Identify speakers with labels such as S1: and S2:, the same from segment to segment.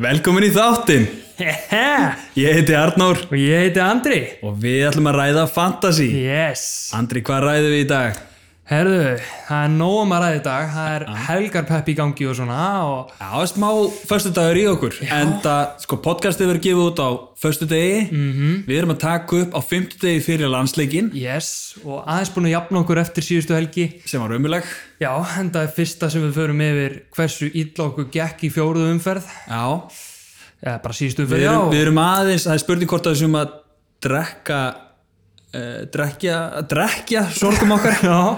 S1: Velkomin í þáttinn!
S2: og
S1: Ég heiti Arnór
S2: ég heiti Andri
S1: og við ætlum að ræða fantasy.
S2: yes
S1: Andri, hvað ræðum við í dag?
S2: herðu, það er nógum að ræði dag það er helgarpepp í gangi og svona og
S1: Já, smá föstudagur í okkur. Enda, sko, podcastið verður gefið út á föstudegi. -hmm. Við erum að taka upp á fymtudegi fyrir landsleikin,
S2: yes og aðeins búin að jafna okkur eftir síðustu helgi
S1: sem var ömuleg.
S2: já, en það er fyrsta sem við förum yfir hversu illa okkur gekk í fjóruðu umferð
S1: Já,
S2: eða bara
S1: við
S2: síðustu umferð
S1: erum,
S2: já,
S1: við erum aðeins, það er spurning hvort að þessum að drekka, uh, drekja, drekja sorgum okkar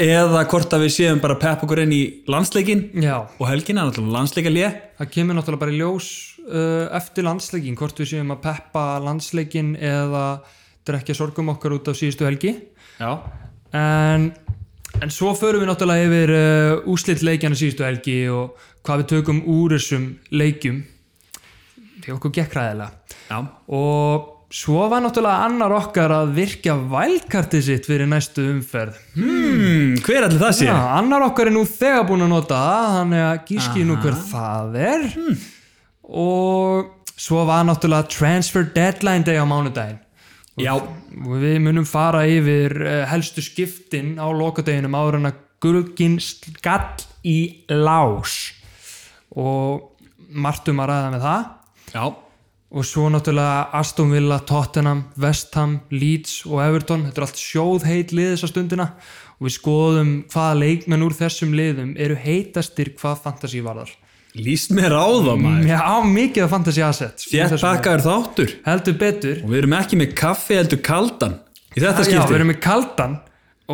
S1: eða hvort að við séum bara að peppa okkur inn í landsleikin
S2: já, já
S1: og helgina, náttúrulega landsleika
S2: það kemur náttúrulega bara í ljós uh, eftir landsleikin, hvort við séum að peppa landsleikin eða drekja sorgum okkar út á síðustu helgi
S1: Já,
S2: en, en svo förum við náttúrulega yfir uh, úslitt leikjana síðustu helgi og hvað við tökum úr þessum leikjum því okkur gekk ræðilega
S1: já,
S2: og svo var náttúrulega annar okkar að virkja vælkartið sitt fyrir næstu umferð
S1: Hmm, hver allir það sé?
S2: ja, annar okkar er nú þegar búin að nota það þannig að gískið nú hver það er og svo var náttúrulega transfer deadline day á mánudaginn
S1: Já,
S2: og við munum fara yfir eh, helstu skiptin á lokadeginum áður en að gulgin skall í lás og margt um að ræða með það
S1: já,
S2: og svo náttúrulega Aston Villa, Tottenham, West Ham, Leeds og Everton, þetta er allt sjóðheit lið þessa stundina og við skoðum hvaða leikmenn úr þessum liðum eru heitastir hvað fantasy varðar
S1: líst mér á það maður.
S2: Já, mikið af fantasy assets í
S1: Þér
S2: þessum liðum.
S1: pakkaður þáttur
S2: Heldur betur
S1: og við erum ekki með kaffi heldur kaldan í þetta
S2: Já, við
S1: skipti.
S2: erum með kaldan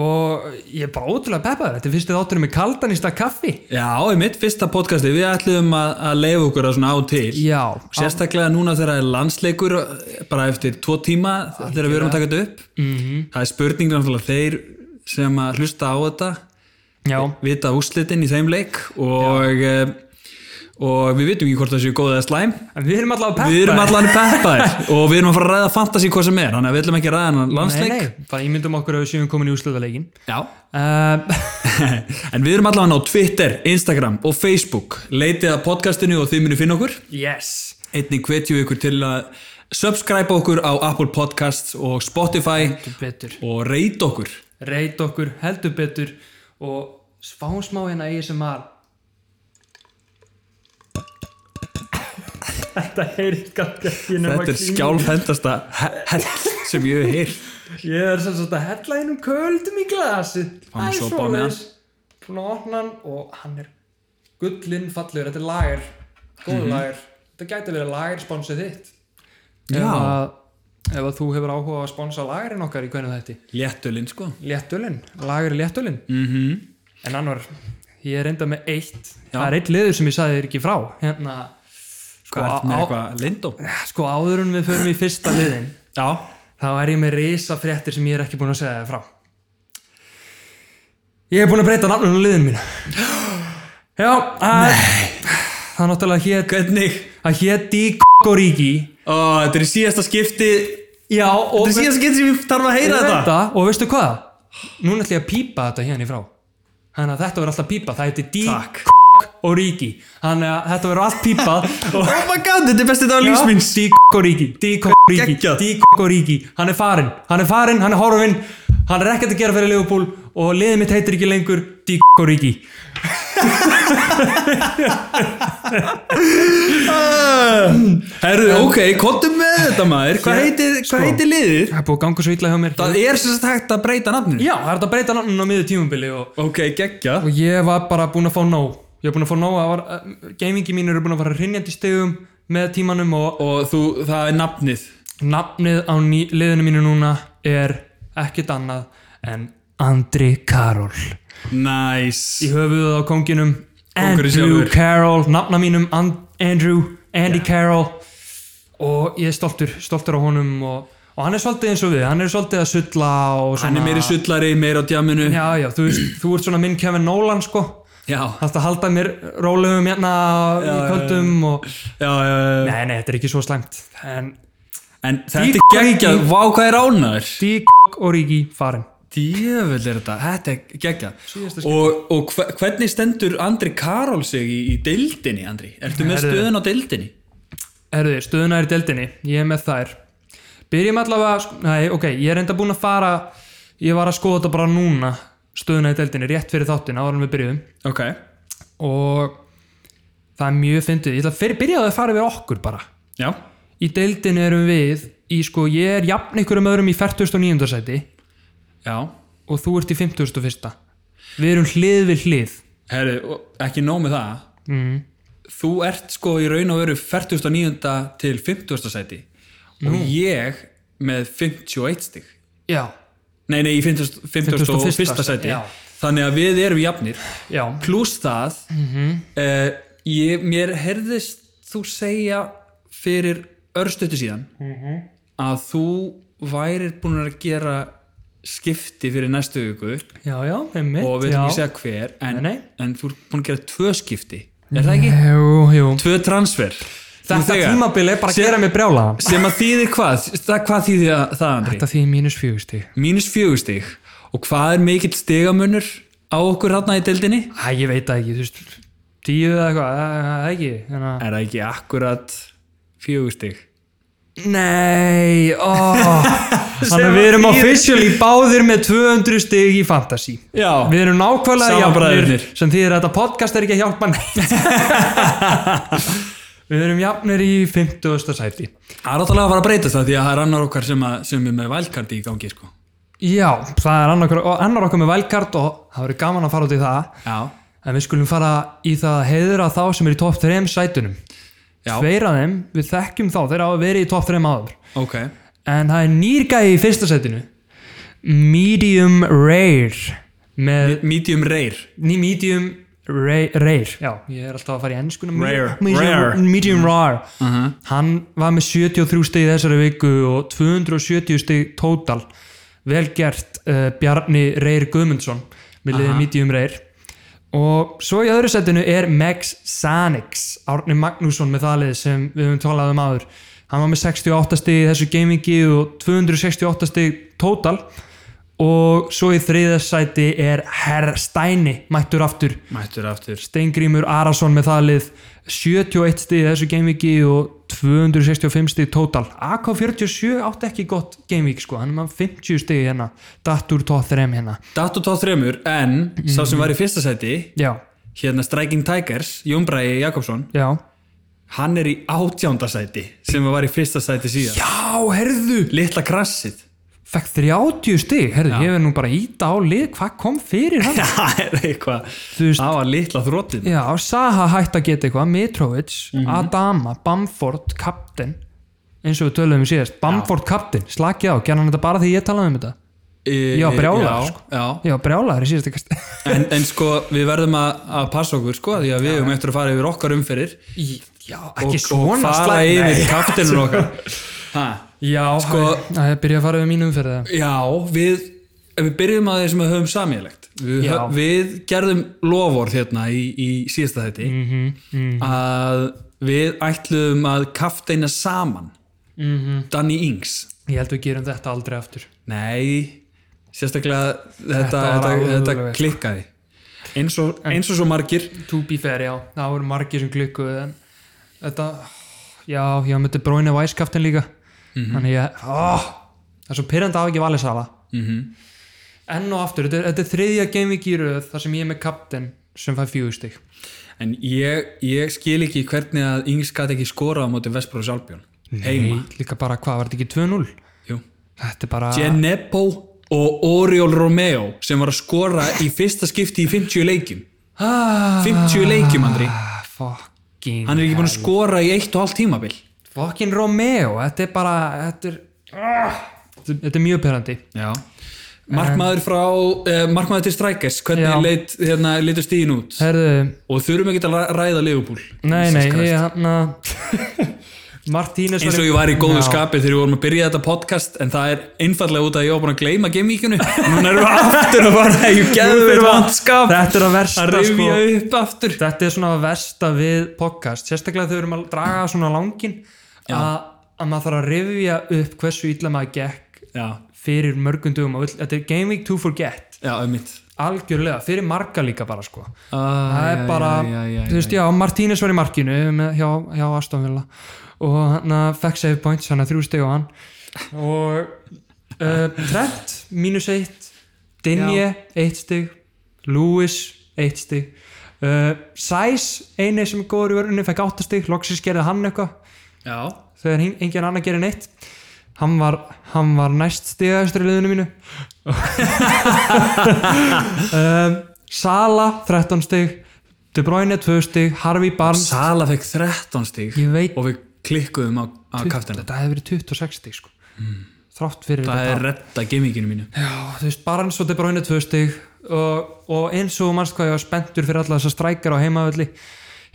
S2: og ég er bara ótrúlega peppaður Þetta er fyrst eða átturum með kaldan í stað kaffi
S1: Já, í mitt fyrsta podcasti við ætlum að, að leifa okkur að svona á til.
S2: Já,
S1: Sérstaklega núna þegar það er landsleikur bara eftir tvo tíma þegar við erum að taka þetta upp.
S2: Mhm.
S1: -hmm. Það er spurning náttúrulega þeir sem að hlusta á þetta,
S2: já,
S1: vita úrslitin í þeim leik og, eh, og við vitum ekki hvort það séu góð eða slæm.
S2: en við erum allavega peppaður
S1: Við erum allan peppaðir og við erum að fara að ræða fantasy hvað sem er, þannig að við ætlum ekki að ræða hennan landsleik.
S2: Nei, nei, bara ímyndum okkur að við séum komin í úrslutaleikin
S1: Já.
S2: uh,
S1: en við erum allan á Twitter, Instagram og Facebook. Leitið að podcastinu og þið munir finna okkur.
S2: Yes
S1: Einnig hvetjum við ykkur til að subscribe okkur á Apple Podcasts og Spotify
S2: Heldur betur
S1: og reyta okkur.
S2: Reit okkur, heldur betur og fáum smá hérna í sem var Þetta heyrist kannski ekki nema
S1: Þetta er
S2: klín.
S1: skjálfhendasta he- hell sem ég hef heyrt.
S2: Ég er sem sagt að hella einum köldum í glasi
S1: Fann sopa á meðan.
S2: Búin að opna hann og hann er gullinn fallegur, þetta er lager Góður
S1: Mhm.
S2: lager, þetta gæti verið lager sponsið þitt
S1: Já.
S2: Ef að, ef að þú hefur áhuga á að sponsa lagerinn okkar í hvernig þetta
S1: Léttulinn sko.
S2: Léttölinn, lager léttölinn
S1: Mm
S2: En annar, ég er enda með eitt
S1: Já.
S2: Það er eitt liður sem ég sagði þér ekki frá Hérna, sko,
S1: Hvað er með
S2: á-
S1: eitthvað? Lindó?
S2: sko áður en við förum í fyrsta liðin
S1: Já.
S2: þá er ég með risa fréttir sem ég er ekki búin að segja þér frá ég er búin að breyta nafnum á liðinu mínu já að, það náttúrulega hét
S1: Hvernig?
S2: það hét Díkoríki
S1: Ó, þetta er í síðasta skipti,
S2: já og
S1: þetta er síðasta skipti sem ég þarf að heyra þetta.
S2: og veistu hvað núna ætlum ég að pípa þetta hérna í frá þannig að þetta verður alltaf pípa það heiti
S1: Takk.
S2: Díkoríki þannig að þetta verður allt pípað og
S1: Oh my god, þetta er bestið dag lífsminns
S2: Díkoríki, Díkoríki,
S1: Geggjað.
S2: Díkoríki Hann er farinn, hann er farinn, hann er horfinn Hann er ekkert að gera fyrir Liverpool Og liðið mitt heitir ekki lengur Díkoríki
S1: Herðu, Mm. ok, kontum með þetta maður Hvað
S2: Já,
S1: heitir,
S2: sko.
S1: hvað heitir liðið?
S2: Það er búið að ganga svo illa hjá mér
S1: Það er sem sagt hægt að breyta nafninu
S2: Já, það er hægt að breyta nafnun á miður tímumbili og,
S1: Ok, geggja
S2: og ég var bara búinn að fá nóg Ég var búinn að fá nóg að var, uh, Gamingi mín eru búin að fara hrinjandi stegum Með tímanum og
S1: Og þú, það er nafnið
S2: Nafnið á ný, liðinu mínu núna Er ekkert annað En Andri Karol
S1: Næs
S2: í höfuðuð á konginum
S1: Kóngurinn
S2: Andrew
S1: sjálfur.
S2: Carroll, nafna mínum And Andrew, Andy Carroll og ég er stoltur, stoltur á honum og, og hann er svolítið eins og við hann er svolítið að sulla og svona
S1: Hann er meiri sullari, meiri á djaminu
S2: já, já, þú, veist, þú ert svona minn Kevin Nolan sko
S1: Já,
S2: það er að halda mér rólegum hérna í kvöldum og
S1: já, já, já.
S2: nei, nei, þetta er ekki svo slæmt en
S1: En þetta er geggjað Vá, hvað er ránaður?
S2: Dík og Ríki farin
S1: djöfull er þetta, þetta er geggja
S2: Síðasta skipti.
S1: og, og hve- hvernig stendur Andri Karol sig í, í deildinni Andri, ertu með
S2: Herðu.
S1: stöðun á deildinni
S2: Herðu, stöðuna er í deildinni, ég er með þær Byrjum allavega, sk- nei, ok, ég er enda búin að fara Ég var að skoða þetta bara núna Stöðuna í deildinni, rétt fyrir þáttina, árum við byrjuðum
S1: ok,
S2: Og það er mjög fyndið Ég ætla að fyrir byrjaði að fara yfir okkur bara
S1: já
S2: Í deildinni erum við í, sko, Ég er jafn einhverjum öðrum í 49. sæti
S1: já,
S2: Og þú ert í 51. Við erum hlið við hlið
S1: herri, og ekki nóg með það
S2: mm.
S1: þú ert sko í raun og veru 49. til 50. sæti og ég með 51 stig
S2: Já,
S1: nei, nei, í 50, 50.
S2: 51.
S1: sæti
S2: Já.
S1: þannig að við erum jafnir
S2: já,
S1: pluss það mm
S2: Mhm.
S1: ég, mér heyrðist þú segja fyrir örstutu síðan
S2: Mhm.
S1: að þú værir búin að gera skipti fyrir næstu viku
S2: já, já, einmitt
S1: og við erum
S2: já.
S1: ekki að segja hver en,
S2: Nei, nei.
S1: en þú ert búin að gera tvö skipti er það ekki?
S2: Jú, jú
S1: Tvö transfer Nú
S2: Þetta
S1: þegar.
S2: tímabil er bara að
S1: Sér-
S2: gera mig brjála
S1: sem að þýðir hvað, það, hvað þýðir það, það Andri?
S2: Þetta þýðir mínus fjögusti
S1: mínus fjögur stig og hvað er mikill stigamunur á okkur hérna í deildinni?
S2: Æ, ég veit það ekki, þú veist Tíu eða eitthvað, það- það ekki Þannig að
S1: Er það ekki akkurat fjögur stig?
S2: Nei, ó Þannig
S1: Sem
S2: að við erum
S1: að þýðir-
S2: officially báðir með 200 stig í fantasy
S1: Já,
S2: Við erum nákvæmlega jafnir
S1: Samabræðurnir.
S2: sem þýðir að þetta podcast er ekki að hjálpa neitt Við erum jafnir í 50. sæti
S1: það er áttalega að fara að breyta það því að það er annar okkar sem, að, sem er með valkardi í gangi sko.
S2: Já, það er annar, og annar okkar með velkart og það verður gaman að fara út í það
S1: Já,
S2: en við skulum fara í það að heiðra þá sem er í topp 3 sætunum
S1: já,
S2: Tveir af þeim, við þekkjum þá, þeir hafa verið í topp 3 áður.
S1: ok
S2: En það er nýrgæði í fyrsta setinu. Medium Rare. Með
S1: Medium rare
S2: ný medium rare, rare. Já, ég er alltaf að fara í ennskunum.
S1: Rare,
S2: Medium,
S1: rare.
S2: medium Rare.
S1: uh -huh.
S2: Hann var með 73 stig í þessari viku og 270 stig tótal. Vel gert uh, Bjarni Reyr Guðmundsson með liðið
S1: Aha.
S2: medium rare. Og svo í öðru setinu er Max Sanix, Árni Magnússon með það lið sem við höfum talað um áður. Hann var með 68 stig í þessu gamingi og 268 stig tótal. Og svo í þriða sæti er Herr Steini mættur aftur
S1: Mættur aftur
S2: Steingrímur Arason með það lið 71 stig í þessu gamevíki og 265 stig tótal AK47 átti ekki gott gamevík sko, hann er með 50 stig hérna datt úr tóð 3 hérna
S1: Datt og tóð þremur en sá sem var í fyrsta seti
S2: já,
S1: hérna Striking Tigers, Jón Bræi Jakobsson
S2: já,
S1: hann er í átjánda sæti sem var í fyrsta sæti síðan
S2: já, herðu
S1: litla krassið
S2: fekk 30 stig, herðu, ég verð nú bara að íta á lið, hvað kom fyrir hann
S1: það er eitthvað
S2: þú veist,
S1: það var litla þróttin
S2: já, Saha hætti að geta eitthvað Mitrovic, Adama, Bamford Kapten, eins og við töluðum í síðast, Bamford Kapten, slakið á gerði hann þetta bara því ég talaði um þetta Já, brjálaður,
S1: Eh, já,
S2: sko.
S1: já.
S2: já, brjálaður í síðasta kast
S1: En, en sko við verðum að, að passa okkur sko því að við höfum eftir að fara yfir okkar umferir
S2: Já,
S1: og,
S2: ekki
S1: og
S2: svona
S1: fara
S2: slæm
S1: yfir
S2: nei.
S1: kaftinun okkar ha.
S2: Já, sko
S1: Sko-
S2: Það er byrjað að fara við mínum fyrir það
S1: já við ef við byrjum að þeir sem við höfum samíðlegt við,
S2: Já.
S1: hö- við gerðum lofór hérna í, í síðasta þetti
S2: Mhm,
S1: að við ætluðum að kafteina saman
S2: Mhm.
S1: Danny Ings
S2: Ég held við gerum þetta aldrei aftur
S1: Nei, sérstaklega þetta,
S2: Þetta var
S1: þetta,
S2: alveg
S1: þetta,
S2: eitthvað.
S1: klikkaði eins og, eins og svo margir
S2: To be fair, já, það voru margir sem glukkuð en þetta Já, já, myndi bróinu væskaftin líka Þannig ég, ó, það er svo pyrrandi af ekki valið sala Mhm. Enn og aftur, þetta er, þetta er þriðja gamevík í röð þar sem ég er með kapten sem fær fjögustig
S1: en ég, ég skil ekki hvernig að Ings gæti ekki skorað á móti Vestbróðs Albjón heima
S2: Líka bara, hvað, var þetta ekki 2-0?
S1: Jú.
S2: Þetta er bara
S1: Geneppo og Oriol Romeo sem var að skora í fyrsta skipti í 50 leikjum
S2: ah,
S1: 50 leikjum, Andri.
S2: ah, Fucking
S1: hann er ekki búin að skora í 1,5 tímabil
S2: Fucking Romeo, þetta er bara þetta er, Ah, Þetta- þetta er mjög perandi
S1: Já Markmaður frá, eh, markmaður til Strikers hvernig
S2: Já.
S1: leit, hérna, leitur stíðin út
S2: Herðu,
S1: og þurfum ekki að ræða Leopold
S2: nei, nei, ég hann Martínez var
S1: eins
S2: í-
S1: og ég var í góðu
S2: Já,
S1: skapi þegar við vorum að byrja þetta podcast en það er einfallega út af að ég var búin að gleyma gemíkjunu núna erum við aftur að fara í
S2: fyrir
S1: geðveit
S2: að-
S1: vandskap
S2: Þetta er að versta
S1: að
S2: sko,
S1: rifja upp aftur
S2: Þetta er svona að versta við podcast Sérstaklega þegar við erum að draga svona langin að, að maður þarf að rifja upp hversu illa maður gekk
S1: já,
S2: fyrir mörgum dugum og vill, þetta er Game Week to Forget
S1: já, auðvitað
S2: algjörlega, fyrir marga líka bara sko það
S1: það
S2: er bara, þú veist, já, Martínez var í markinu með, hjá, hjá Aston Villa og hann að fekk save points hann að þrjú stegu hann og uh, Trent mínus eitt Dinje eitt steg Lewis eitt steg uh, Sæs, eini sem er góður í vörunni fekk átta steg, loksins gerði hann eitthvað
S1: já,
S2: þegar hin- engin annar gerir neitt hann var, hann var næst stigaðastur í liðinu mínu um, Sala 13 stig De Bruyne 2 stig Harvey Barnes
S1: Sala fekk 13 stík
S2: ég veit,
S1: og við klikkuðum á, á kaftina
S2: þetta hefði verið 26 stig sko. þrátt fyrir
S1: Hmm. það
S2: þetta
S1: er redda gimmikinu mínu
S2: Já, þú veist, Barnes og De Bruyne 2 stig og, og eins og mannst hvað ég var spenntur fyrir alla þessar strækjar á heimavölli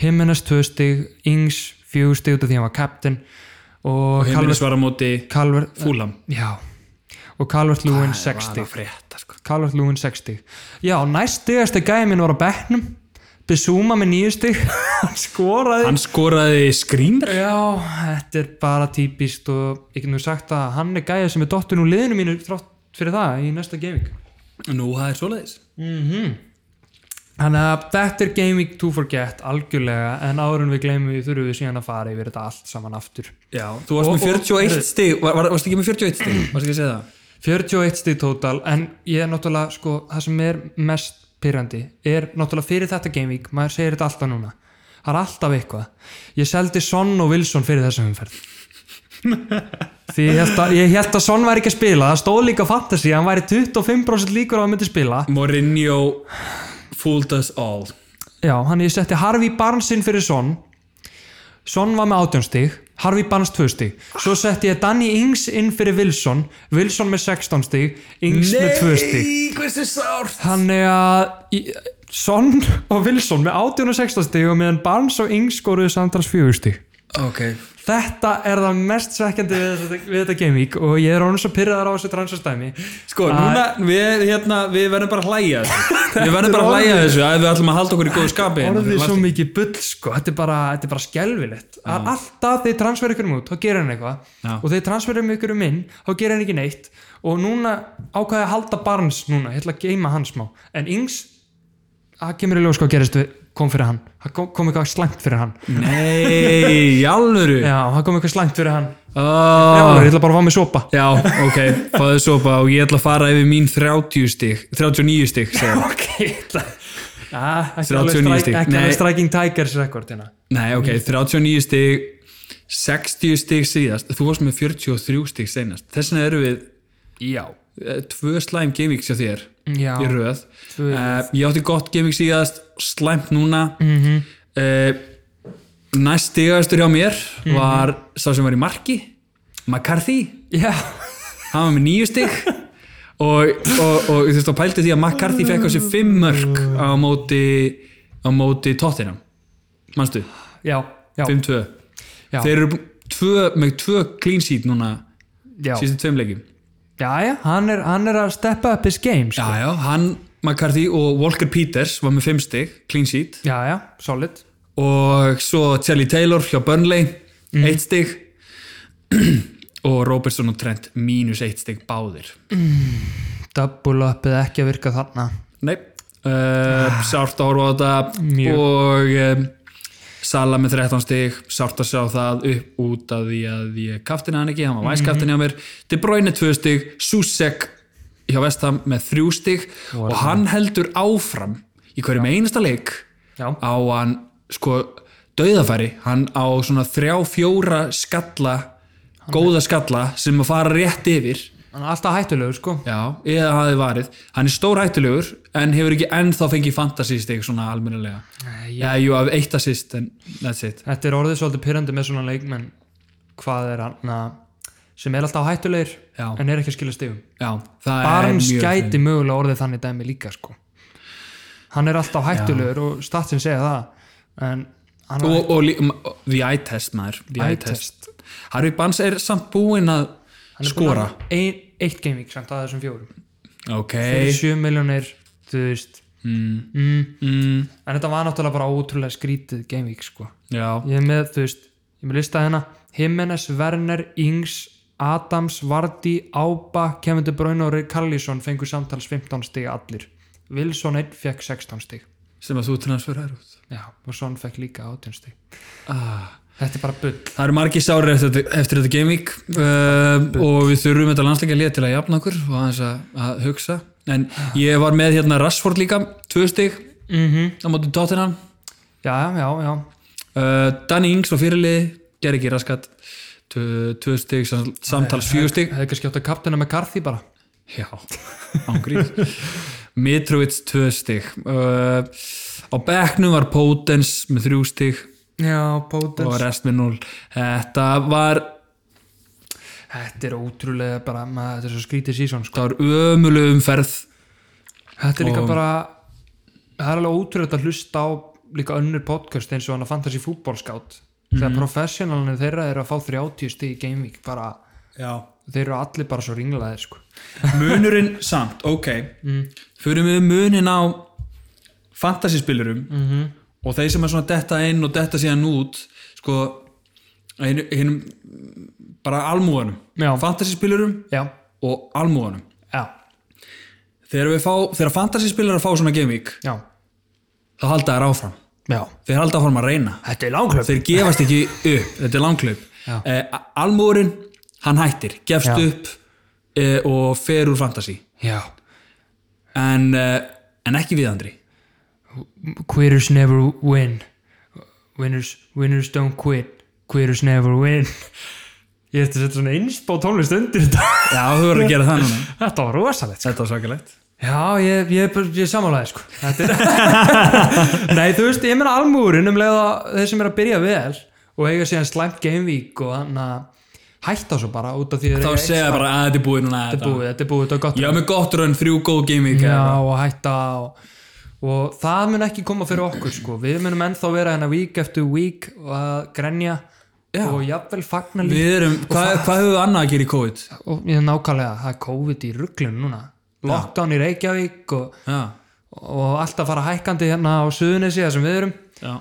S2: Jimenez 2 stig, Ings 4 stig út af því að hann var captain og,
S1: og heimilis var á móti
S2: Calvert,
S1: fúlam
S2: Já, og Calvert Lewin 60
S1: að frétta sko
S2: Calvert Lewin 60 Já, næst stigast er gæði minn var á bekknum Bissúma með nýju stig Hann skoraði
S1: hann skoraði skrýmur
S2: Já, þetta er bara típist og ég getur sagt að hann er gæði sem er dottun úr liðinu mínu þrátt fyrir það í næsta gaming
S1: nú, það er svoleiðis
S2: Mhm. Þannig að þetta er gaming to forget algjörlega en árun við gleymum við þurfum við síðan að fara yfir þetta allt saman aftur
S1: já, þú varst
S2: Og-
S1: með
S2: og-
S1: 41 stík var, var, varst ekki með 41 stík, varst ekki að segja það
S2: 41 stíð tótal en ég er náttúrulega sko það sem er mest pyrrandi er náttúrulega fyrir þetta gamevík maður segir þetta alltaf núna það er alltaf eitthvað ég seldi Son og Wilson fyrir þessa umferð því ég held, að, ég held að Son væri ekki að spila það stóð líka á fantasy að hann væri 25% líkur á að myndi spila
S1: Mourinho fooled us all
S2: já hann ég setti Harvey Barnes inn fyrir Son Son var með 18 stíg Harvey Barnes 2 stíg svo setti ég Danny Ings inn fyrir Wilson Wilson með 16 stíg Ings með 2 stíg
S1: hversu sárt
S2: Þannig að í- Son og Wilson með 18 og 16 stig og meðan Barnes og Ings skoruðu samtals 4 stig.
S1: ok,
S2: Þetta er það mest svekkjandi við, þetta- við þetta gamevík og ég er honum svo pyrraðar á þessu transastæmi.
S1: sko, núna við, hérna, við verðum bara að hlæja þessu við verðum bara að hlæja þessu að við ætlum að halda okkur í góðu skapi hérna
S2: Orðið
S1: fyrir
S2: svo
S1: landi.
S2: mikið bull sko, þetta er bara, þetta er bara skelvilegt. Að Alltaf þeir transferir ykkur um út, þá gerir hann eitthvað
S1: Já.
S2: og þeir transferir ykkur um inn, þá gerir hann ekki neitt og núna ákvaði að halda Barnes núna, ég ætla að geima hann smá. En Ings, það kemur í ljós hvað gerist við, kom fyrir hann. Það kom, kom eitthvað slæmt fyrir hann.
S1: nei, í alvöru
S2: Já, það kom eitthvað slæmt fyrir hann Já,
S1: oh.
S2: ég ætla bara að fá mig sopa
S1: já, ok, fáðu sopa og ég ætla að fara yfir mín 30 stík 39 stík, segja
S2: Ok, það Ekki
S1: 39
S2: alveg
S1: stig.
S2: stræk- ekki
S1: Nei.
S2: alveg Striking Tigers hérna. rekordina
S1: Nei, ok, 39 stig 60 stig síðast þú varst með 43 stig senast þess vegna eru við
S2: Já Mm.
S1: eh, tvö slæm gamevíks hjá þér
S2: Já,
S1: í röð
S2: Tvö í
S1: uh, ég átti gott gamevík síðast slæmt núna mm
S2: Mhm.
S1: -hmm. næst stigastur hjá mér
S2: Mhm.
S1: var sá sem var í marki McCarthy,
S2: já,
S1: hann var með nýju stig og, og, og þú veist þá pælti því að McCarthy fekk á sig fimm mörg
S2: Mm.
S1: á móti á móti tóttinam manstu,
S2: já, já,
S1: 5-2
S2: já,
S1: Þeir eru bú- tvö, með tvö clean sheet núna
S2: já.
S1: síðustu tveim leikim.
S2: já, já hann, er, hann er að steppa up his game sko.
S1: Já, já, hann, McCarthy og Walker Peters var með fimm stig, clean sheet
S2: já, já, solid
S1: og svo Telly Taylor hjá Burnley, eitt stig og Robertson og Trent mínus eitt stig báðir.
S2: Double up eða ekki að virka þarna
S1: Nei, uh, sárt að horfa á þetta
S2: Mjög.
S1: og um, Sala með 13 stig, sárt að sjá það upp út af því að ég kaftina hann ekki, hann var væskaftin hjá mér, De Bruyne 2 stig, Susek hjá Vestham með 3 stig og hann heldur áfram í hverjum einasta leik
S2: Já.
S1: á hann sko dauðafæri, hann á svona 3-4 skalla, góða skalla sem að fara rétt yfir
S2: Hann er alltaf hættulegur sko
S1: Já, eða hafi varið. Hann er stór hættulegur en hefur ekki ennþá fengið fantasístig svona almennilega.
S2: Nei,
S1: Já, jú, af eitt assist en that's it.
S2: Þetta er orðið svolítið pyrrandi með svona leikmenn hvað er hann að sem er alltaf hættulegur
S1: Já.
S2: en er ekki að skila stigum
S1: Já, það er
S2: Barnes
S1: mjög...
S2: gæti mögulega orðið þannig dæmi líka sko. hann er alltaf hættulegur og statsin segja það en hann
S1: Og, og lí- m- the eye test maður. The eye,
S2: Eye
S1: test. Harry Barnes er samt búinn að
S2: hann er
S1: skora.
S2: búinn að- ein, eitt gaming samt að þessum fjórum
S1: Ok.
S2: hey. 7 miljónir, þú veist
S1: Mm,
S2: en þetta var náttúrulega bara ótrúlega skrítið gaming sko.
S1: já,
S2: ég er með, þú veist, ég er með listað hérna Jimenez, Werner, Ings Adams, Vardy, Ába, Kevin De Bruyne og Ray Carlison fengur samtals 15 stig allir. Wilson 1 fekk 16 stig.
S1: sem að þú transferar út
S2: Já, og Son fekk líka 18 stig.
S1: ah.
S2: Þetta er bara bull.
S1: Það eru margir sárir eftir, þetta- eftir þetta gamevík uh, og við þurfum þetta landsleika lið til að jafna okkur og aðeins að, að hugsa en ég var með hérna Rashford líka tvö stig
S2: Mm
S1: á mótum Tottenham
S2: Já, já, já.
S1: uh, Danny Ings og fyrirlið ger ekki raskat tvö, tvö stig, sam- samtals fjögur stig
S2: Hefði kannski átt að kaptena með Carthy bara.
S1: Já, ángrið Mitrovic tvö stig uh, á bekknum var Potens með þrjú stig
S2: Já,
S1: og
S2: Potens.
S1: rest með 0 þetta var,
S2: Þetta er ótrúlega bara, maður, þetta er svo skrítið sísón, sko.
S1: það var ömulu umferð
S2: Þetta er sko- líka
S1: Og-
S2: bara, það er alveg ótrúlega að hlusta á líka önnur podcast eins og hann að fantasy fútbolskátt. Þegar professionalinu þeirra eru að fá 30 stig í Game Week, bara,
S1: Já.
S2: þeir eru allir bara svo ringlaðir, sko.
S1: munurinn samt, ok mm. fyrir við munin á fantasyspilurum
S2: Mm -hmm.
S1: og þeir sem er svona detta inn og detta síðan út sko hinn, hinn, bara almúðanum
S2: Já.
S1: fantasyspilurum
S2: Já,
S1: og almúðanum
S2: já,
S1: þegar, við fá, þegar fantasyspilurar fá svona gamevík
S2: já,
S1: þá halda þær áfram
S2: já.
S1: þeir halda áfram að reyna
S2: Þetta er langklöp.
S1: þeir gefast ekki upp, þetta er langklaup
S2: Já.
S1: eh, almúðurinn, hann hættir gefst
S2: Já.
S1: upp eh, og fer úr fantasy
S2: Já.
S1: en, eh, en ekki við Andri
S2: Quitters never win. Winners, winners don't quit. Quitters never win. Ég ætti að setja svona einspá tónlist undir þetta.
S1: já, þú verður að gera það núna
S2: Þetta var rosalegt. sko.
S1: Þetta var svakalegt
S2: Já, ég, ég, er bara- ég samálaði sko. Þetta er... Nei, þú veist, ég meina almúrin um leiða þeir sem er að byrja vel og eiga síðan slæmt gamevík og hann að hætta svo bara út af því
S1: Þá
S2: þeir eiga eitt
S1: segja bara að þetta er búið núna
S2: þetta er búið, þetta er búið, þetta er gott
S1: Ég hafa með gott raun, þrjú góð gaming
S2: Já, og hætta og, og það mun ekki koma fyrir okkur sko. við munum ennþá vera hérna vík eftir vík og að grenja
S1: Já.
S2: og jafnvel fagna líka
S1: Við erum, hvað, hvað höfum við annað að gera í COVID?
S2: og ég er nákvæmlega, það er COVID í rugglun núna lockdown í Reykjavík og,
S1: Já,
S2: og allt að fara hækkandi hérna á Suðunesi þar sem við erum
S1: já,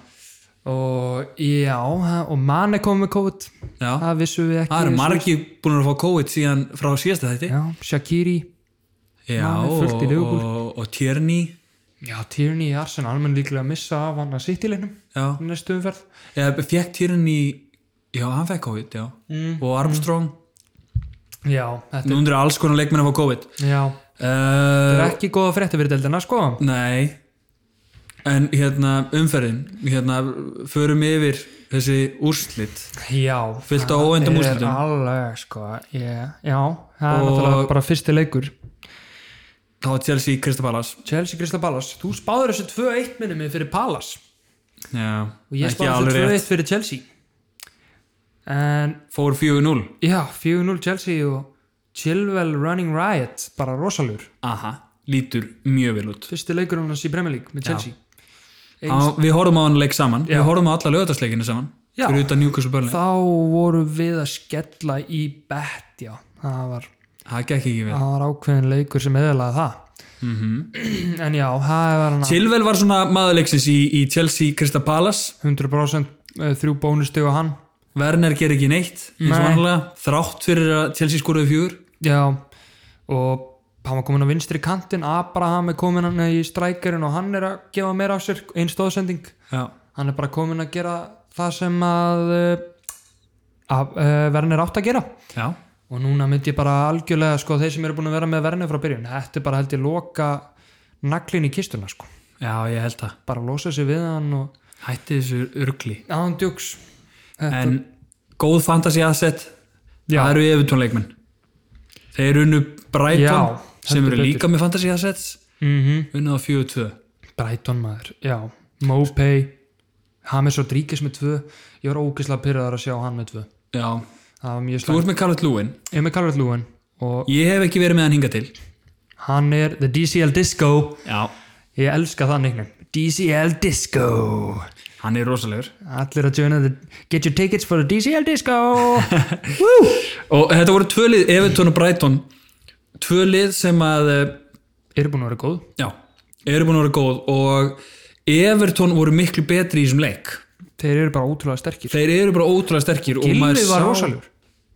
S2: og já, það- og mann er komið með COVID
S1: já
S2: það vissum við ekki
S1: Það eru margir búin að fá COVID síðan frá síðasta þætti
S2: já, Shakiri,
S1: Já,
S2: Maður er
S1: og,
S2: fullt í
S1: og,
S2: Liverpool.
S1: og, Tierney
S2: já, Tierney í Arsenal hann mun líklega að missa af hann að sitt í leiknum
S1: Já,
S2: næstu umferð
S1: eða fekk Tierney Já, hann fekk COVID, já
S2: Mm.
S1: Og Armstrong,
S2: já, þetta
S1: nú undir alls konar leikmenn að fá COVID
S2: já, Það
S1: uh,
S2: er ekki góða frétti fyrir deildina sko
S1: Nei En hérna, umferðin Hérna, förum yfir þessi úrslit
S2: Já
S1: Fullt af óvæntum
S2: það
S1: úrslitum.
S2: er Alveg sko ég, Já, það er
S1: Og-
S2: náttúrulega bara fyrsti leikur
S1: þá var Chelsea í Crystal Palace
S2: Chelsea Crystal Palace Þú spáður þessu 2-1 minni mig fyrir Palace
S1: já,
S2: og ég
S1: ekki
S2: spáði
S1: alveg
S2: þessu
S1: rétt
S2: 2-1 fyrir Chelsea En
S1: fór 4-0
S2: já, 4-0 Chelsea og Chilwell Running Riot bara rosalur
S1: aha, lítur mjög vel út
S2: Fyrsti leikur hann í Premier League með Chelsea
S1: á, við horfum á hann leik saman við horfum á alla lögðarsleikinu saman
S2: Já.
S1: fyrir utan Newcastle Burnley
S2: Þá voru við að skella í bet já, það var
S1: það gekk ekki vel
S2: það var ákveðin leikur sem eðalaði það
S1: Mhm.
S2: -hmm. en já, það var hann
S1: Silvel var svona maðurleiksins í, í Chelsea Crystal Palace
S2: 100% eh, þrjú bónusteg og hann
S1: Werner ger ekki neitt eins og
S2: Nei.
S1: vanlega þrátt fyrir að Chelsea skoraði fjúr
S2: já, og hann var komin á vinstri kantin Abraham er komin hann í strækjarinn og hann er að gefa meira á sér einn stóðsending
S1: já,
S2: hann er bara komin að gera það sem að, eh, að uh, Werner átt að gera
S1: já,
S2: og núna myndi ég bara algjörlega sko, þeir sem eru búin að vera með Werner frá byrjun þetta er bara held ég loka naglin í kistuna sko.
S1: já ég held það
S2: bara losa sig við hann og
S1: hætti þessu örgli
S2: aðan djúks
S1: en góð fantasy asset
S2: Já.
S1: það eru Evertón leikmenn þeir unnu Brighton
S2: Já,
S1: sem
S2: heldur
S1: eru líka með fantasy assets
S2: mm -hmm.
S1: unnið á 4-2
S2: Brighton maður, já Mopay, James Rodríguez með tvö ég var ógeðslega pyrraðar að sjá hann með tvö
S1: já,
S2: það var mjög
S1: þú
S2: slæmt
S1: ert með Carlet Lúin
S2: ég er með Calvert Lúin og
S1: ég hef ekki verið með hann hinga til
S2: hann er The DCL Disco
S1: já,
S2: ég elska það neiknum DCL Disco
S1: hann er rosalegur
S2: allir að joina the, get your tickets for the DCL Disco
S1: og þetta voru tvö lið, Everton og Brighton tvö lið sem að eh,
S2: eru búin að vera góð
S1: já, eru búin að vera góð og Everton voru miklu betri í þessum leik
S2: þeir eru bara ótrúlega sterkir
S1: þeir eru bara ótrúlega sterkir og
S2: Gylfi
S1: maður
S2: var
S1: sá-
S2: rosalegur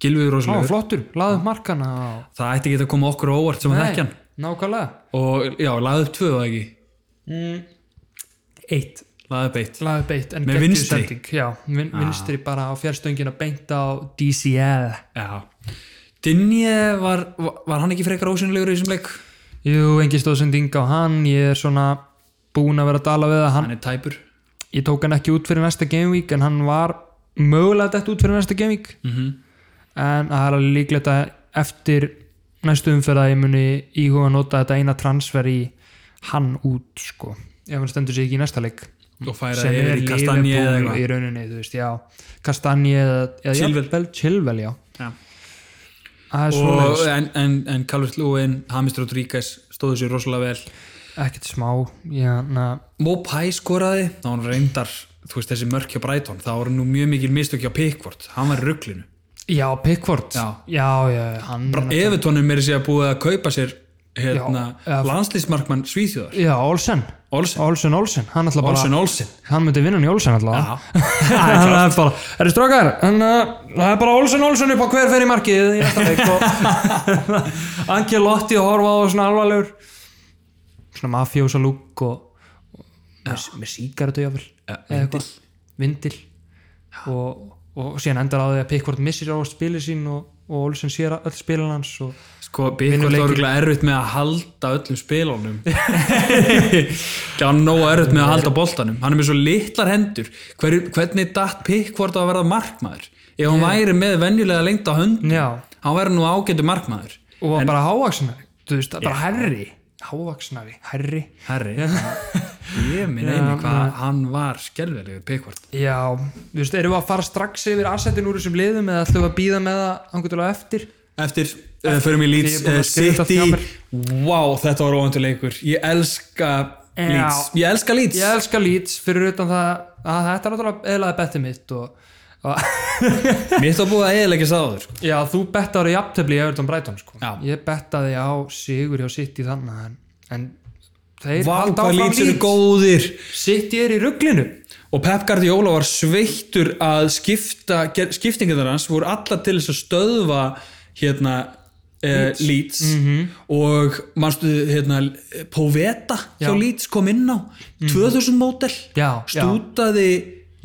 S1: Gilvið
S2: Á,
S1: Róslegur
S2: flottur, laðu upp markana á-
S1: það ætti ekki að koma okkur á óvart sem að
S2: Nei,
S1: þekkja hann
S2: Nákvæmlega
S1: og já, laði upp tvö eða ekki
S2: Eitt
S1: laði upp eitt
S2: Laðu beitt en
S1: Með
S2: geggjuð
S1: vinstri. Ah.
S2: sending. Já, vin, vinstri bara á fjárstöngina beint á DCL
S1: já. Dinje var, var hann ekki frekar ósynlegur í þessum leik
S2: Jú, engin stóðsending á hann Ég er svona búin að vera að dala við að hann
S1: hann er tæpur
S2: Ég tók hann ekki út fyrir næsta gameweek en hann var mögulega dætt út fyrir næsta gameweek
S1: mm
S2: en það er alveg líklegt að eftir næstu umferð að ég muni íhuga að nota þetta eina transfer í hann út sko ef hann stendur sig ekki í næsta leik
S1: og færa
S2: sem er
S1: yfir í kastanje eða
S2: Liverpool
S1: eitthvað
S2: í rauninni, þú veist, já Kastanje eða, eða
S1: Chilwell.
S2: jafnvel Chilwell, já
S1: Já.
S2: Það
S1: og,
S2: er svoleiðis,
S1: en, en, en Calvert Lúin, Hamist Rodríguez stóðu sér rosalega vel
S2: ekkert smá hérna, já, na,
S1: Mopai skoraði, þá hann reyndar þú veist þessi mörk hjá Brighton, það voru nú mjög mikil mistök hjá Pickford, hann var í rugglinu
S2: já, Pickford
S1: Já.
S2: já, já hann er náttúrulega-
S1: Evertónum er sér Mm. að búið að kaupa sér hérna,
S2: Já, eða-
S1: landslýsmarkmann Svíþjóðar
S2: já, Olsen,
S1: Olsen,
S2: Olsen, Olsen hann alltaf bara,
S1: Olsen, Olsen
S2: hann myndi vinna hann í Olsen alltaf
S1: Já,
S2: Það er bara, er þið strákar, en uh, það er bara Olsen Olsen upp á hver fer í markið í næsta leik og Anki Lotti að horfa á svona alvarlegur svona mafjósa lúk og, og með, með síkartu jáfnvel
S1: Ja,
S2: eða eitthvað, vindil og, og síðan endar á því að Pickford missir á spili sín og, og Olsen sér öll spilin hans og
S1: sko, Pickford
S2: Vinnur
S1: var
S2: leikinn.
S1: örgulega erfitt með að halda öllum spilunum Já, hann er nógu erfitt með að halda boltanum hann er með svo litlar hendur Hver, hvernig datt Pickford á að verða markmaður ef hann væri með venjulega lengt á hönd
S2: já,
S1: hann væri nú ágætu markmaður
S2: og en, bara hávaksnari, þú veist, bara herri hávaksnari, herri
S1: Herri, ég minn einu hvað hann var skelvelið Pickford
S2: Já, þú veist, erum við að fara strax yfir assetin úr þessum liðum eða ætlum við að býða með það angur til á eftir?
S1: Eftir, uh, förum í Leeds
S2: Ég er búin
S1: uh,
S2: að skrifa þetta
S1: City
S2: allt hjá mér.
S1: Vá, þetta var óvandur leikur Ég elska
S2: Já.
S1: Leeds Ég elska Leeds
S2: Ég elska Leeds fyrir utan það að þetta er náttúrulega eðlaði bettið mitt og, og
S1: Mér þá búið að eðilegja sáður sko.
S2: já, þú bettaði jafntöfli í Everton Brighton sko.
S1: Já.
S2: Ég bettaði á Sigur hjá City þannig en, en þeir
S1: Vá,
S2: halda
S1: hvað
S2: áfram
S1: Leeds eru góðir
S2: City er í rugglinu.
S1: Og Pep Guardiola var sveittur að skipta ger, skiptingarnar hans voru alla til þess að stöðva hérna Uh, Leeds og manstu hérna Poveta hjá
S2: Já.
S1: Leeds kom inn á 2000 mótel
S2: Já,
S1: stútaði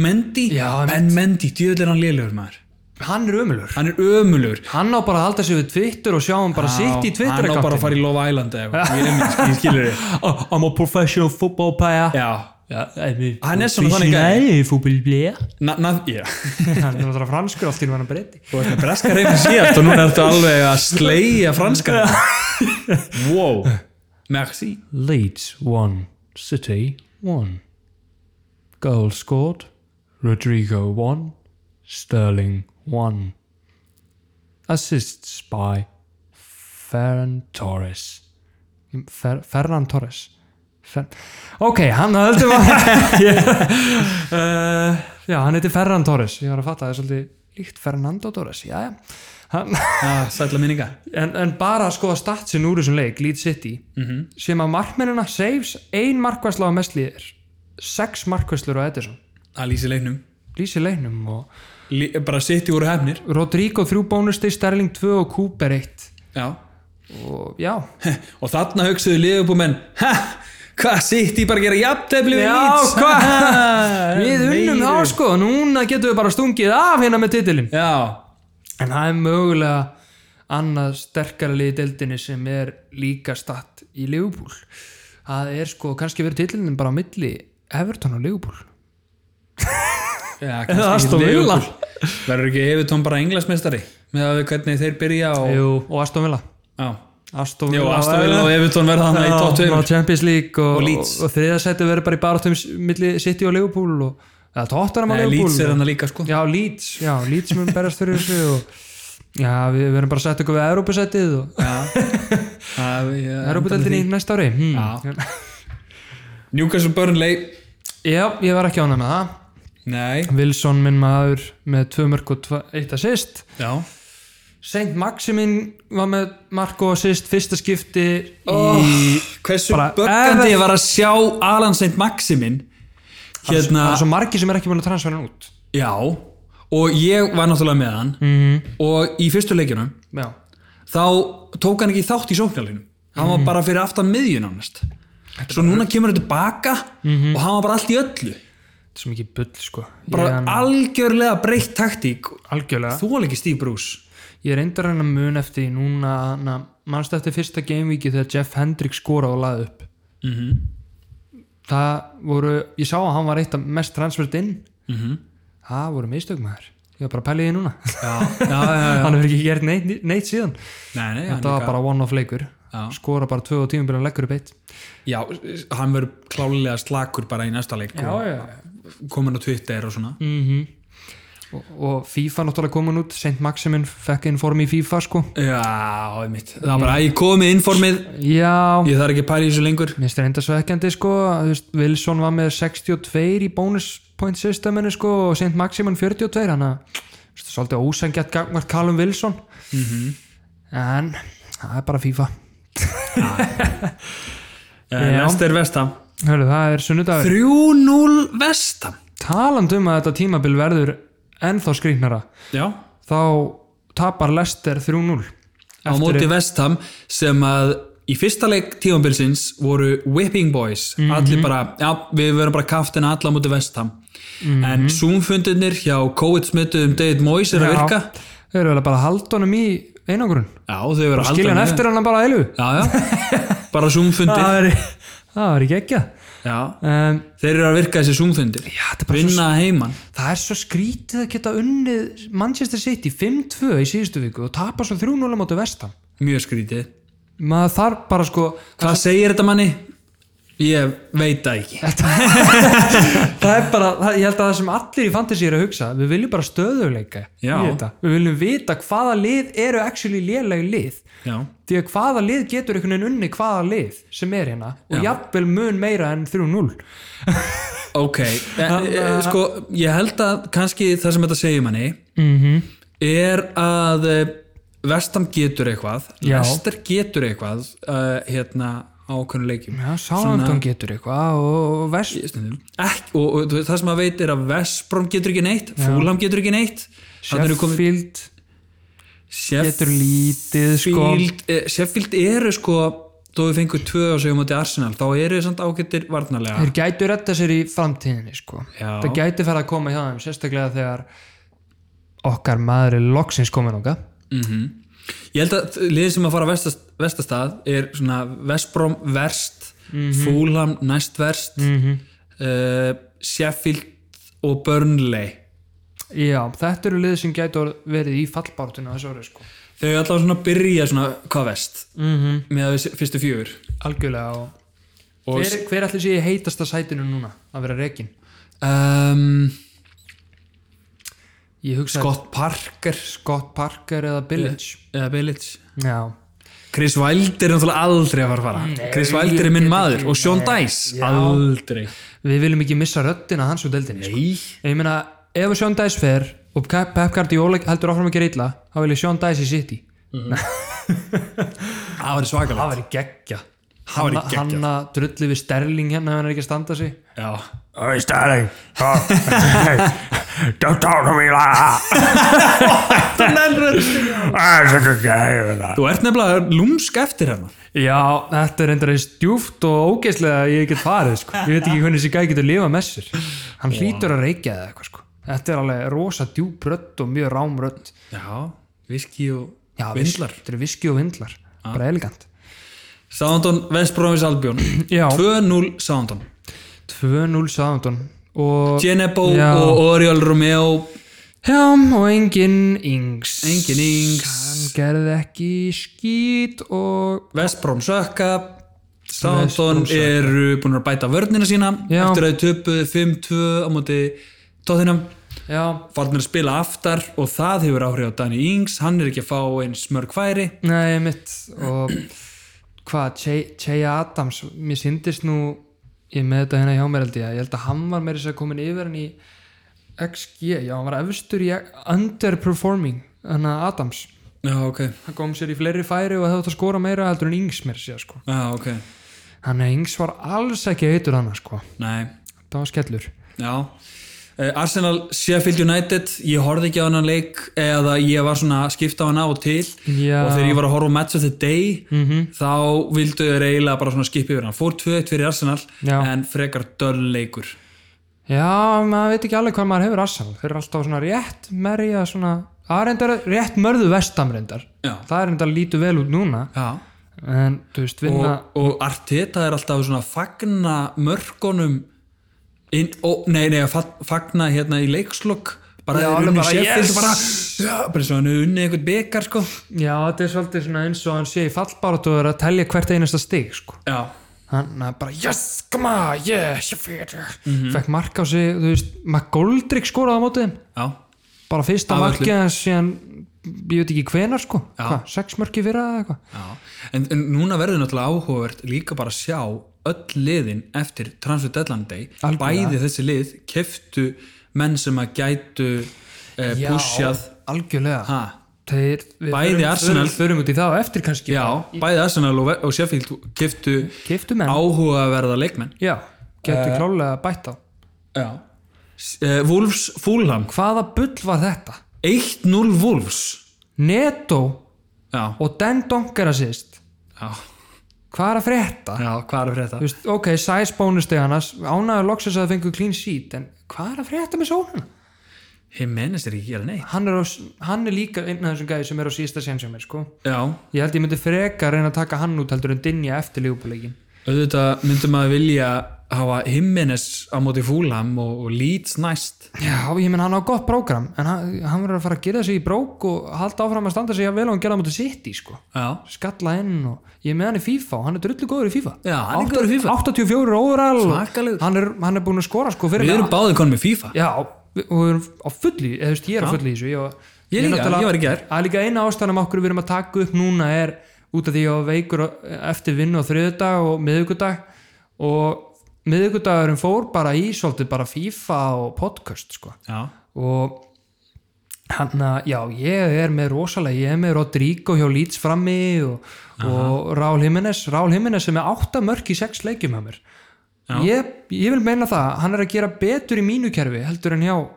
S1: Mendy
S2: Já,
S1: en Mendy, djöðlega er hann lélegur maður
S2: Hann er ömulur.
S1: hann er ömulur
S2: Hann á bara að halda sig við Twitter og sjá hann bara City í Twitter
S1: hann á bara að fara í Love Island eða eitthvað. ég er minn, ég skilur þig
S2: I'm a professional football player.
S1: já,
S2: Já, I mean,
S1: Hann er svona þannig gæi.
S2: gæði fútbolblíða
S1: na, na, já.
S2: hann er náttúrulega franskur allt í hann að breyti
S1: þú ert með breska reyfin síðast og núna ertu alveg að sleiða franska wow merci
S2: Leeds 1 City 1 Goal scored Rodrigo 1 Sterling 1 Assists by Ferran Torres Fer, Ferran Torres Fer, Ok, hann heldur maður uh, Já, hann heiti Ferran Torres Ég var að fatta að það er svolítið líkt Fernando Torres Jæja Hann
S1: ah, sætla minninga
S2: en, en bara að skoða statsin úr þessum leik, Leeds City sem að markmennina saves ein markværsla á mestliðir sex markværslur á Edison
S1: að lýsi leiknum
S2: lýsi leiknum og
S1: Lí, bara sitt í úr hefnir
S2: Rodrigo þrjú bónusti, Sterling 2 og Cooper 1
S1: já.
S2: og já,
S1: og þarna hugsuðu liðupumenn ha, hvað sitt í bara að gera jafntefli við
S2: Já,
S1: Leeds
S2: hvað?
S1: Ha,
S2: við unnum
S1: meiru.
S2: þá sko núna getum við bara stungið af hérna með titilin
S1: já,
S2: en það er mögulega annað sterkara liði deildinni sem er líka statt í Liverpool það er sko, kannski verið titilin bara á milli Everton og Liverpool
S1: Já,
S2: Eða
S1: kannski
S2: Aston
S1: ekki
S2: Villa.
S1: Liverpool. Verður ekki Evertón bara englasmestari með að við hvernig þeir byrja og
S2: Jú, og Aston Villa
S1: já,
S2: Aston
S1: Jó,
S2: Villa
S1: Aston Villa og Evertón verða þannig í
S2: Já,
S1: tóttum
S2: ná Champions League og,
S1: Og
S2: og,
S1: Leeds.
S2: og þriðasætti verður bara í barátum milli City og Liverpool og, eða Tottenham og Liverpool
S1: Leeds er hann líka sko
S2: Já, Leeds, já, Leeds mun berast fyrir þessu og já, við verðum bara að setja okkur við Európa-sættið og
S1: Það er- já,
S2: Európa-dældinni næsta ári
S1: Já.
S2: hmm.
S1: Newcastle Burnley
S2: Já, ég var ekki ánægð með það
S1: Nei,
S2: Wilson minn maður með tvö mörg og tva, eitt assist
S1: já
S2: Saint Maximin var með mark og assist fyrsta skipti í
S1: Hversu
S2: Oh, Bara-
S1: böggandi ég var að sjá Alan St. Maximin
S2: það
S1: hérna,
S2: er svo margi sem er ekki búin að transfera hann út
S1: já og ég var náttúrulega með hann
S2: Mhm.
S1: -hmm. og í fyrstu leikjunum
S2: já,
S1: þá tók hann ekki þátt í sóknarlinu hann
S2: Mhm.
S1: var bara fyrir aftan miðjun ánest svo núna kemur hann tilbaka
S2: Mhm.
S1: og hann var bara allt í öllu
S2: þetta er svo mikið bull sko
S1: bara
S2: ég, hann,
S1: algjörlega breytt taktík
S2: algjörlega,
S1: þú var ekki Steve Bruce
S2: ég reyndar hann að mun eftir því núna, na, manstu eftir fyrsta gamevíki þegar Jeff Hendrick skoraði og laði upp -hmm.
S1: Mhm.
S2: það voru ég sá að hann var eitt af mest transfert inn
S1: Mhm.
S2: -hmm. það voru mistök maður ég var bara að pæla í því núna
S1: já, já, já, já.
S2: hann hefur ekki gert neitt, neitt síðan
S1: Nei, nei, hann,
S2: þetta var
S1: líka,
S2: bara one off leikur
S1: Já.
S2: skora bara tvö og tíma byrja að leggur upp eitt
S1: já, hann verður klálega slakur bara í næsta leik og
S2: já
S1: komin á Twitter og svona
S2: og, og FIFA náttúrulega komin út St. Maximin fekk inn form í FIFA sko
S1: Já, einmitt. Það var bara að ég komið informið,
S2: já,
S1: ég þarf ekki að pæla í þessu lengur.
S2: mér finnst reynda svekkjandi sko Þú veist, Wilson var með 62 í bonus point systeminu sko og St. Maximin 42 hann að þú veist, svolítið ósengjart gangvart Callum Wilson Mhm. en það er bara FIFA Já.
S1: Lester Vestam.
S2: Hörru, það er sunnudagur
S1: 3-0 Vestam.
S2: taland um að þetta tímabil verður ennþá skrýknara
S1: Já,
S2: þá tapar Lester 3-0
S1: á móti Vestam sem að í fyrsta leik tímanbilsins voru Whipping Boys.
S2: Mhm.
S1: Allir bara, já, við verum bara kaftin alla á móti Vestam.
S2: Mhm.
S1: En Zoom-fundinir hjá COVID-smittuðum David Moyes er að virka.
S2: Já, Þeir eru vel að bara halda honum í einangrun
S1: Já, þau eru að halda
S2: Skilja hann
S1: með-
S2: eftir hann bara að eilu
S1: Já, já. Bara Zoom-fundir.
S2: er, það er ekki ekki
S1: Já.
S2: um,
S1: Þeir eru að virka þessi Zoom-fundir.
S2: já, það, er bara svo,
S1: Vinna heiman.
S2: það er svo skrítið að geta unnið Manchester City 5-2 í síðustu viku og tapa svo 3-0 á móti vestam
S1: Mjög skrítið.
S2: maður þarf bara sko
S1: Hvað segir þetta manni? Ég veit það ekki.
S2: það er bara, það, ég held að það sem allir í fantasy eru að hugsa við viljum bara stöðuleika í
S1: Já.
S2: þetta. við viljum vita hvaða lið eru actually lélegi lið
S1: Já.
S2: því að hvaða lið getur einhvern veginn unni hvaða lið sem er hérna og jafnvel mun meira en 3-0
S1: Ok, en, eh, sko, ég held að kannski það sem þetta segir manni
S2: Mhm.
S1: er að eh, Vestam getur eitthvað,
S2: Já.
S1: Lester getur eitthvað uh, hérna á okkurnu leikjum.
S2: Já, Sálandón getur eitthvað og vers...
S1: Stundum. Ekki, og, og þú veist, það sem maður veit er að Vesprom getur ekki neitt, Fúlam getur ekki neitt Þarna eru komið-
S2: Sheffield
S1: Sheff-
S2: getur lítið sko
S1: Sheffield, eh, Sheffield eru sko þó við fengum tvö á sig á móti Arsenal þá eru þið samt ágættir varnarlega
S2: þeir gætu retta sér í framtíðinni sko
S1: Já.
S2: það gæti fara að koma hjá þeim sérstaklega þegar okkar maður er loksins komin okkar
S1: Ég held að liðið sem að fara vestast, vestastað er svona Vestbrom verst, Fulham næst verst, eh, Sheffield og Burnley.
S2: já, þetta eru lið sem gætu orð- verið í fallbártuna þessu orði sko
S1: Þau er allavega svona að byrja svona hvað vest -hmm. með að við s- fyrstu fjögur.
S2: algjörlega og,
S1: Og
S2: hver, hver allir sé í heitasta sætinu núna að vera rekin
S1: um,
S2: ég hugsa
S1: Scott Parker
S2: Scott Parker eða Billage
S1: eða Bilic.
S2: já,
S1: Chris Wilder er náttúrulega aldrei að fara að fara. Chris Wilder er minn maður og Sean Dice aldrei.
S2: við viljum ekki missa röddina hans úr deildinni
S1: Nei.
S2: En ég meina, ef Sean Dice fer og Pep Pep Guardiola heldur áfram að gera illa þá vil ég Sean Dice í City
S1: Það var svakalegt.
S2: væri geggja
S1: Það væri geggjað.
S2: hann að drullu við Sterling hérna ef hann er ekki að standa sig
S1: Já.
S3: Oh, he's starting. Oh. Don't talk to me like that. I'm such a guy with that.
S1: Þú ert nefnilega lúmsk eftir hérna.
S2: já, þetta er endur eins djúft og ógeðslega að ég get farið sko. ég veit ekki hvernig þessi gæði getur lifað með sér hann hlýtur að reykja það eitthvað sko. þetta er alveg rosa djúp rödd og mjög rám rödd
S1: Já, viski og
S2: já,
S1: vindlar. Ah.
S2: vis- þetta er viski og vindlar bara elegant
S1: Sándon, Vestbrófis Albjón.
S2: já,
S1: 2-0 Sándon.
S2: 2-0 Southampton og
S1: Genebo
S2: Já.
S1: og Oriol Romeo.
S2: Já, og engin yngs
S1: Engin Ings.
S2: Hann gerði ekki skýt og
S1: Vestbróm sökka. Sándon
S2: West Brom sökka.
S1: eru búin að bæta vörnina sína.
S2: Já.
S1: Eftir að þau töpuðu 5-2 á móti tóðinam.
S2: Já,
S1: Farnir að spila aftar og það hefur áhrif á Danny Ings. Hann er ekki að fá eins mörg færi.
S2: nei, mitt og hvað, Cheya Adams mér syndist nú ég er með þetta hérna hjá mér held ég að ég held að hann var meira þess að komin yfir hann í XG, já, hann var efstur í underperforming, hann að Adams
S1: Já, ok.
S2: hann kom sér í fleiri færi og hefði átt að skora meira heldur en Ings mér sér, sko
S1: Já, ok.
S2: hann að Ings var alls ekki heitur hann, sko
S1: Nei,
S2: það var skellur
S1: já. Eh, Arsenal Sheffield United ég horfði ekki á hennan leik eða ég var svona að skipta á hann af og til
S2: Já. Mhm.
S1: og þegar ég var að horfa á Match of the Day -hmm. þá vildu þau eiginlega bara svona skipa yfir hann fór 2-1 fyrir Arsenal
S2: Já.
S1: en frekar döll leikur
S2: Já, maður veit ekki alveg hvað maður hefur Arsenal. Þeir eru alltaf svona rétt merja svona, það er reyndar rétt mörðu vestam reyndar.
S1: Já.
S2: Það er reyndar lítið vel út núna.
S1: Já.
S2: En, þú veist, vinna...
S1: og, og Arteta er alltaf svona að fagna mörkunum inn, ó, nei, nei, að fa- fagna hérna í leikslokk bara
S2: Já,
S1: þeir
S2: alveg
S1: unni
S2: bara,
S1: Sheffield
S2: yes!
S1: bara, já, bara svo hann unni einhvern byggar sko
S2: Já, þetta er svolítið svona eins og hann sé í fallbárat og er að telja hvert einasta stig, sko.
S1: já,
S2: Hann er bara, yes, come on, yeah, Sheffield. Fekk mark á sig, þú veist, McGoldrick skoraði á mótið þeim.
S1: já,
S2: Bara fyrsta
S1: Af
S2: markið hans síðan, ég veit ekki hvenar, sko. Hvað, sex mörki fyrir eða eitthvað?
S1: já. En, en núna verður náttúrulega áhugavert líka bara að sjá öll liðin eftir Transfer Deadline Day
S2: Algjörlega.
S1: bæði þessi lið keftu menn sem að gætu eh,
S2: Já,
S1: pushjað
S2: Algjörlega.
S1: ha,
S2: Þeir, við
S1: Bæði
S2: förum-
S1: Arsenal-
S2: förum- förum út í það og eftir kannski
S1: já, bæði Arsenal og, og Sheffield keftu
S2: keftu menn
S1: áhugaverða leikmenn
S2: já, getur klálega bætt á
S1: Já uh, Wolves Fulham
S2: hvaða bull var þetta?
S1: 1-0 Wolves
S2: Neto
S1: Já,
S2: og Den Donkera sýst
S1: já,
S2: hvað er að frétta?
S1: já hvað er fyrir
S2: Þú Veist, ok, sæs bónusteg annars ánæður loksins að það fengur clean sheet en hvað er að frétta með sónuna?
S1: Jimenez er ekki að gera neitt
S2: Hann er, á, s- hann er líka einn af þessum gæði sem er á sísta sem sem er sko
S1: Já,
S2: ég held ég myndi freka að reyna að taka hann út heldur en dinja eftir lífbúleikin
S1: auðvitað myndum að vilja hafa Jimenez á móti Fulham og, og Leeds næst
S2: Já, ég menn hann á gott prógram en hann, hann verður að fara að gera sig í brók og halda áfram að standa sig að vel og hann gera mútið sitt í sko
S1: Já,
S2: skalla inn og ég er með hann í FIFA og hann er drullu góður í FIFA
S1: Já, hann er góður í FIFA.
S2: 84 óral
S1: Svakalegur.
S2: hann, er- hann er búin að skora sko fyrir
S1: við erum báðið konum í FIFA
S2: já, við- og við erum á fulli eða þú veist, ég er á fulli í þessu ég, var-
S1: Ég líka,
S2: náttúrulega-
S1: ég var í gær.
S2: að líka eina ástæðanum okkur við erum að taka upp núna er út af því að ég var veikur á- eftir vinnu á þriðudag og miðugudag og miðugudagurinn fór bara í svolítið bara FIFA og podcast sko
S1: Já,
S2: og hann að, já, ég er með rosalega, ég er með Rodrigo hjá Leeds frammi og, og Rál Jimenez, Rál Jimenez sem er átta mörk í sex leikjum hjá mér ég, ég vil meina það, hann er að gera betur í mínu kerfi heldur en hjá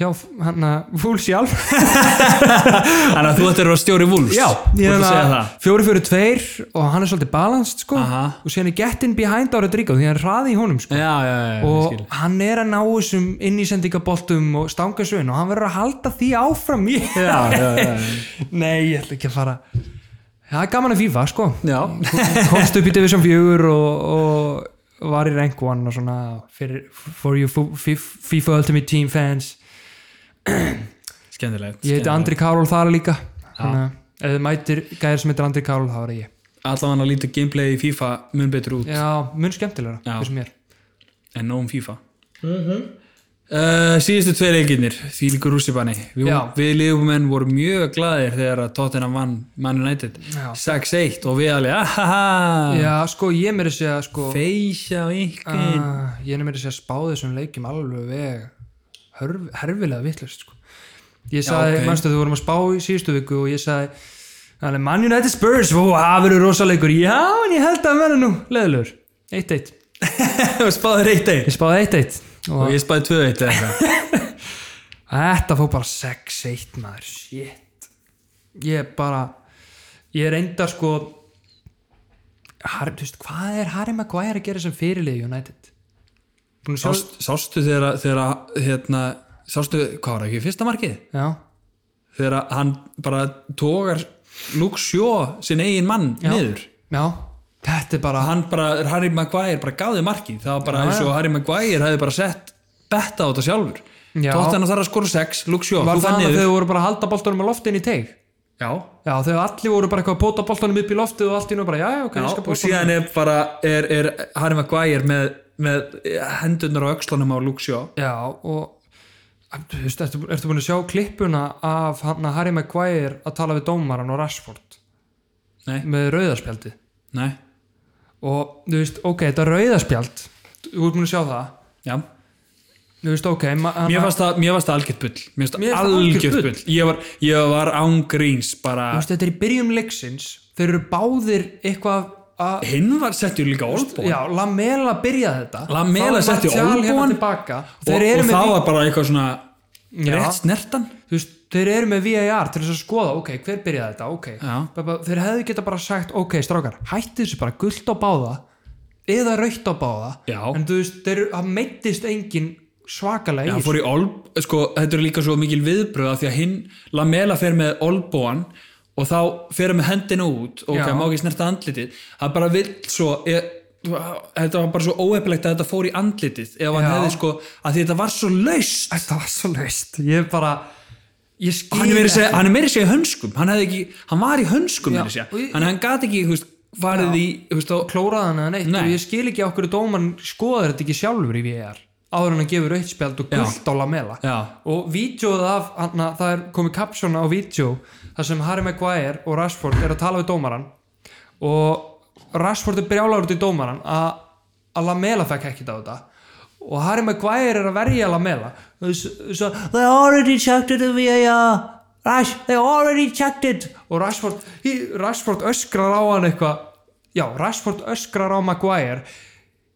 S2: hjá hann að fúls í alf
S1: þannig að þú ættir að vera stjóri Wolves þú
S2: ég
S1: ættir að segja
S2: meina
S1: það
S2: fjóri fyrir tveir og hann er svolítið balanced sko
S1: Aha.
S2: og síðan er getting behind á Rodrigo því hann er hraði í honum sko
S1: Já, já, já, já, ég
S2: og
S1: skil.
S2: hann er að ná þessum innísendingaboltum og stangasvein og hann verður að halda því áfram í
S1: já, já, já, já.
S2: Nei, ég ætla ekki að fara Það er gaman að FIFA, sko
S1: já.
S2: Komst upp í Division 4 og, og var í Rank 1 og svona fyrir, For you fu- fi- FIFA Ultimate Team fans
S1: Skemmtilegt
S2: Ég heiti
S1: skemmtilegt.
S2: Andri Karol þar líka Þannig að ef þið mætir gæðir sem heitir Andri Karol þá er það ég
S1: Allavega lítur gameplay í FIFA mun betur út
S2: Já, mun skemmtilegra,
S1: Já.
S2: þessum mér
S1: en nóg um FIFA
S2: Mhm.
S1: uh, síðustu tvei leikinnir því líkur rússipanni við,
S2: Já.
S1: við liðumenn vorum mjög glaðir þegar að Tottenham vann Man United
S2: Já.
S1: 6-1 og við alveg ahaha
S2: Já, sko, ég meiri segja, sko
S1: feysja ykkur
S2: uh, Ég er meiri segja spáði þessum leikjum alveg veg hörf, herfilega vittlust, sko Ég sagði,
S1: ok.
S2: manstu, þú vorum að spá í síðustu viku og ég sagði Þannig, Man United Spurs, ó, það verður rosalegur Já, en ég held að hann verður nú, leðilegur 1-1,
S1: spáður 1-1
S2: ég spáði 1-1
S1: og
S2: Ah. og
S1: ég spáði 2-1 eða eitthvað.
S2: þetta fór bara 6-1 maður, shit Ég bara ég reynda sko Har, þú veist, hvað er Harry Maguire að gera sem fyrirlið í United? Búin að sjá
S1: Sást, sástu þegar að- þegar að, hérna sástu, hvað var það ekki, fyrsta markið
S2: Já,
S1: þegar að hann bara tógar Luke Shaw sinn eigin mann niður
S2: já, þetta er bara
S1: hann bara, Harry Maguire bara gaði markið það var bara
S2: Já,
S1: eins og Harry Maguire hefði bara sett betta á þetta sjálfur
S2: Já.
S1: Tottenham þarf að skora 6, Luke Shaw
S2: Var
S1: þú
S2: það
S1: fann
S2: að
S1: niður
S2: þau voru bara að halda boltanum á loftin í teig?
S1: já,
S2: Já, þau allir voru bara eitthvað að póta boltanum upp í loftið og allt í nú bara, já, já, ok,
S1: já,
S2: ég skal
S1: og
S2: póta
S1: síðan er bara er, er Harry Maguire með, með hendurnar á öxlunum á Luke Shaw
S2: Já, og þú veist, ertu, ertu búin að sjá klippuna af hann að Harry Maguire að tala við dómaran og Rashford
S1: Nei.
S2: með rauðarspjaldi
S1: nei,
S2: og þú veist, ok, þetta rauðarspjald þú ert búin að sjá það
S1: já
S2: þú veist, ok, ma- hann-
S1: Mér fannst það, mér fannst það algjört bull Mér fannst
S2: Mér
S1: það
S2: fannst það algjört
S1: algjört bull Ég var, ég var án gríns bara
S2: Þú veist, þetta er í byrjum leiksins þeir eru báðir eitthvað að
S1: hinn var settur líka orðbóð
S2: já, Lamela byrjaði þetta
S1: Lamela
S2: Þá var
S1: setti
S2: Martial hérna
S1: olnbogann
S2: tilbaka. og,
S1: og,
S2: þeir eru
S1: og
S2: með
S1: það var bara eitthvað svona
S2: Já.
S1: rétt snertan
S2: þú veist, þeir eru með VAR til þess að skoða, ok, hver byrjaði þetta, ok
S1: Já.
S2: bara, þeir hefðu geta bara sagt, ok, strákar hætti þessu bara gullt á báða eða rautt á báða
S1: Já.
S2: en þú veist, þeir, það meittist engin svakalega
S1: Já,
S2: í
S1: hann fór í olb, sko, þetta er líka svo mikil viðbröð af því að hinn, Lamela fer með olbóan og þá fer hann með hendina út og
S2: Já.
S1: það má ekki snerta andlitið það bara vill svo ég, þetta var bara svo óefnilegt að þetta fór í andlitið ef hann
S2: Já.
S1: hefði sko, að því þetta var svo laust
S2: þetta var svo laust, ég bara ég skil
S1: hann er meira að
S2: ekki.
S1: segja- hann er meira að segja í hönskum hann, hefði ekki, hann var í hönskum
S2: Já,
S1: meira að segja.
S2: og ég-
S1: hann, hann gat ekki, þú veist, farið í þú veist, á,
S2: klóraði hann eða neitt
S1: Nei.
S2: og ég skil ekki okkur dóman skoðar þetta ekki sjálfur í VR áður en að gefa rautspjald og gullt á lamela
S1: Já.
S2: og vídjóð af hann, það er komið kapsjón á vídjó þar sem Harry Maguire og Rashford er að tala við dómaran og Rashford er brjálagur út í dómaran að að lamela fekk ekkit á þetta og Harry Maguire er að verja lamela so, they already checked it VAR Rash, they already checked it og Rashford, he- Rashford öskrar á hann eitthvað já, Rashford öskrar á Maguire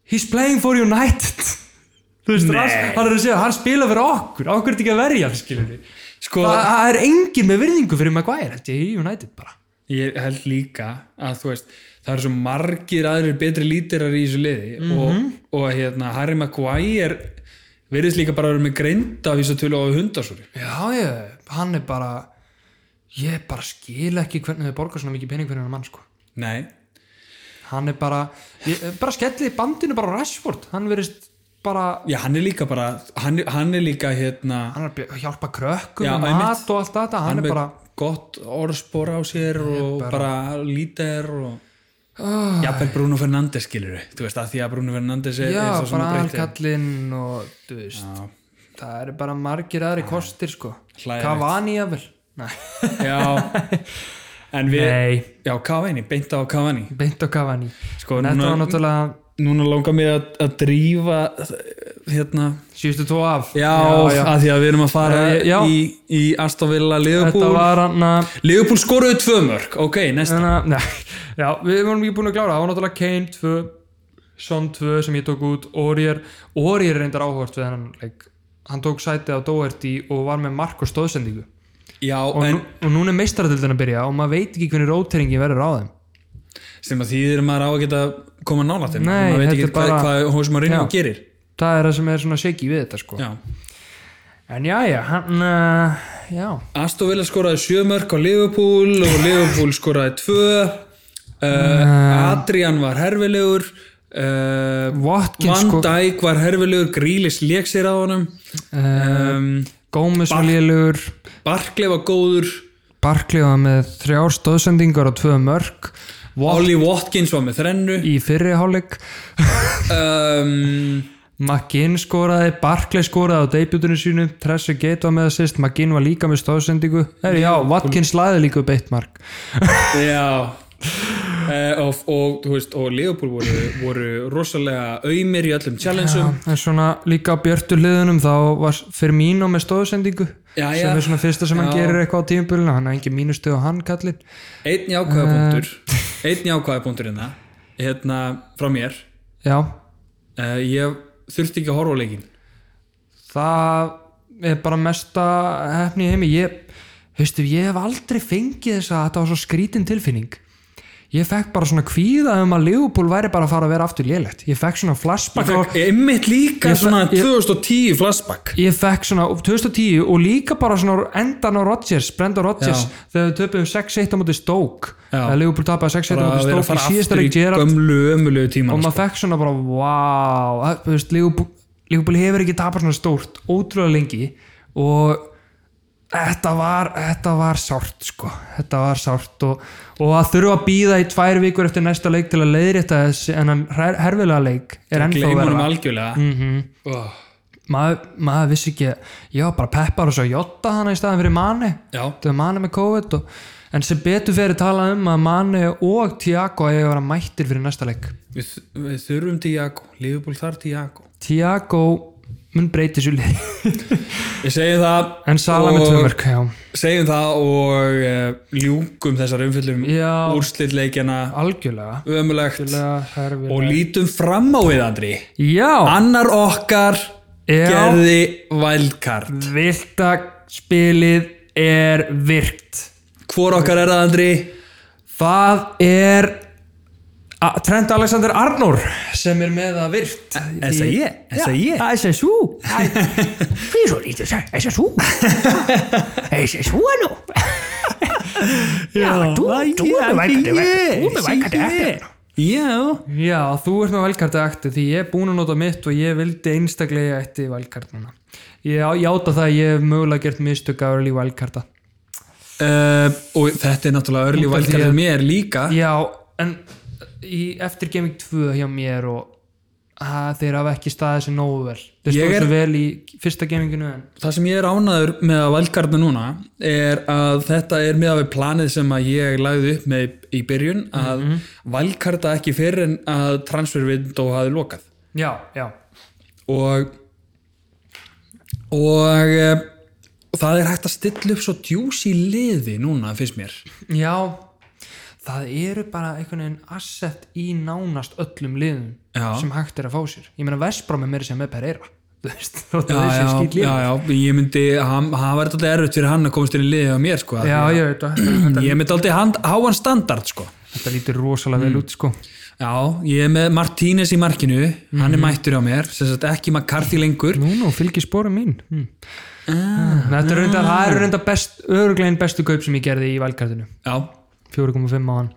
S2: he's playing for United þú veist, Rash, hann er að segja hann spila fyrir okkur, okkur er þetta ekki að verja skilur við,
S1: sko,
S2: það það er engin með virðingu fyrir Maguire, held ég, í United bara
S1: ég held líka að þú veist það eru svo margir aðrir betri lítirar í þessu liði og, og hérna Harry Maguire verðist líka bara að vera með greinda vísa til á hundasúri
S2: já, ég, hann er bara ég bara skil ekki hvernig þau borgar svona mikið pening fyrir hann mann sko
S1: nei,
S2: hann er bara, ég, bara skellið bandinu bara á Rashford, hann verist bara
S1: já hann er líka bara hann, er- hann er líka hérna hann,
S2: hann er að bj- hjálpa krökkum,
S1: Já,
S2: já,
S1: einmitt.
S2: mat og allt þetta hann,
S1: er
S2: er bara,
S1: gott orðspor á sér og bara, lítir og jafnvel Bruno Fernandes skilur við, þú veist að því að Bruno Fernandes er,
S2: já,
S1: er svo
S2: bara
S1: svona breyti
S2: allkallinn og þú veist, það eru bara margir aðri kostir sko,
S1: Hlægilegt.
S2: Cavani jafnvel, nei,
S1: já, en við
S2: Nei.
S1: já, Cavani, beint á Cavani
S2: beint á Cavani
S1: Sko,
S2: en þetta
S1: núna-
S2: var náttúrulega
S1: núna langar mig að, að drífa hérna
S2: síðustu tvo af
S1: já, að því að við erum að fara
S2: Eh, já.
S1: í, í Astovilla
S2: þetta
S1: Liverpool
S2: var hann að
S1: Liverpool skoruðu tvö mörg, ok, næst
S2: Þannig að, nei, já, við vorum ekki búin að klára, það var náttúrulega Kane 2, Son 2 sem ég tók út, Orier, Orier er reyndar áhört við hennan, leik, hann tók sætið á Doherty og var með mark og stóðsendingu.
S1: já,
S2: Og,
S1: en
S2: nú, og núna er meistaradildin að byrja og maður veit ekki hvernig róteringin verður á þeim.
S1: sem að þýðir maður á að geta koma nála til,
S2: Nei,
S1: maður veit ekki
S2: þetta er bara-
S1: hvað, hvað hún maður
S2: Já.
S1: reynir og gerir
S2: Það er það sem er svona shaky við þetta, sko.
S1: já.
S2: En já, já, hann, uh, já,
S1: Astovilla skoraði sjö mörg á Liverpool og Liverpool skoraði tvö uh, Adrian var herfilegur uh,
S2: Watkins,
S1: Van
S2: sko,
S1: Dijk var herfilegur Grílis lék sér á honum
S2: Ehm,
S1: um,
S2: Gómez var lélugur,
S1: Barkley var góður
S2: Barkley var með þrjár stóðsendingar og tvö mörk, Wall
S1: Ollie Watkins var með þrennu
S2: í fyrri hálfleik.
S1: um,
S2: McGinn skoraði, Barclay skoraði á debutunum sínu, Trezeguet var með assist McGinn var líka með stóðsendingu Heri, já,
S1: Mm.
S2: Watkins laði líka upp eitt mark
S1: Já uh, og, og, þú veist, og Leopold voru, voru rosalega auðmir í öllum challenge-um
S2: en svona líka á björtu hliðunum þá var Firmino með stóðsendingu
S1: Já, já.
S2: sem er svona fyrsta sem hann
S1: Já.
S2: gerir eitthvað á tímubilinu hann er engin mínustuð á hann kallinn
S1: Einn
S2: Eh.
S1: jákvæðapunktur Einn jákvæðapunktur hérna hérna frá mér
S2: já,
S1: uh, ég þurfti ekki að horfa á leikinn
S2: það er bara mesta hefni í heimi ég, veistu, ég hef aldrei fengið þess að þetta var svo skrítin tilfinning ég fekk bara svona kvíða um að Leopold væri bara að fara að vera aftur lélegt ég fekk svona flashback á-
S1: Ég einmitt líka
S2: Ég-
S1: svona
S2: ég-
S1: 2010 flashback
S2: ég fekk svona 2010 og líka bara svona endan á Rodgers, Brenda Rodgers
S1: Já.
S2: þegar við töpum 6-1 á móti Stoke
S1: Já.
S2: þegar Leopold tapaði 6-1 á
S1: bara að
S2: móti
S1: vera að
S2: Stoke
S1: fara
S2: í síðasta
S1: aftur í
S2: leik Gerard
S1: gömlu ömulegu
S2: og
S1: tíman
S2: maður fekk svona bara wow, það- þú veist, Leopold, Leopold hefur ekki tapað svona stórt, ótrúlega lengi og þetta var, þetta var sárt sko, þetta var sárt og, og að þurfa að býða í tvær vikur eftir næsta leik til að leiðrétta þessi en hann her, herfilega leik er ennþá
S1: gleimunum
S2: verða
S1: algjörlega mm
S2: maður, maður vissi ekki, já bara peppar og svo jotta hana í staðan fyrir manni
S1: Já,
S2: þetta er manni með COVID og, en sem betur fyrir tala um að manni og Tiago eiga að vera mættir fyrir næsta leik
S1: við, við þurfum Tiago Liverpool þar Tiago
S2: Tiago mun breyti svo lið
S1: Ég segi það
S2: en Sala með
S1: og-
S2: tvö mörg, já
S1: Segjum það og uh, ljúkum þessar um umfyllum
S2: Já.
S1: úrslitleikjana
S2: algjörlega,
S1: ömulegt
S2: algjörlega
S1: og
S2: herfilega.
S1: lítum fram á við Andri
S2: já,
S1: annar okkar
S2: Já.
S1: gerði vælkart
S2: viltaspilið er virkt
S1: hvor okkar er það Andri?
S2: það er A- Trent Alexander Arnór sem er með það virkt
S1: er það ég? Er það ég?
S2: það er svo
S4: Fy så lite så, altså så. Altså så nu. Já, þú- þú er með Valgarði, þú er með Valgarði eftir.
S1: já
S2: já, þú ert með valkarta eftir því ég er búin að nota mitt og ég vildi einstaklega eftir valkartana ég á- ég áta það að ég hef mögulega gert mistök að örlí valkarta
S1: uh, og þetta er náttúrulega örli
S2: Út af því
S1: vælkart
S2: að-
S1: mér líka
S2: Já, en í, eftir Gaming 2 hjá mér og að, þeir hafa ekki staðið sér nógu vel
S1: Ég
S2: þeir stóðu
S1: er-
S2: sér vel í fyrsta gaminginu en
S1: það sem ég er ánaður með að valkarna núna er að þetta er með að við planið sem að ég lagði upp með í byrjun að
S2: Mhm.
S1: mm valkarta ekki fyrir en að transfervind og hafi lokað
S2: já, já,
S1: og og eh, það er hægt að stilla upp svo djús í liði núna finnst mér
S2: já það eru bara einhvern veginn asset í nánast öllum liðum
S1: Já.
S2: sem hægt er að fá sér ég meina Vesbrom er meira sem með Pereira þú veist, þótt
S1: já,
S2: að þessi
S1: já,
S2: skýt
S1: já,
S2: liðum
S1: já, ég myndi hann hann var þetta erfitt fyrir hann að komast inn í liði á mér sko,
S2: já, ég veit að þetta,
S1: ég myndi aldrei hand, háan standard sko
S2: þetta lítur rosalega
S1: Mm.
S2: vel út sko
S1: já, ég er með Martínez í markinu hann er
S2: Mhm.
S1: mættur á mér, sem sagt ekki McCarthy lengur
S2: Nú, nú, fylgir spóra mín mm. Þetta er reynda,
S1: Ah.
S2: það eru reynda best, öruglegin bestu kaup sem ég gerði í valkartinu
S1: já,
S2: 4,5 á hann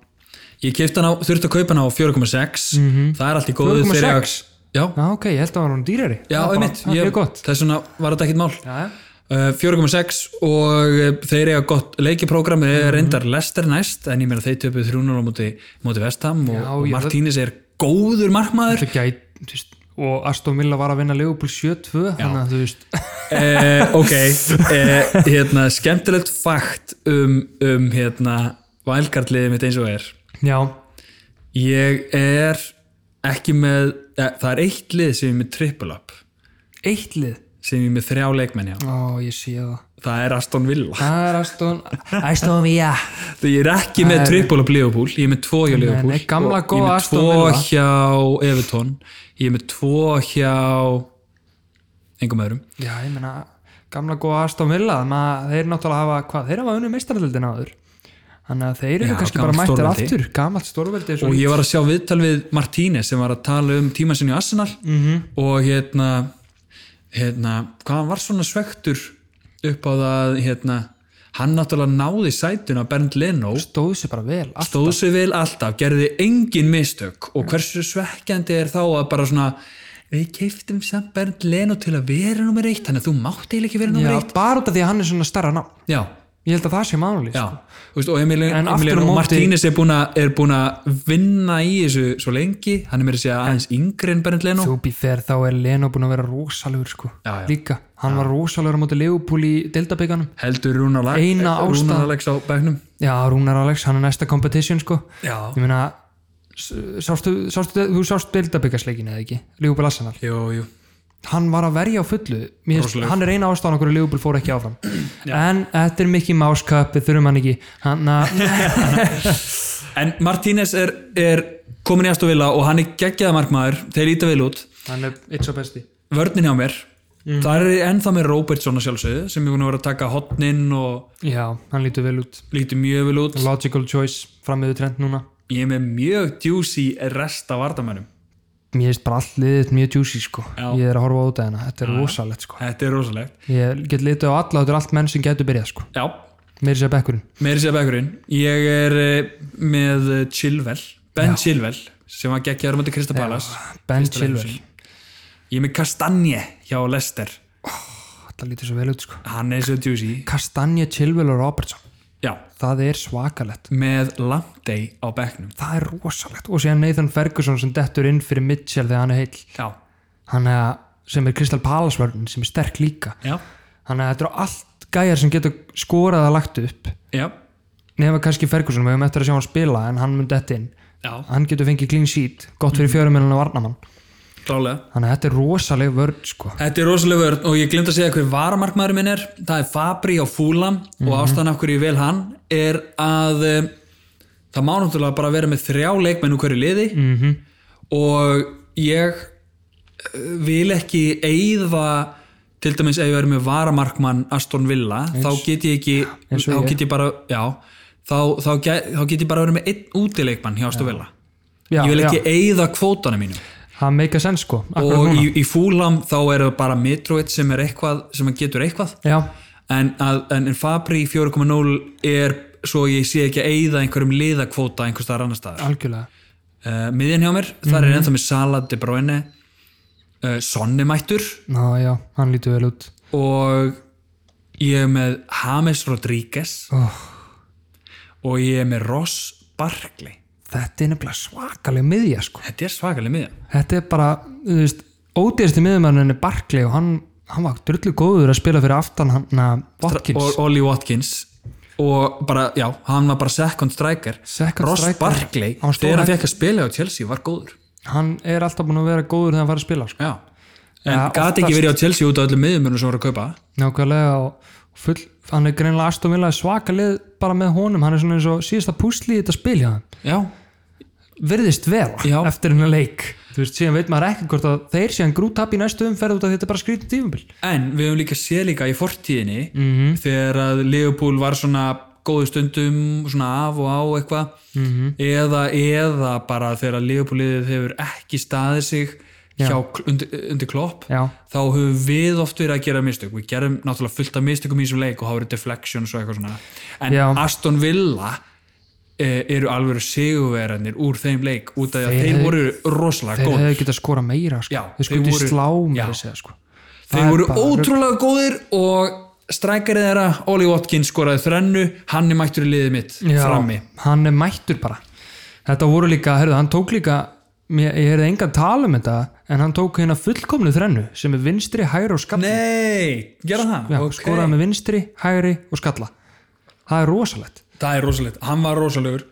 S1: ég kefti hann á, þurfti að kaupa hann á 4,6
S2: Mhm.
S1: það er allt í góðu
S2: 4,6?
S1: þegar- já,
S2: Já, ok, ég held að það var hún dýrari
S1: já,
S2: það
S1: einmitt
S2: Það
S1: ég-
S2: er gott
S1: þess vegna var þetta ekkit mál
S2: Já, já.
S1: Uh, 4,6 og uh, þeir eiga gott leikiprógram, þeir
S2: Mhm.
S1: mm. reyndar Lester næst, en ég meina þeir töpuð 3-0 á móti, móti Vestham og,
S2: Já,
S1: og
S2: já,
S1: Martínez er góður markmaður
S2: Þetta gæt, þú veist Og Aston Villa var að vinna Leopold 7-2 Þannig að þú veist
S1: uh, ok uh, hérna, skemmtilegt fakt um, um hérna, vælgartliðið mitt eins og er
S2: Já,
S1: ég er ekki með, eh, það er eitt lið sem ég er með triple up,
S2: eitt lið
S1: sem ég er með þrjá leikmenn hjá,
S2: Ó, ég sé það
S1: það er Aston Villa
S2: Það er Aston Aston Villa
S1: Þegar ég er ekki með triple up Liverpool, ég er með tvo hjá Liverpool
S2: nei, gamla
S1: og
S2: góða Aston
S1: Ég er
S2: Villa.
S1: með tvo hjá Everton Ég er með tvo hjá engum öðrum
S2: Já, ég meina Gamla góða Aston Villa maður, Þeir náttúrulega hafa, hvað, þeir hafa unni meistaraldin áður Þannig að þeir eru
S1: Já,
S2: kannski bara
S1: gamalt
S2: mættir
S1: stórveldi.
S2: aftur Gamalt stórveldi eins
S1: Og ég var að sjá viðtal við Martínez sem var að tala um tíma sinni í Arsenal -hmm.
S2: Mhm.
S1: og hérna, hérna hvað hann var svona svektur upp á það hérna, hann náttúrulega náði sætun á Bernd Leno
S2: Stóðu sér bara vel allt.
S1: stóð sér vel alltaf, gerði engin mistök og hversu svekkjandi er þá að bara svona við keiftum samt Bernd Leno til að vera nummer eitt, þannig að þú mátt eiginlega ekki vera
S2: Já,
S1: nummer eitt
S2: bara út af því að hann er svona starra ná
S1: já,
S2: Ég held að það sé sko. mánulíst
S1: já, Þú veist, og Emilien,
S2: En aftur á
S1: Emilien og
S2: móti-
S1: Martínez er búin að er búin að vinna í þessu svo lengi, hann er meira að segja aðeins yngri en Bernd Leno,
S2: Þú býð þegar þá er Leno búinn að vera rosalegur sko
S1: Já, já.
S2: líka, hann var rosalegur á móti Leopold í deildabygganum
S1: heldur Rúnar Lag-
S2: Eina ástæðan-
S1: Rúnar Alex á bæknum
S2: Já, Rúnar Alex, hann er næsta competition sko
S1: Já.
S2: Ég meina, s- sástu, sástu, þú sást deildabyggasleikin eða ekki Leopold Arsenal,
S1: jú, jú,
S2: hann var að verja á fullu Mér, finnst-
S1: Rosalegur.
S2: hann er eina ástæðan okkur að Leopold fór ekki áfram en þetta er Mickey Mouse Cup, við þurfum hann ekki hann uh, að,
S1: en Martínez er, er komin í Astovilla og hann er geggjaða markmaður, þeir líta vel út
S2: hann er eitt svo besti
S1: vörnin hjá mér mm. það er ég ennþá með Robertson að sjálfsögðu sem ég búin að vera að taka hotnin og
S2: Já, hann lítur vel út
S1: lítið mjög vel út
S2: Logical choice, frammiðu trend núna
S1: ég er með mjög djúsi rest af vardamönnum
S2: Mér finnst bara allt liðið mjög juicy sko
S1: Já.
S2: Ég er að horfa á þetta hérna, þetta er rosalegt sko
S1: þetta er rosalegt
S2: Ég get litið á alla, þetta er allt menn sem getur byrjað sko.
S1: já,
S2: Meiri sér bekkurinn.
S1: meiri sér bekkurinn ég er eh, með eh, Chilwell Ben Chilwell sem var geggjaður á móti Krista Palace Ah,
S2: Ben
S1: Fyrsta leikur
S2: Chilwell.
S1: sinn. ég er með Kastanje hjá Lester
S2: Þetta lítur svo vel út sko.
S1: hann er svo djúsi
S2: Kastanje, Chilwell og Robertson.
S1: já,
S2: Það er svakalett.
S1: með Lamptey á bekknum
S2: Það er rosalegt. Og síðan Nathan Ferguson sem dettur inn fyrir Mitchell þegar hann er heill.
S1: já,
S2: Hann er sem er Crystal Palace vörðin sem er sterk líka.
S1: já,
S2: Hann er þetta eru allt gæjar sem getur skorað að lagt upp.
S1: já,
S2: Nefna kannski Ferguson, við höfum eftir að sjá hann spila en hann mun dett inn.
S1: já. Mhm.
S2: Hann getur fengið clean sheet, gott fyrir fjörumilinu varnamann.
S1: klálega
S2: þannig að þetta er rosaleg vörn sko.
S1: Þetta er rosalega vörn og ég glemt að segja hver varamarkmaður minn er. Það er Fabri á Fúlam
S2: Mhm.
S1: og ástæðan af hverju ég vel hann er að eh, það má náttúrulega bara vera með þrjá leikmenn úr hverju liði -hmm.
S2: Mhm.
S1: og ég eh, vil ekki eyða til dæmis ef ég verið með varamarkmann Aston Villa, þá get ég ekki
S2: eins og
S1: þá
S2: ég.
S1: get ég bara, já þá, þá, get, þá get ég bara verið með einn útileikmann hjá Aston Villa.
S2: Já,
S1: ég vil
S2: já.
S1: ekki eyða kvótanum mínum
S2: það meika senn sko, akkur
S1: og
S2: núna
S1: í, í fúlam þá eru bara Mitrovic sem er eitthvað, sem að getur eitthvað
S2: já,
S1: en, að, en, en Fabri í 4.0 er svo ég sé ekki að eyða einhverjum liðakvóta einhvers staðar annar staðar
S2: algjörlega
S1: uh, miðjan hjá mér, þar
S2: Mhm.
S1: er ennþá með Sala, De Bruyne uh, Sonni mættur
S2: Ná, já, hann lítur vel út
S1: og ég er með James Rodríguez
S2: oh,
S1: og ég er með Ross Barkley
S2: þetta er nefnilega svakaleg miðja sko.
S1: þetta er svakalega miðjan
S2: þetta er bara, þú veist ódýrasti miðjumannin er Barkley og hann, hann var drullu góður að spila fyrir aftan hann að Watkins
S1: og Ollie Watkins og bara, já, hann var bara second striker
S2: Second
S1: Ross
S2: striker.
S1: Barkley,
S2: Hann stóð
S1: þegar hann
S2: ekki-
S1: fekk að spila á Chelsea var góður
S2: hann er alltaf búin að vera góður þegar hann fara að spila sko.
S1: já. en
S2: Já,
S1: gati
S2: oftast-
S1: ekki verið á Chelsea út af öllum miðjumörnum sem voru að kaupa
S2: nákvæmlega og full, hann er greinlega Aston Villa er svakalið bara með honum hann er svona eins og síðasta púsli í þetta spil hjá hann
S1: já,
S2: virðist vera
S1: Já.
S2: eftir hennar leik þú veist, síðan veit maður ekki hvort að þeir síðan grútapp í næstu umferð út af því þetta er bara skrýtum tífumbil
S1: en við höfum líka séð líka í fortíðinni
S2: Mhm.
S1: þegar að Leopold var svona góðu stundum, svona af og á eitthvað,
S2: Mhm.
S1: eða, eða bara þegar að Leopoldið hefur ekki staðið sig hjá, undir, undir klopp
S2: já,
S1: þá höfum við oft verið að gera mistök við gerum náttúrulega fullt af mistökum í þessum leik og þá eru deflections og eitthvað svona en
S2: Já.
S1: Aston Villa e, eru alveg sigurverðanir úr þeim leik út af því að
S2: Þeir
S1: þeir
S2: hefðu-
S1: voru rosalega
S2: þeir
S1: góð
S2: hefðu getað skora meira sko.
S1: Já,
S2: þeir
S1: þeir
S2: skutu í
S1: voru-
S2: slá
S1: Já.
S2: meira að segja, sko. Það
S1: þeir
S2: er
S1: voru
S2: bara-
S1: ótrúlega góðir og strækarið þeirra Oli Watkins skoraði þrennu hann er mættur í liðið mitt
S2: Já,
S1: frammi
S2: hann er mættur bara þetta voru líka, herðu, hann tók líka mér, ég heyrði engan tala um þetta en hann tók hérna fullkomnu þrennu sem er vinstri, hægri og skalla
S1: nei, gera það
S2: já,
S1: Ok.
S2: skoraði með vinstri, hægri og skalla það er rosalegt,
S1: það er rosalegt, hann var rosalegur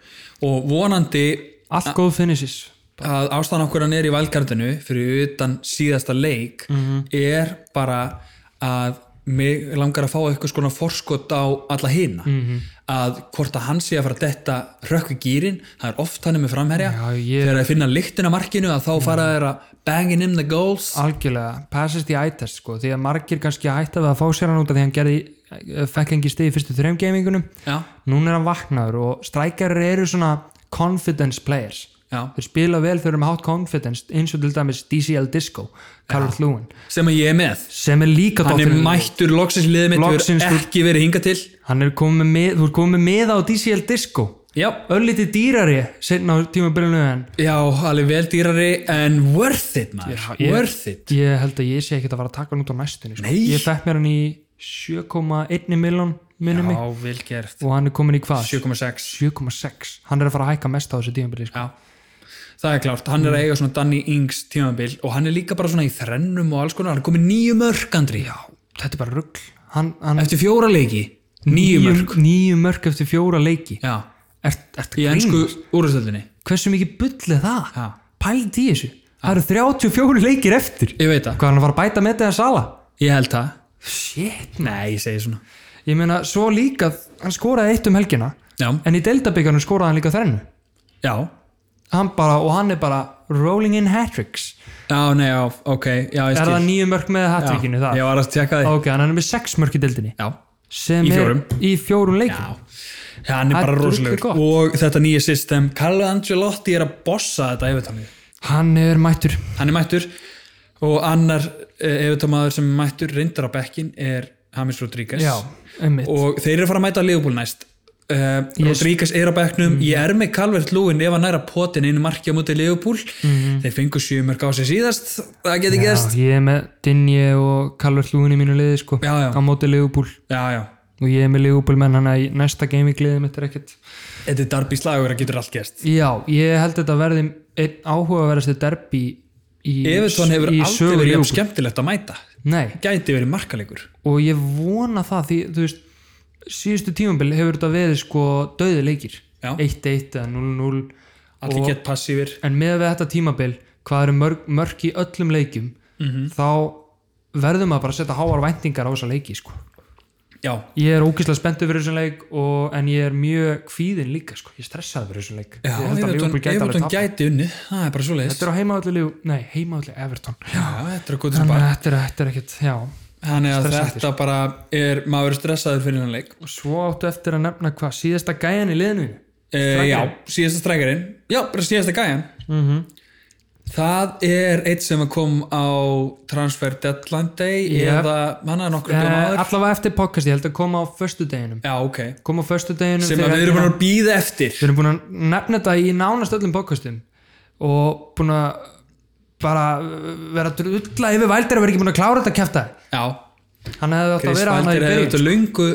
S1: og vonandi
S2: allt góð finishes
S1: að ástæðan okkur hann er í valkartinu fyrir utan síðasta leik er bara að mig langar að fá eitthvað skona forskot á alla hina að hvort að hann sé að fara að detta rökku gýrin, það er oft hann er með framherja
S2: Já, ég-
S1: þegar að finna lyktin af markinu að þá fara þeir að bangin in the
S2: Ah.
S1: goals
S2: algjörlega, passist í ættest sko, því að margir kannski hætti að fá sér hann út af því að hann gerði, eh, fekk engi stið í fyrstu þreim gamingunum
S1: já,
S2: núna er hann vaknaður og strækjarir eru svona confidence players
S1: já.
S2: þeir spila vel, þeir eru með hátt confidence eins og til dæmis DCL Disco Carl Lewin,
S1: sem að ég er með
S2: sem er líka
S1: hann er
S2: dottin-
S1: mættur loksins í liðið mitt
S2: Loksins
S1: við erum
S2: þú-
S1: ekki verið hinga til
S2: hann er komið með, þú er komið með á DCL Disco
S1: já,
S2: öllítið dýrari setna á tímabilinu en
S1: já, alveg vel dýrari en worth it maður,
S2: ég-
S1: worth it
S2: ég held að ég sé ekkert að fara að taka hann út á næstunni sko.
S1: Nei.
S2: ég fekk mér hann í 7,1 miljón minnum mig
S1: já, vel gert
S2: og hann er komin í hvað?
S1: 7,6
S2: 7,6 hann er að fara að hækka mest á þessu tímabili sko.
S1: Já, það er klárt, hann er að eiga svona Danny Ings tímabil og hann er líka bara svona í þrennum og alls konar, hann er komið nýju mörk Andri, Já.
S2: þetta er bara rugg hann, hann,
S1: eftir fjóra leiki nýju mörk,
S2: níu mörk eftir fjóra leiki
S1: já,
S2: ert, ert
S1: í ennsku úrstældinni
S2: hversu mikið bull er það?
S1: Já.
S2: pælt í þessu það eru 34 leikir eftir
S1: ég veit það,
S2: hvað er hann að fara að bæta með þetta að sala?
S1: ég held það
S2: shit
S1: nei, ég segi svona
S2: ég meina svo líka hann skoraði eitt um helgina
S1: já,
S2: en í deildabyggarnum skoraði hann líka þrennu
S1: já,
S2: hann bara, og hann er bara rolling in hat-tricks
S1: já, nei, já, ok já, ég
S2: er
S1: skil.
S2: það nýju mörk með hat-trickinu
S1: já,
S2: það?
S1: ég var að tjekka því
S2: ok, hann er með sex mörk í deildinni
S1: já,
S2: sem
S1: Í
S2: er
S1: fjórum.
S2: í fjórum leikum
S1: já hann er
S2: Það er
S1: bara
S2: drullið
S1: rosalegur og þetta nýja system, Carlo Angelotti er að bossa þetta, ég veit hann
S2: hann er mættur
S1: hann er mættur og annar efutómaður sem er mættur reyndar á bekkin er Hamis Rodríguez
S2: já, einmitt
S1: og þeir eru að fara að mæta að Leopold næst uh,
S2: Ég-
S1: Rodríguez er á bekknum
S2: Mhm.
S1: ég er með Calvert Lúin ef hann er að potin einu marki á mútið Leopold þeir fengu sjömörk á sig síðast það geti
S2: Mhm. já,
S1: gerst
S2: ég er með Dinje og Calvert Lúin í mínu liði sko,
S1: Já, já.
S2: á móti Leopold
S1: já, já,
S2: og ég er með Leopold menn hann að í næsta gaming liði mitt er ekkert
S1: þetta er darbi slagur að getur allt gerst
S2: já, ég held þetta verði einn áhugaverðasti derbi í,
S1: Evertón hefur
S2: í
S1: aldrei
S2: sögu
S1: verið jafn
S2: Liverpool.
S1: skemmtilegt að mæta
S2: nei,
S1: gæti verið markalegur
S2: og ég vona það því, þú veist, síðustu tímambil hefur þetta verið sko döði leikir
S1: Já.
S2: 1-1 eða 0-0
S1: allir gett passífir
S2: en með við þetta tímambil hvað eru mörg, mörg í öllum leikjum
S1: Mhm.
S2: þá verður maður bara að setja háar væntingar á þessa leiki sko.
S1: já,
S2: ég er ókýrslega spenntu fyrir þessum leik og, en ég er mjög kvíðin líka sko. ég er stressaði fyrir þessum leik
S1: já
S2: ég held að Liverpool gæti alveg
S1: Evertón
S2: tapa
S1: gæti unni það er bara svo leiðis
S2: þetta er á heimaðalli nei, heimaðalli Everton
S1: þetta er að góða sem
S2: þannig
S1: bara
S2: að þetta er, þetta er ekkit, já
S1: þannig að
S2: stressandi,
S1: þetta bara er maður er stressaður fyrir hann leik
S2: og svo áttu eftir að nefna hvað síðasta gæjan í liðinu
S1: e, já, síðasta strækarinn já, bara síðasta gæjan
S2: Mhm.
S1: það er eitt sem kom á Transfer Deadline Day
S2: Yep.
S1: eða manna nokkur dögum
S2: Eh,
S1: áður
S2: allavega eftir podcast, ég held að koma á föstudeginum
S1: já, ok,
S2: koma á föstudeginum
S1: sem
S2: fyrir
S1: að við erum
S2: helgina.
S1: búin að býða eftir
S2: við erum búin að nefna þetta í nánast öllum podcastum og búin að bara uh, vera að drulla yfir vældir að vera ekki búin að klára þetta kæfta
S1: já,
S2: hann hefði átt að
S1: Chris
S2: vera hann í
S1: Valdir hefur
S2: byrjun
S1: þetta löngu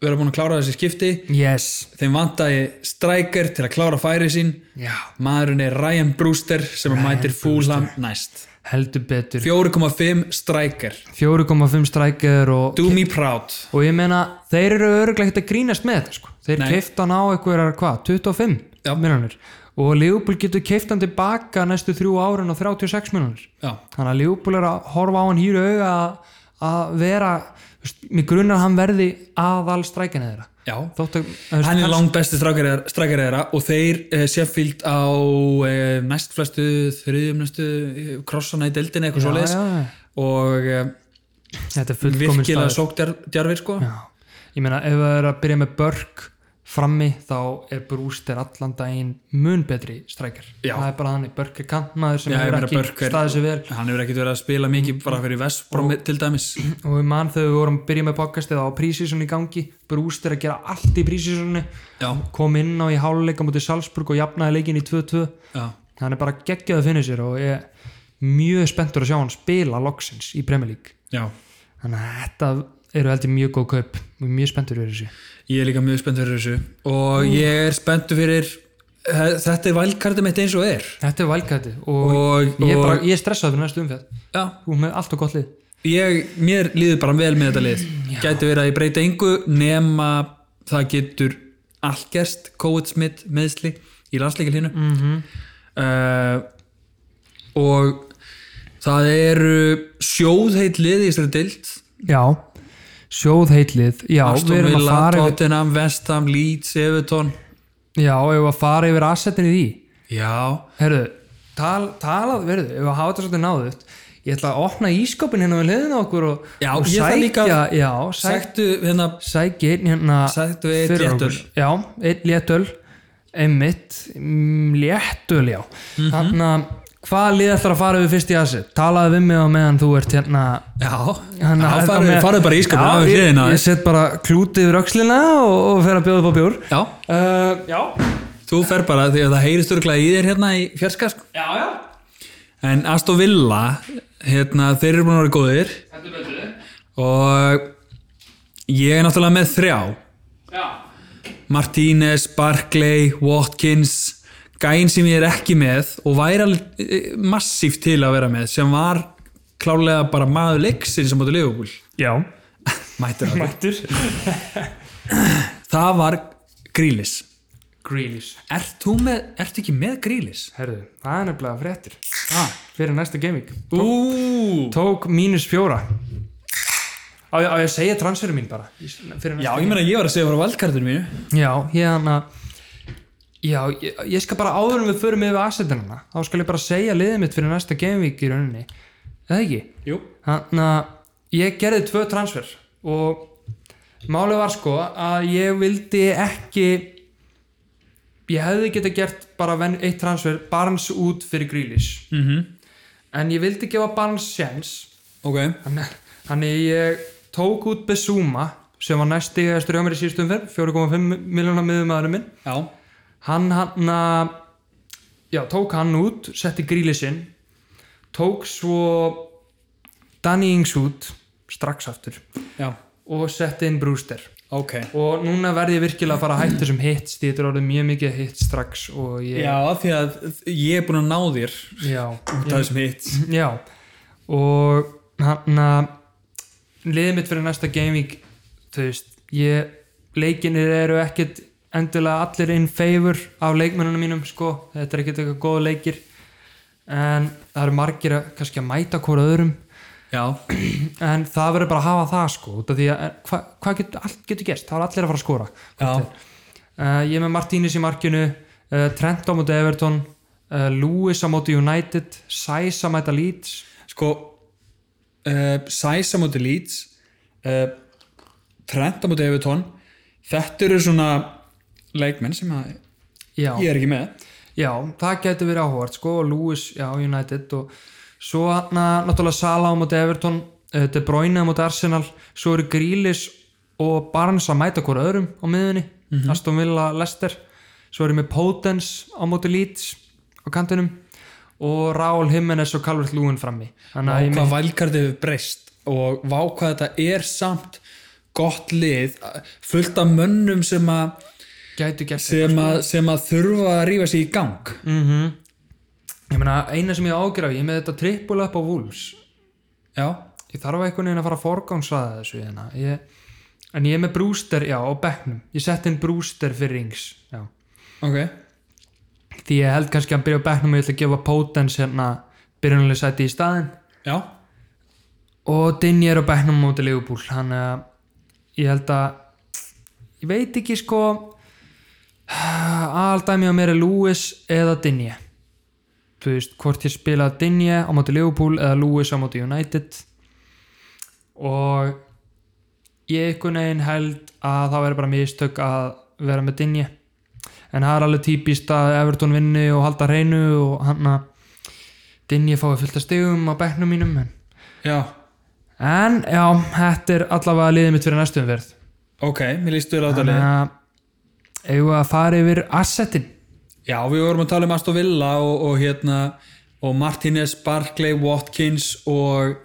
S1: vera búin að klára þessi skipti
S2: yes,
S1: þeim vantaði strækar til að klára færi sín
S2: já,
S1: maðurinn er Ryan Brewster sem Ryan mætir Fulham næst
S2: heldur betur
S1: 4,5 strækar
S2: 4,5 strækjar og
S1: do me proud
S2: og ég meina, þeir eru örglega ekkert að grínast með þetta sko. þeir
S1: Nei.
S2: keifta hann á eitthvað, hvað, 25
S1: Já.
S2: miljonir og Leopold getur keifta hann tilbaka næstu þrjú árin á 36 miljonir
S1: já,
S2: þannig að Leopold er að horfa á hann hýru auga að- að vera þú veist, mig grunar að hann verði aðal strækjan þeirra
S1: já
S2: Þótt að,
S1: hann er langt besti strækari þeirra og þeir eh, Sheffield á eh, næst flestu, þriðjum næstu eh, krossana í deildinni eitthvað svo
S2: já, já.
S1: og eh,
S2: þetta er fullkomin
S1: virkilega
S2: staður
S1: sókdjarfir sko
S2: Já. ég meina, ef það er að byrja með börk frammi, þá er Brúster allan daginn mun betri strækjar
S1: Já.
S2: það er bara þannig, börk er kantmaður sem
S1: Já, ég
S2: hefur
S1: meina,
S2: ekki
S1: Burke er-
S2: staðið sér vel
S1: hann hefur ekkert verið að spila mikið bara fyrir Vestbrom til dæmis
S2: og við mann þegar við vorum að byrja með podcastið á prísísunni í gangi, Brewster að gera allt í prísísunni,
S1: já,
S2: kom inn á í háluleika mútið Salzburg og jafnaði leikin í 2-2
S1: já,
S2: hann er bara geggjaði að finna sér og ég er mjög spenntur að sjá hann spila loksins í Premier League
S1: já
S2: þannig að þetta eru heldur mjög góð kaup og mjög spenntur verið þessu
S1: ég er líka mjög spennt fyrir þessu og ég er spennt fyrir eh, þetta er valkartum mitt eins og er
S2: þetta er valkæti og,
S1: og,
S2: ég, er bara,
S1: og
S2: ég er stressað fyrir næstu umfjall
S1: já,
S2: þú er með allt og gott lið
S1: ég, mér líður bara vel með þetta lið gæti verið að ég breyti engu nema það getur allt gerst, COVID smitt meðsli í landsleikalínu mm
S2: Mhm.
S1: og það eru sjóðheit lið í þessari dild
S2: já, sjóð heitlið já,
S1: Aston
S2: við erum að
S1: Villa,
S2: fara yfir,
S1: Tottenham, West Ham, Leeds, Everton
S2: já, ef að fara yfir assetin í því
S1: já,
S2: Herru, tal, talað, verðu, ef að hafa þetta svolítið náðuð Ég ætla að opna ískopin hérna við hliðina á okkur og,
S1: Já,
S2: og
S1: ég ætla líka
S2: sækja,
S1: að-
S2: já, sæk,
S1: Sæktu hérna
S2: sækja einn hérna
S1: Sæktu einn
S2: fyrir
S1: léttöl.
S2: okkur. Já, einn léttöl, einmitt, mm, léttöl, já Þannig að hvað lið ætlar að fara við fyrst í assi? Talaðu við mig á meðan þú ert hérna
S1: Já,
S2: hérna,
S1: já
S2: á
S1: farðu,
S2: meðan-
S1: farðu bara í skapin
S2: Já,
S1: af
S2: ég,
S1: hliðina á
S2: ég
S1: þér.
S2: set bara klútið yfir öxlina og, og fer að bjóða upp á bjór
S1: Já,
S2: uh, Já,
S1: þú fer bara því að það heyrist örglega í þér hérna í fjarska sko.
S2: já, já,
S1: En Aston Villa hérna, þeir eru búin að vera góðir
S2: þetta betur
S1: og ég er náttúrulega með þrjá
S2: Já
S1: Martínez, Barclay, Watkins gæinn sem ég er ekki með og væri alveg eh, massíft til að vera með sem var klárlega bara maður leiksinn sem áttu Liverpool
S2: Já,
S1: Mættur það
S2: mættur
S1: Það var Grílis
S2: Grealish
S1: Ert þú með, ertu ekki með Grílis?
S2: Herðu, það er nefnilega fréttir
S1: Ah.
S2: Fyrir næsta gaming
S1: Ú,
S2: Tók mínus fjóra Á, ég- á ég að segja transferum mín bara Í- Fyrir
S1: Já,
S2: næsta
S1: ég meina ég var að segja frá valdkartinu mínu
S2: Já, hérna Já, ég, ég skal bara áður en við förum yfir assetinana Þá skal ég bara segja liðið mitt fyrir næsta gaming í rauninni Eða ekki?
S1: Jú
S2: Þannig að ég gerði tvö transfer og málið var sko að ég vildi ekki ég hefði geta gert bara ven, eitt transfer Barnes út fyrir Grealish
S1: mm
S2: en ég vildi gefa Barnes sjens
S1: Ok,
S2: þannig þannig ég tók út Besuma sem var næsti eðastur hjá mér í síðustum fyrr 4,5 miljónar miðumæðurinn minn
S1: já
S2: hann hann að já, tók hann út, setti gríli sinn tók svo Danny Ings út strax aftur
S1: Já,
S2: og setti inn Brewster
S1: ok
S2: og núna verði ég virkilega að fara að hætta þessum hits því þetta er orðið mjög mikið hits strax og ég,
S1: Já, af því að ég er búin að ná þér
S2: já,
S1: út af þessum hitt
S2: já og hann að liðið mitt fyrir næsta gaming þú veist, ég leikinir eru ekkit endilega allir in favor af leikmennunum mínum sko, þetta er ekkit eitthvað góð leikir en það eru margir að, kannski að mæta hvora öðrum
S1: já,
S2: en það verður bara að hafa það sko út af því að en hva, hvað get, allt getur gerst þá er allir að fara að skora
S1: já,
S2: uh, ég er með Martínez í markinu uh, Trent á móti Everton uh, Lewis á móti United Sæs að mæta Leeds
S1: sko uh, Sæsa múti Leeds uh, Trent á múti Evertón þetta eru svona leikmenn sem að
S2: já,
S1: ég er ekki með
S2: já það getur verið áhugart sko og Lewis já, United og svo hann náttúrulega Salah á móti Everton uh, De Bruyne á móti Arsenal svo eru Grealish og Barnes að mæta hvora öðrum á miðunni
S1: Mhm.
S2: Aston Villa, Leicester svo eru með Potence á móti Leeds á kantinum og Raúl Jimenez og Calvert Lúin frammi þannig að ég
S1: hvað vælkartið hefur breyst og vá hvað þetta er samt gott lið eh, fullt af mönnum sem að
S2: gætu gert sko.
S1: sem að, sem að þurfa að rífa sig í gang
S2: Mm. Ég meina, eina sem ég ágjur af, ég er með þetta trippul upp á Wolves.
S1: já,
S2: Ég þarf einhvern veginn að fara að forgámsraða þessu hérna. Ég, en ég er með Brewster, já, á bekknum. Ég sett inn Brewster fyrir Ings, já.
S1: ok
S2: Því ég held kannski að hann byrja á bekknum og ég ætla að gefa Potence hérna byrjunlega sæti í staðinn.
S1: já,
S2: Og Dinje er á bekknum á móti Leopold. Hann, eh, ég held að, ég veit ekki sko, aðaldæmi á mér er Lewis eða Dinje. Þú veist, hvort ég spila Dinje á móti Leopold eða Lewis á móti United. og ég einhvern veginn held að það verður bara mistök að vera með Dinje en það er alveg típist að Everton vinni og halda hreinu og hann að Dinje fái fullt að stegum á bekknum mínum en,
S1: já
S2: en já, þetta er allavega liðið mitt fyrir næstu umverð
S1: ok, mér líst þér á þetta
S2: þannig
S1: lið
S2: að eigum við að fara yfir assetin
S1: já, við vorum að tala um Aston Villa og, og hérna og Martínez, Barclay, Watkins og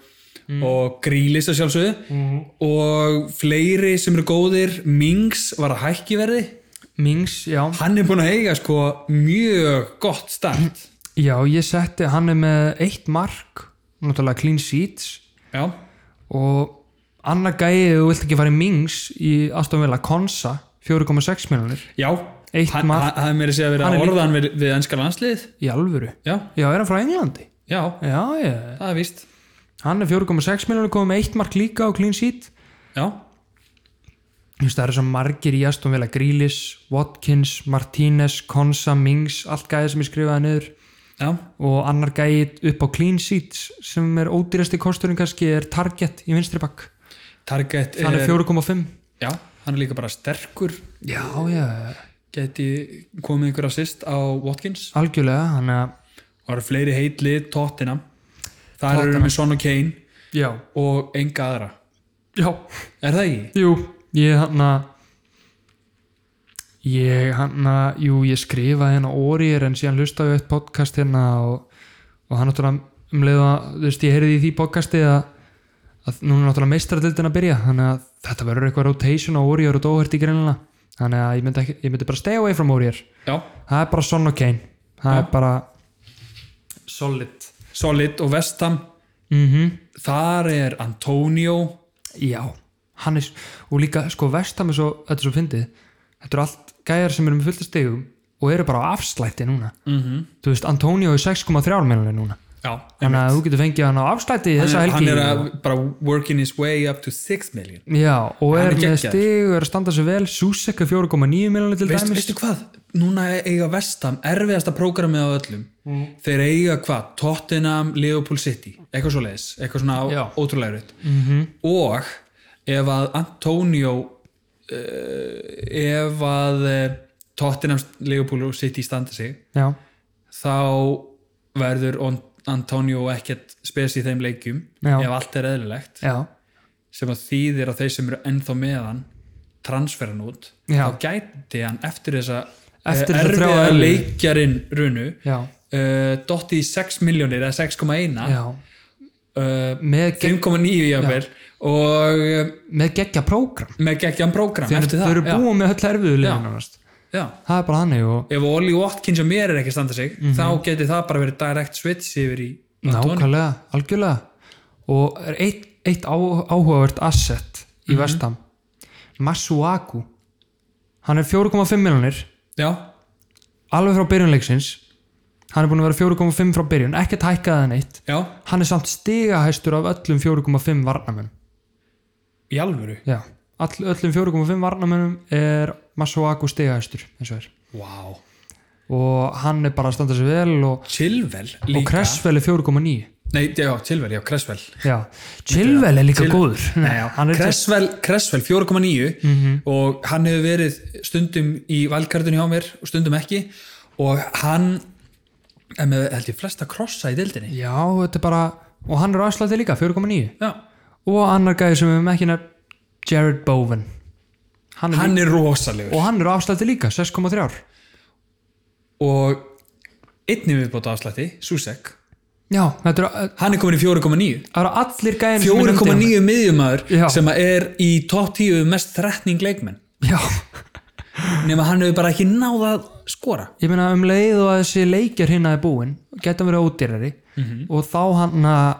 S2: Mm.
S1: og Grílis að sjálfsögðu og fleiri sem eru góðir Mings var að hækki verði
S2: Mings, já,
S1: hann er búin að eiga sko mjög gott start
S2: já, ég setti hann er með eitt mark náttúrulega clean sheets
S1: já,
S2: og annar gæi ef þú vilt ekki fara í Mings í Aston Villa Konsa 4,6 miljonir
S1: já
S2: Eitt
S1: hann
S2: mark.
S1: hann- hann er meira að segja að vera
S2: Hann er
S1: orðan við, við ennska landslið
S2: í alvöru
S1: já,
S2: já, er hann frá Englandi?
S1: já,
S2: já, já
S1: það er víst
S2: hann er 4,6 miljonir komið með eitt mark líka á clean sheet
S1: já,
S2: Þú veist, það eru svo margir í Aston Villa Grealish, Watkins, Martínez Konsa, Mings, allt gæði sem ég skrifaði niður
S1: já,
S2: og annar gæi upp á clean sheets sem er ódýrasti kosturinn kannski er Target í vinstri bakk
S1: Target
S2: hann er 4,5
S1: já, hann er líka bara sterkur
S2: Eh, já, já,
S1: geti komið ykkur assist á Watkins
S2: algjörlega hann er,
S1: og það eru fleiri heitli Tottenham það eru
S2: Tottenham.
S1: með Son og Kane
S2: já,
S1: og enga aðra
S2: já
S1: er það ekki?
S2: Jú, ég hann að ég hann að, jú, ég skrifaði hérna Óriðir en síðan hlustaði ég á eitt podcast hérna og, og hann náttúrulega um leið að, þú veist, ég heyrði í því podcasti að, að núna er náttúrulega meistradildin að byrja, þannig að þetta verður eitthvað rotation á Óriðir og Dóhert í greinlega þannig að ég myndi, ekki, ég myndi bara stay away from Óriðir
S1: já,
S2: það er bara Son og Kane það er bara solid
S1: Solid og Vestham
S2: mhm
S1: þar er Antonio
S2: Já, hann er, og líka sko vestam er svo, þetta er svo fyndið þetta eru allt gæjar sem eru með fullta stegum og eru bara á afslætti núna -hmm.
S1: Mhm.
S2: þú veist, Antonio er 6,3 miljonir núna
S1: já,
S2: þannig að þú getur fengið hann á afslætti þessa
S1: hann, er,
S2: helgi
S1: hann er að bara working his way up to 6 million
S2: Já,
S1: Hann
S2: og er
S1: er
S2: með
S1: geggjaður.
S2: steg og er að standa sér vel Susek er 4,9 miljonir til
S1: Veist,
S2: dæmis
S1: veistu hvað, núna eiga Vestham erfiðasta prógramið á öllum
S2: Mm.
S1: þeir eiga hvað, Tottenham Liverpool City, eitthvað svo leiðis eitthvað svona
S2: Já. Mhm.
S1: á- ótrúlega raut og ef að Antonio uh, ef að eh, Tottenham Liverpool og City standa sig
S2: Já,
S1: þá verður On- Antonio ekkert spes í þeim leikjum
S2: Já.
S1: ef allt er eðlilegt
S2: já,
S1: sem að þýðir að þeir sem eru ennþá með hann transfera hann út
S2: Já.
S1: þá gæti hann eftir þessa
S2: Eftir
S1: eh,
S2: þessa þrjá
S1: erfiða
S2: erfiðu.
S1: leikjarinn runu
S2: já,
S1: uh, dotti í 6 miljónir eða 6,1
S2: já.
S1: uh,
S2: Með, gegg,
S1: 5,9 jáfnvel og uh,
S2: með geggja prógram
S1: með geggjan prógram
S2: Þau eru-
S1: eftir
S2: þau eru
S1: það já,
S2: búin með öll erfiðu
S1: Já.
S2: liðin nánast.
S1: já.
S2: Það er bara þannig og
S1: ef Oli Watkins og mér er ekki að standa sig þá geti það bara verið direct switch yfir í Antonio.
S2: Mhm. Nákvæmlega, algjörlega og er eitt, eitt á, áhugavert asset í
S1: Mhm.
S2: mm -hmm. vestam Masuaku hann er 4,5 miljonir
S1: já,
S2: alveg frá byrjunleiksins hann er búin að vera 4,5 frá byrjun ekkert hækkaði hann eitt
S1: Já,
S2: hann er samt stigahæstur af öllum 4,5 varnamönum
S1: í alvöru
S2: já, All, öllum 4,5 varnamönum er Masuaku stigahæstur eins og er
S1: Vá,
S2: og hann er bara að standa sig vel og,
S1: Chilvel
S2: og
S1: líka
S2: Cresswell er 4,9
S1: Nei, já, Chilvel, já, Cressvel
S2: já, Chilwell er líka
S1: Chil-
S2: góður
S1: Nei, já,
S2: hann er
S1: Cressvel, Cressvel 4,9 og hann hefur verið stundum í valkartinu hjá mér og stundum ekki og hann er með held ég flesta krossa í deildinni
S2: já, þetta er bara og hann er aðslæti líka, 4,9
S1: Já,
S2: og annar gæði sem við hefum ekki nefn Jared Bowen hann er
S1: hann er rosalegur
S2: og hann eru afslætti líka, 6,3 ár
S1: og einnig viðbóta afslætti, Susek
S2: já, þetta eru,
S1: hann er komin í 4,9
S2: það eru allir gæðin sem ég nefndi hérna.
S1: 4,9 miðjumæður
S2: Já.
S1: sem að er í topp 10 mest þrettning leikmenn
S2: hann. já,
S1: nema hann hefur bara ekki náð að skora
S2: ég meina um leið og að þessi leikjar hérna er búin geta verið ódýrari og þá hann að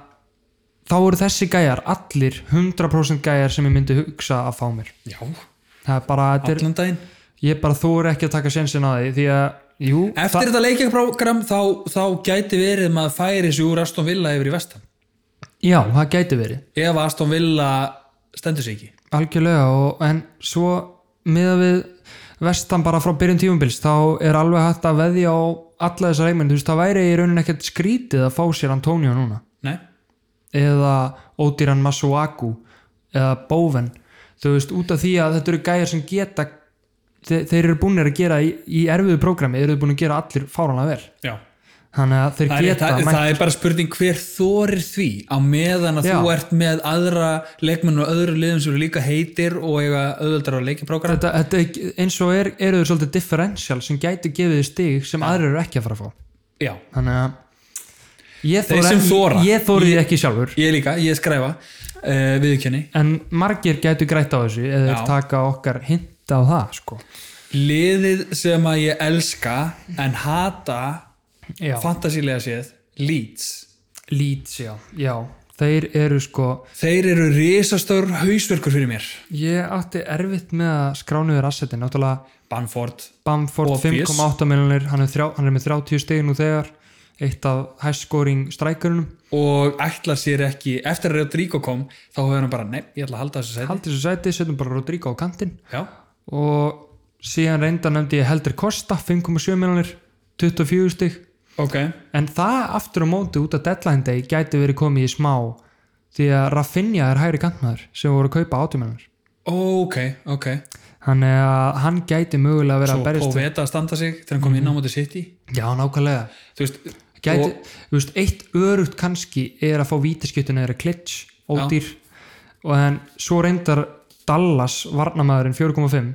S2: þá eru þessi gæjar, allir 100% gæjar sem ég myndi hugsa að fá mér
S1: Já,
S2: það er bara, þetta er,
S1: allan daginn
S2: ég bara þóri ekki að taka sensin að því því að, jú,
S1: Eftir þetta leikjaprógram þá, þá gæti verið maður færi sig úr Aston Villa yfir í vestan
S2: já, það gæti verið
S1: ef að Aston Villa stendur sig ekki
S2: Algjörlega og en svo miða við vestan bara frá byrjun tífumbils þá er alveg hægt að veðja á alla þessar eigmenn, þú veist það væri í raunin ekkert skrítið að fá sér Antonio núna
S1: Nei,
S2: eða Ódýran Masuaku eða Bóven þú veist út af því að þetta eru gæjar sem geta þe þeir eru búinir að gera í, í erfiðu prógrami, þeir eru búinir að gera allir fáranlega vel
S1: já
S2: þannig að þeir
S1: Það er,
S2: geta
S1: það,
S2: mætt-
S1: það er bara spurning hver þorir því á meðan að
S2: Já.
S1: þú ert með aðra leikmenn og öðru liðum sem eru líka heitir og eiga auðveldar á leikjaprógram
S2: þetta, þetta, er- eins og er, eru þeir svolítið differential sem gæti gefið þér stig sem aðrir eru ekki að fara að fá
S1: Já,
S2: þannig að ég
S1: Þeir sem þora.
S2: ég þóri
S1: Ég-
S2: ekki sjálfur
S1: ég líka, ég skræfa uh, viðkjönni
S2: en margir gætu grætt á þessu eða þeir
S1: Já.
S2: taka okkar hint á það sko.
S1: Liðið sem að ég elska en hata
S2: já.
S1: fantasílega séð, Leeds
S2: Leeds, já. já þeir eru sko
S1: Þeir eru risastór hausverkur fyrir mér
S2: ég átti erfitt með að skránuður assetin, náttúrulega
S1: Banford
S2: Bamford
S1: Obvious.
S2: 5,8 miljonir hann, er þrjá- hann er með 30 stegin nú þegar eitt af hæstskóring strækjörunum
S1: og ætla sér ekki eftir að Rodrigo kom þá hefur hann bara, nei, ég ætla að halda þessu sæti
S2: haldið þessu sæti, setjum bara Rodrigo á kantinn
S1: Já,
S2: og síðan reynda nefndi ég heldur Kosta 5,7 miljonir 24 stig
S1: ok
S2: En það aftur á móti út af deadline day gæti verið komið í smá því að Rafinha er hægri kantmaður sem voru að kaupa átumennar.
S1: Ok, ok
S2: Þannig að hann gæti mögulega verið
S1: Svo
S2: að berjast.
S1: Poveta að standa sig þegar hann kom inn á móti City
S2: Já, nákvæmlega.
S1: Þú veist,
S2: Gæti,
S1: og,
S2: þú veist, eitt örugt kannski er að fá vítaskjötun eða klitsch, ódýr og en svo reyndar Dallas varnamaðurinn 4.5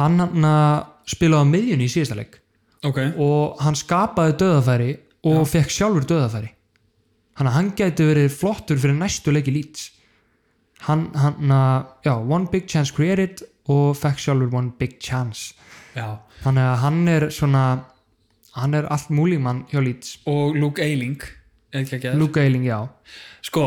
S2: hann hann spilaði á miðjunni í síðasta leik
S1: ok,
S2: og hann skapaði döðafæri og fekk sjálfur döðafæri hann, hann gæti verið flottur fyrir næstu leiki lít hann, hann, að- já, one big chance created og fekk sjálfur one big chance
S1: já
S2: þannig að hann er svona hann er allt múlímann hjá lít
S1: og Luke Eiling eða ekki að gera
S2: Luke Eiling, já
S1: Sko,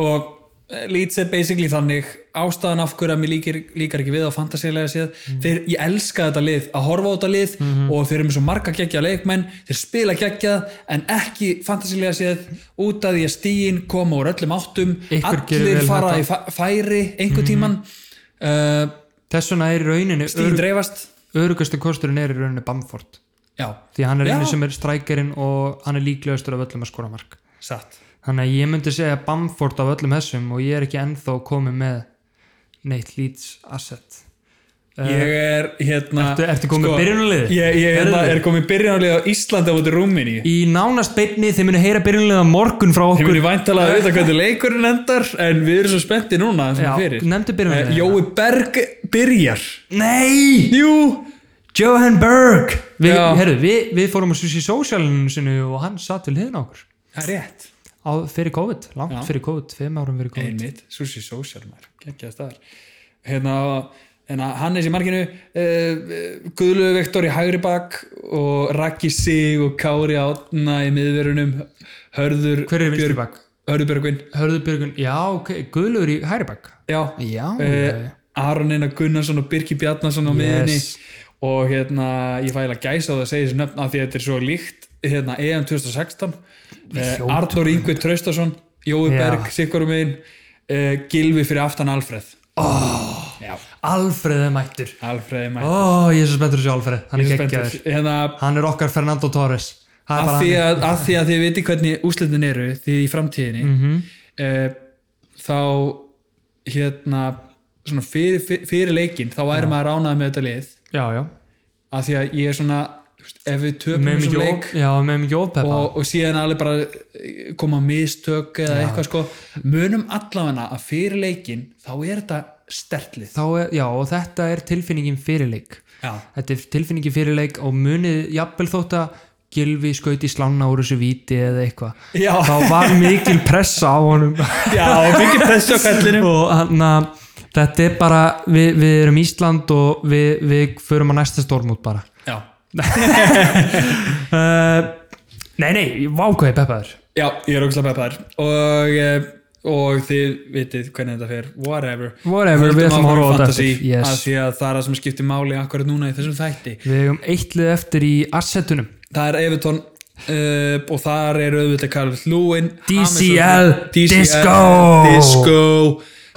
S1: og eh, Leeds er basically þannig ástæðan af hverju að mér líkir, líkar ekki við á fantasílega séð
S2: Mhm.
S1: þeir, ég elska þetta lið, að horfa á þetta lið og þeir eru með svo marga geggja leikmenn þeir spila geggjað en ekki fantasílega séð út af því að stíin koma úr öllum áttum
S2: Einhver gerir
S1: allir
S2: vel
S1: fara
S2: þetta.
S1: í
S2: Mhm.
S1: fa- færi einhver tíman uh,
S2: þess vegna er í raunininu
S1: stíin
S2: örug,
S1: dreifast
S2: örugastu kosturinn er í raunininu Bamford
S1: já,
S2: því að hann er
S1: Já.
S2: einu sem er strækerinn og hann er líklegastur af öllum að skora mark
S1: satt
S2: Þannig að ég myndi segja Bamford af öllum þessum og ég er ekki ennþá komið með neitt Leeds asset.
S1: ég er hérna
S2: Eh, Ertu- ertu komin með byrjunarliðið?
S1: ég, ég hérna,
S2: Herðu.
S1: er komið byrjunarlið á Íslandi á út í Rúmini
S2: Í nánast beinni þeir muni heyra byrjunlega morgun
S1: Þið
S2: frá okkur.
S1: munið væntalega að vita hvernig leikurinn endar en við erum svo spennti núna sem
S2: Já,
S1: fyrir.
S2: nefndu byrjunarliðið.
S1: Eh, Jói Berg byrjar
S2: Nei!
S1: Jú
S2: Johan Berg! Við,
S1: Já.
S2: herru, við, við fórum að sussi í socialinu sinu og hann satt við hliðin á okkur.
S1: Það er rétt
S2: Á, fyrir COVID, langt
S1: Já.
S2: fyrir COVID, fimm árum fyrir COVID.
S1: Einmitt, Susi Social maður, geggjast þar Hérna, hérna Hannes í markinu uh, Guðlögu Vektor í hægri bak og Raki Sig og Kári Átna í miðverunum Hörður
S2: Hver er vinstri
S1: Björg-
S2: bak?
S1: Hörður Björgvin
S2: Hörðu Björgun, já, ok, Guðlaugur í hægri bak.
S1: Já,
S2: Já,
S1: uh, Aron Einar Gunnarsson og Birki Bjarnason á miðinni
S2: Yes.
S1: og hérna ég fæ eiginlega gæsa á það að segja þessu nöfn af því að þetta er svo líkt hérna, EM 2016 eh, Artur Yngvi Traustason Jói
S2: Já.
S1: Berg, Sikurum einn eh, Gilvi fyrir aftan Alfreð oh. Já,
S2: Alfreð er mættur
S1: Alfreð er mætt
S2: Ó, ég er svo spenntur að sjá Alfreð, hann er geggjaður
S1: hérna,
S2: Hann er okkar Fernando Torres Það er
S1: að,
S2: bara
S1: því
S2: hann.
S1: að, að því að þið viti hvernig úslitin eru því í framtíðinni
S2: Mhm.
S1: eh, þá hérna svona fyrir, fyrir- fyrir leikinn þá væri maður ránaði með þetta lið
S2: Já, já
S1: að því að ég er svona þú veist, ef við töpum
S2: Með
S1: þessum
S2: mikið
S1: leik
S2: of- Já, með mikið ópeppa
S1: og, og síðan alveg bara eh, koma mistök eða eitthvað sko munum allavega að fyrir leikinn þá er þetta stertlið
S2: þá er, já, og þetta er tilfinningin fyrirleik
S1: Já.
S2: þetta er tilfinningin fyrirleik og munið jafnvel þótt að Gilvi skaut í slána úr þessu víti eða eitthvað
S1: Já.
S2: þá var mikil pressa á honum
S1: Já, mikið pressu á kallinu
S2: og hann að þetta er bara, við, við erum Ísland og við, við förum að næsta stormút bara
S1: Já,
S2: uh,
S1: Eh,
S2: Nei, nei, vákvæði peppaður
S1: já ég er ógustlega peppar og, eh, og þið vitið hvernig þetta fer whatever,
S2: Whatever, við
S1: Höldum
S2: ætlum að
S1: áfram
S2: horfa á þetta
S1: fantasy,
S2: eftir, yes.
S1: að því að það er það sem skiptir máli akkurat núna í þessum þætti
S2: Við hefum eitt lið eftir í assetunum
S1: það er Evertón Uh, og þar eru auðvitað Karl Lúin
S2: DCL,
S1: Disco Disco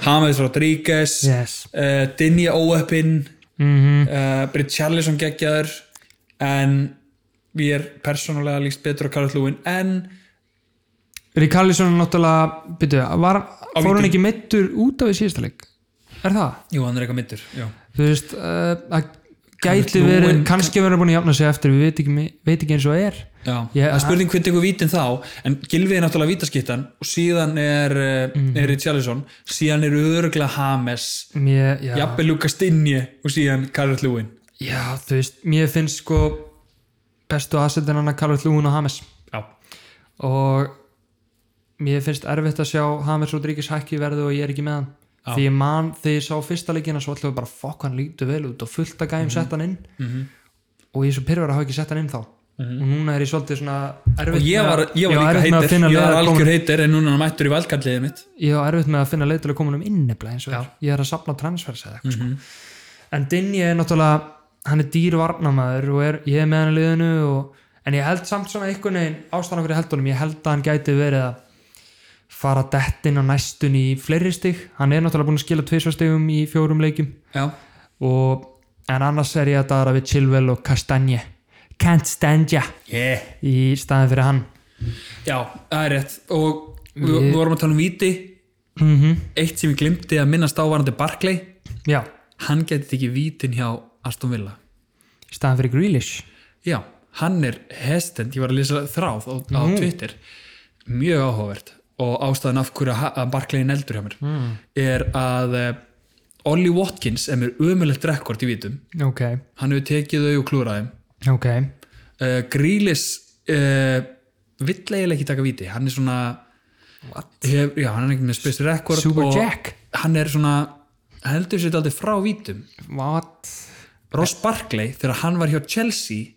S1: James Rodríguez
S2: Yes. Mhm.
S1: uh, Dinja Óöppin mm -hmm. uh, Britt Charlison geggjaður en ég er persónulega líst betur á Karl Lúin en
S2: Ríkarlísson er náttúrulega byrju, var, fór hann
S1: víti.
S2: ekki meittur út af í síðasta leik? Er það?
S1: jú, hann er eitthvað mittur já.
S2: þú veist uh, að gæti verið,
S1: Lúin-
S2: kannski verið búin að jafna sig eftir, við veit ekki, mi- veit ekki eins og er
S1: Já,
S2: Ég-
S1: það er spurning hvernig tekur vítin þá en Gilvi er náttúrulega vítaskittan og síðan er, mm
S2: Mhm.
S1: -hmm. er Richarlison síðan eru örgla James
S2: mér, já,
S1: jafnvel Lukas Dinje og síðan Karl Lúin
S2: já, þú veist, mér finnst sko bestu aðsetin hann að kalla Lúin og Hames
S1: já
S2: og mér finnst erfitt að sjá Hames Rodríguez hækki í verðu og ég er ekki með hann því ég man, þegar ég sá fyrsta leikina svo allir bara fokk hann lítur vel út og fullt að
S1: Mhm.
S2: gæjum sett hann inn -hmm. og ég er svo pyrrverð að hafa ekki sett hann inn þá og núna er ég svolítið svona erfitt
S1: Mhm. og ég var, ég
S2: á
S1: var
S2: erfitt
S1: líka
S2: með að
S1: heitir,
S2: finna
S1: ég var
S2: leiðar komin-
S1: algjör heitir en núna er hann mættur í valdkalliðið mitt
S2: ég á erfitt með að finna leið til að koma um innebla eins og er. ég er að sapna transfers eða eitthvað sko. en Dinje er náttúrulega hann er dýr varnamaður og er, ég er með hann í liðinu og, en ég held samt svona einhvern veginn ástæðan fyrir heldunum, ég held að hann gæti verið að fara dettin á næstun í fleiri stig, hann er náttúrulega búin að skila tvisvastigum í fjórum leikjum
S1: já,
S2: og, en annars er ég að dara við Chilwell og Kastanje Can't stand ya
S1: yeah.
S2: í staðin fyrir hann
S1: já, það er rétt og við, við vorum að tala um viti
S2: Mhm.
S1: eitt sem ég glimti að minnast á varandi Barclay
S2: já,
S1: hann getið ekki vítin hjá Aston Villa
S2: í staðin fyrir Grealish
S1: já, hann er hestend ég var að lýsa þráð á, á
S2: Mm.
S1: Twitter mjög áhugavert og ástæðan af hverju að ha- að Barclay er neldur hjá mér
S2: Mm.
S1: er að eh, Ollie Watkins er mér umulegt rekord í vítum
S2: ok,
S1: hann hefur tekið þau og klúraðið
S2: ok
S1: uh, Grílis uh, vill eiginlega ekki taka víti hann er svona hef, já, hann er ekki með space record
S2: Super
S1: og
S2: Jack.
S1: hann er svona heldur sér aldrei frá vítum
S2: what
S1: Ross Barkley þegar hann var hjá Chelsea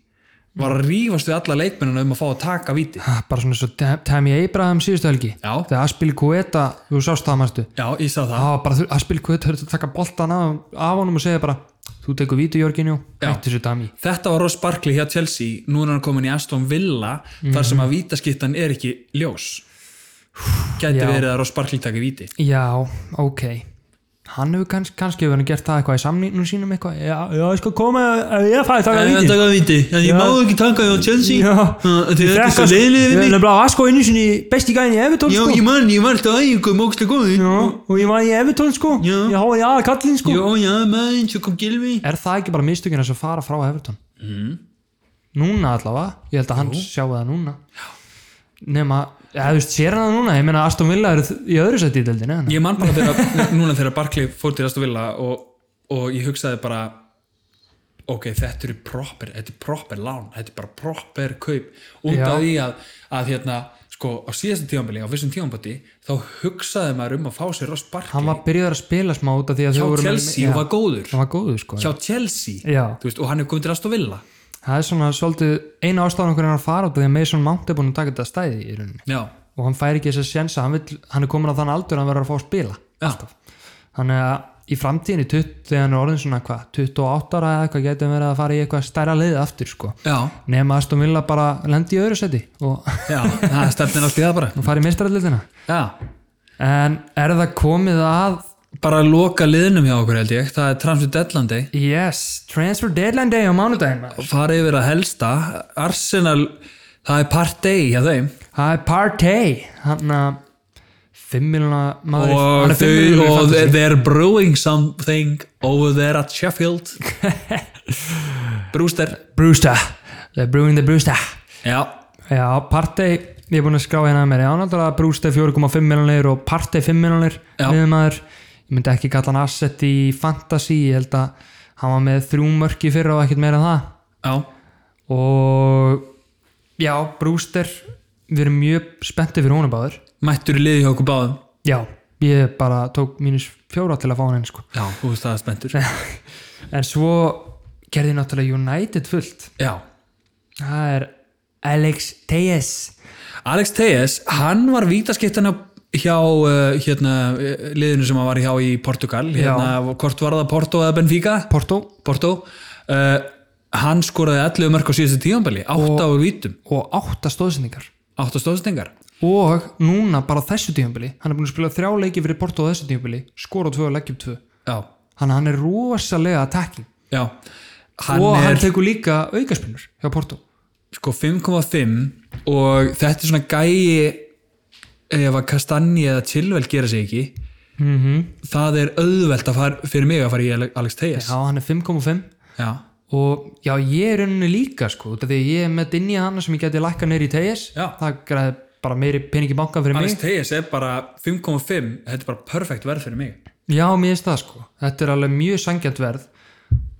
S1: var að rífast við alla leikmennina um að fá að taka víti
S2: Ah, bara svona svo Tammy Abraham síðustu helgi
S1: Já.
S2: þegar Aspil Kueta, þú sást það mannstu
S1: já, ég sá
S2: það
S1: það
S2: var bara Aspil Kueta höfðu að taka boltan af, af honum og segja bara þú tekur vítu Jörginjó,
S1: Já.
S2: hætti þessu Tammy
S1: Þetta var Ross Barkley hjá Chelsea, núna er hann komin í Aston Villa þar sem
S2: Mhm.
S1: að vítaskittan er ekki ljós. Gæti
S2: Já.
S1: verið að Ross Barkley taka víti.
S2: já, ok hann hefur kanns, kannski hefur hann gert það eitthvað í samningum sínum eitthvað, já, já, ég skal koma ef ég fæði taka víti
S1: taka víti, en ég má ekki taka hjá Chelsea.
S2: já,
S1: Þið
S2: Ég fékk að- ég er nefnilega asko einu sinni besti gæðin í Evertón
S1: Já,
S2: sko.
S1: ég man, ég var alltaf æfingum ógstlega góði
S2: já, og ég var í Evertón sko
S1: Já.
S2: ég háði aða kallinn sko
S1: Já, já, maður, svo kom Gilvi
S2: er það ekki bara mistökinn að fara frá Everton
S1: Mm.
S2: núna allavega ég held að hann sjáu það núna nema, eða þú veist, sér hann það núna ég meina Aston Villa eru þ- í öðru sætti í deildinni eða?
S1: Ég man bara þegar, núna þegar Barkley fór til Aston Villa og, og ég hugsaði bara ok, þetta eru proper, þetta er proper lán þetta er bara proper kaup út af
S2: Já.
S1: því að, að hérna, sko, á síðasta tímanbili, á fyrstum tímanbili þá hugsaði maður um að fá sér Ross Barkley
S2: hann var byrjuð að spila smá út af því að
S1: hjá
S2: þau voru
S1: Chelsea
S2: já,
S1: og var góður
S2: hann var góður sko
S1: hjá Chelsea,
S2: Já.
S1: þú veist, og hann hefur komið til Aston Villa
S2: það er svona svolítið eina ástæðan okkur hann að fara út af því að Mason Mount er búin að taka þetta stæði í rauninni
S1: Já,
S2: og hann fær ekki þess að sjensa hann, vill, hann er komin á þann aldur að hann verður að fá að spila
S1: já,
S2: þannig að í framtíðinni 20, þegar hann er orðin svona hvað 28 ára eða eitthvað getur verið að fara í eitthvað stærra leið aftur sko
S1: já,
S2: nema að Aston Villa bara lendi í öðru seti og,
S1: já, það er stefnin allt í það bara
S2: og fara í meistarallitina
S1: já,
S2: en er það komið að
S1: bara að loka liðnum hjá okkur held ég það er Transfer Deadline Day
S2: yes, transfer deadline day á mánudaginn maður.
S1: fara yfir að helsta Arsenal, það er partey hjá þeim
S2: það er partey hann að 5 miljóna maður í- hann
S1: og,
S2: er fimm
S1: þau,
S2: milljóna í
S1: og
S2: fantasy.
S1: they're brewing something over there at Sheffield Brewster
S2: Brewster, they're brewing the Brewster
S1: já,
S2: já, partey ég er búin að skrá hérna að mér, já, náttúrulega Brewster 4,5 miljónir og partey 5 miljónir
S1: Já.
S2: miðmaður, ég myndi ekki kalla hann asset í fantasy, ég held að hann var með þrjú mörki fyrra og ekkert meira en það
S1: já,
S2: og já, Brewster við erum mjög spenntið fyrir honum báður
S1: mættur í liði hjá okkur báðum
S2: já, ég bara tók mínus fjóra til að fá hann einn sko
S1: já, þú veist það er spenntur
S2: en svo gerði náttúrulega United fullt
S1: já,
S2: það er Alex Tejas
S1: Alex Tejas hann var vítaskiptan hjá uh, hérna, eh, liðinu sem hann var hjá í Portugal hérna, hvort var það Porto eða Benfica
S2: Porto
S1: Porto uh, hann skoraði 11 mörg á síðustu tíðanbæli 8 á vítum,
S2: og átta stóðsendingar
S1: 8 stóðsendingar
S2: og núna bara á þessu tíumbili hann er búin að spila þrjá leiki fyrir Porto á þessu tíumbili skora tvö og leggjum tvö
S1: já,
S2: hann, hann er rosalega attacking
S1: já hann
S2: og
S1: er
S2: hann tekur líka aukaspinnur hjá Porto
S1: sko 5,5 og þetta er svona gæi eh, ef að Kastanji eða Chilwell gera sig ekki -hmm. það er auðvelt að fara fyrir mig að fara í Ale- Alex Tejas
S2: Mhm. já, hann er 5,5
S1: já,
S2: og já, ég er rauninni líka sko, út af því að ég er með dinni hana sem ég geti lækka neyri í tegis,
S1: Já.
S2: það græði bara meiri peningi banka fyrir
S1: Alex
S2: mig
S1: Tejas er bara 5,5 þetta er bara perfekt verð fyrir mig
S2: já, mér finnst það sko, þetta er alveg mjög sangjant verð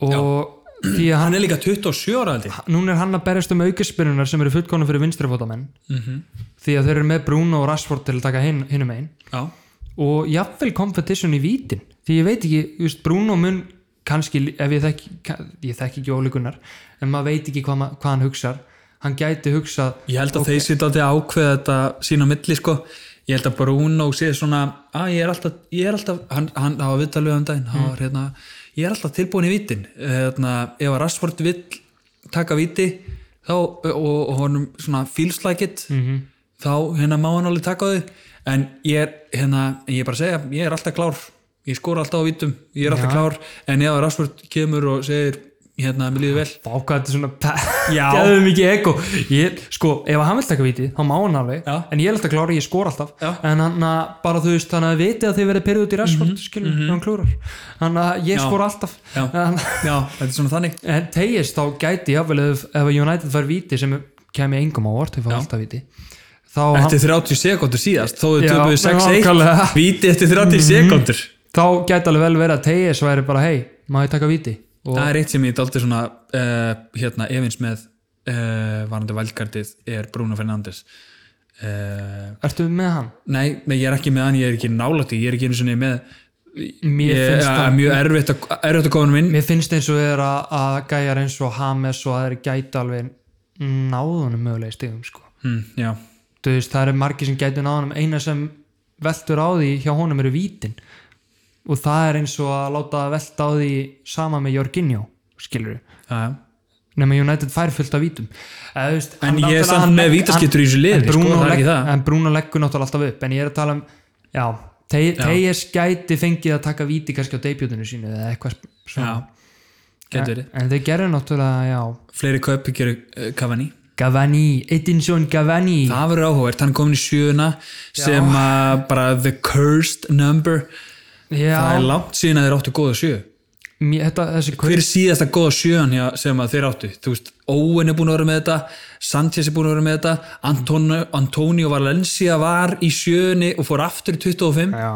S2: og því að hann,
S1: hann er líka 27 ára aldrei
S2: núna er hann að berjast um aukaspyrnunar sem eru fullkona fyrir vinstrifótamenn
S1: Mhm.
S2: því að þeir eru með Bruno og Rashford til að taka hin, hinum einn
S1: já,
S2: og jafnvel competition í vítin því ég veit ekki, just Bruno mun kannski, ef ég þekki kann- ég þekki ekki ólíkunar, en maður veit ekki hvað, ma- hvað hann hugsar, hann gæti hugsað
S1: ég held að þeir sýtt aldrei ákveða þetta sín á milli sko ég held að Bruno sé svona að ég er alltaf, ég er alltaf hann, hann hafa viðtalið um daginn hann var hérna, ég er alltaf tilbúin í vítin hérna, ef að Rashford vill taka víti þá, og, og honum svona feels like it -hmm. þá hérna má hann alveg taka þau en ég er hérna ég er bara að segja, ég er alltaf klár ég skora alltaf á vítum, ég er alltaf klár en ef að Rashford kemur og segir hérna, mér líður vel
S2: Váka, þetta er svona
S1: Já.
S2: Gæðum mikið ego ég, Sko, ef hann vil taka viti, þá má hann alveg
S1: Já.
S2: En ég er alltaf klára, ég skor alltaf
S1: Já.
S2: En hann að bara þú veist, þannig að viti að þið verið pyrrið út í restford, mm -hmm. skilur, mm hann klúrar Þannig að ég
S1: Mhm, Já.
S2: skor alltaf
S1: já,
S2: En,
S1: já, þetta er svona þannig
S2: en tegist, þá gæti jafnvel ef, ef United fær viti sem kemur engum á orð, þau fá alltaf viti Þá, hann,
S1: eftir 30 sekundur síðast þó þau
S2: Já, Mhm.
S1: töpuðu 6-1
S2: nákvæmlega.
S1: víti eftir 30 sekundur
S2: þá gæti alveg vel verið að tegist væri bara, hei, má ég taka viti Og
S1: það er eitt sem ég daldi svona uh, hérna efins með uh, varandi valkartið er Bruno Fernandes uh,
S2: ertu með hann?
S1: nei, nei, ég er ekki með hann ég er ekki nálægt í, ég er ekki einu sinni með
S2: Mér
S1: ég
S2: finnst
S1: er
S2: hann-
S1: mjög erfitt að, erfitt að koma honum inn
S2: Mér finnst eins og er að, að gæjar eins og Hames og aðeir gæti alveg náðunum mögulega í stigum sko.
S1: hm, já,
S2: Þú veist, það eru margir sem gæti náðunum eina sem veltur á því hjá honum eru vítin og það er eins og að láta það velta á því sama með Jorginho, skilur við
S1: já, já
S2: nema United fær fullt af vítum eða, þú veist,
S1: En ég
S2: hann
S1: er
S2: náttúrulega-
S1: samt
S2: hann
S1: með
S2: legg-
S1: vítaskiptur í þessu
S2: hann-
S1: liði,
S2: en
S1: sko,
S2: Bruno
S1: það er ekki
S2: legg-
S1: það.
S2: en Bruno leggur náttúrulega alltaf upp en ég er að tala um, já Tejas gæti fengið að taka víti kannski á debutinu sínu eða eitthvað sp- svona
S1: Já. Gæti verið.
S2: en, en þeir gerðu náttúrulega, já
S1: fleiri kaupi gerir uh, Cavani
S2: Gavani, Edinson Gavani
S1: það verður áhugavert, hann er komin í sjöuna sem að bara the cursed number það er
S2: já,
S1: langt síðan að þeir áttu góða sjö
S2: mér, þetta, þessi
S1: hver er síðasta góða sjöan hjá, sem að þeir áttu þú veist, Owen er búin að vera með þetta Sanchez er búin að vera með þetta Antonio, Antonio Valencia var í sjöunni og fór aftur í 25 af
S2: já,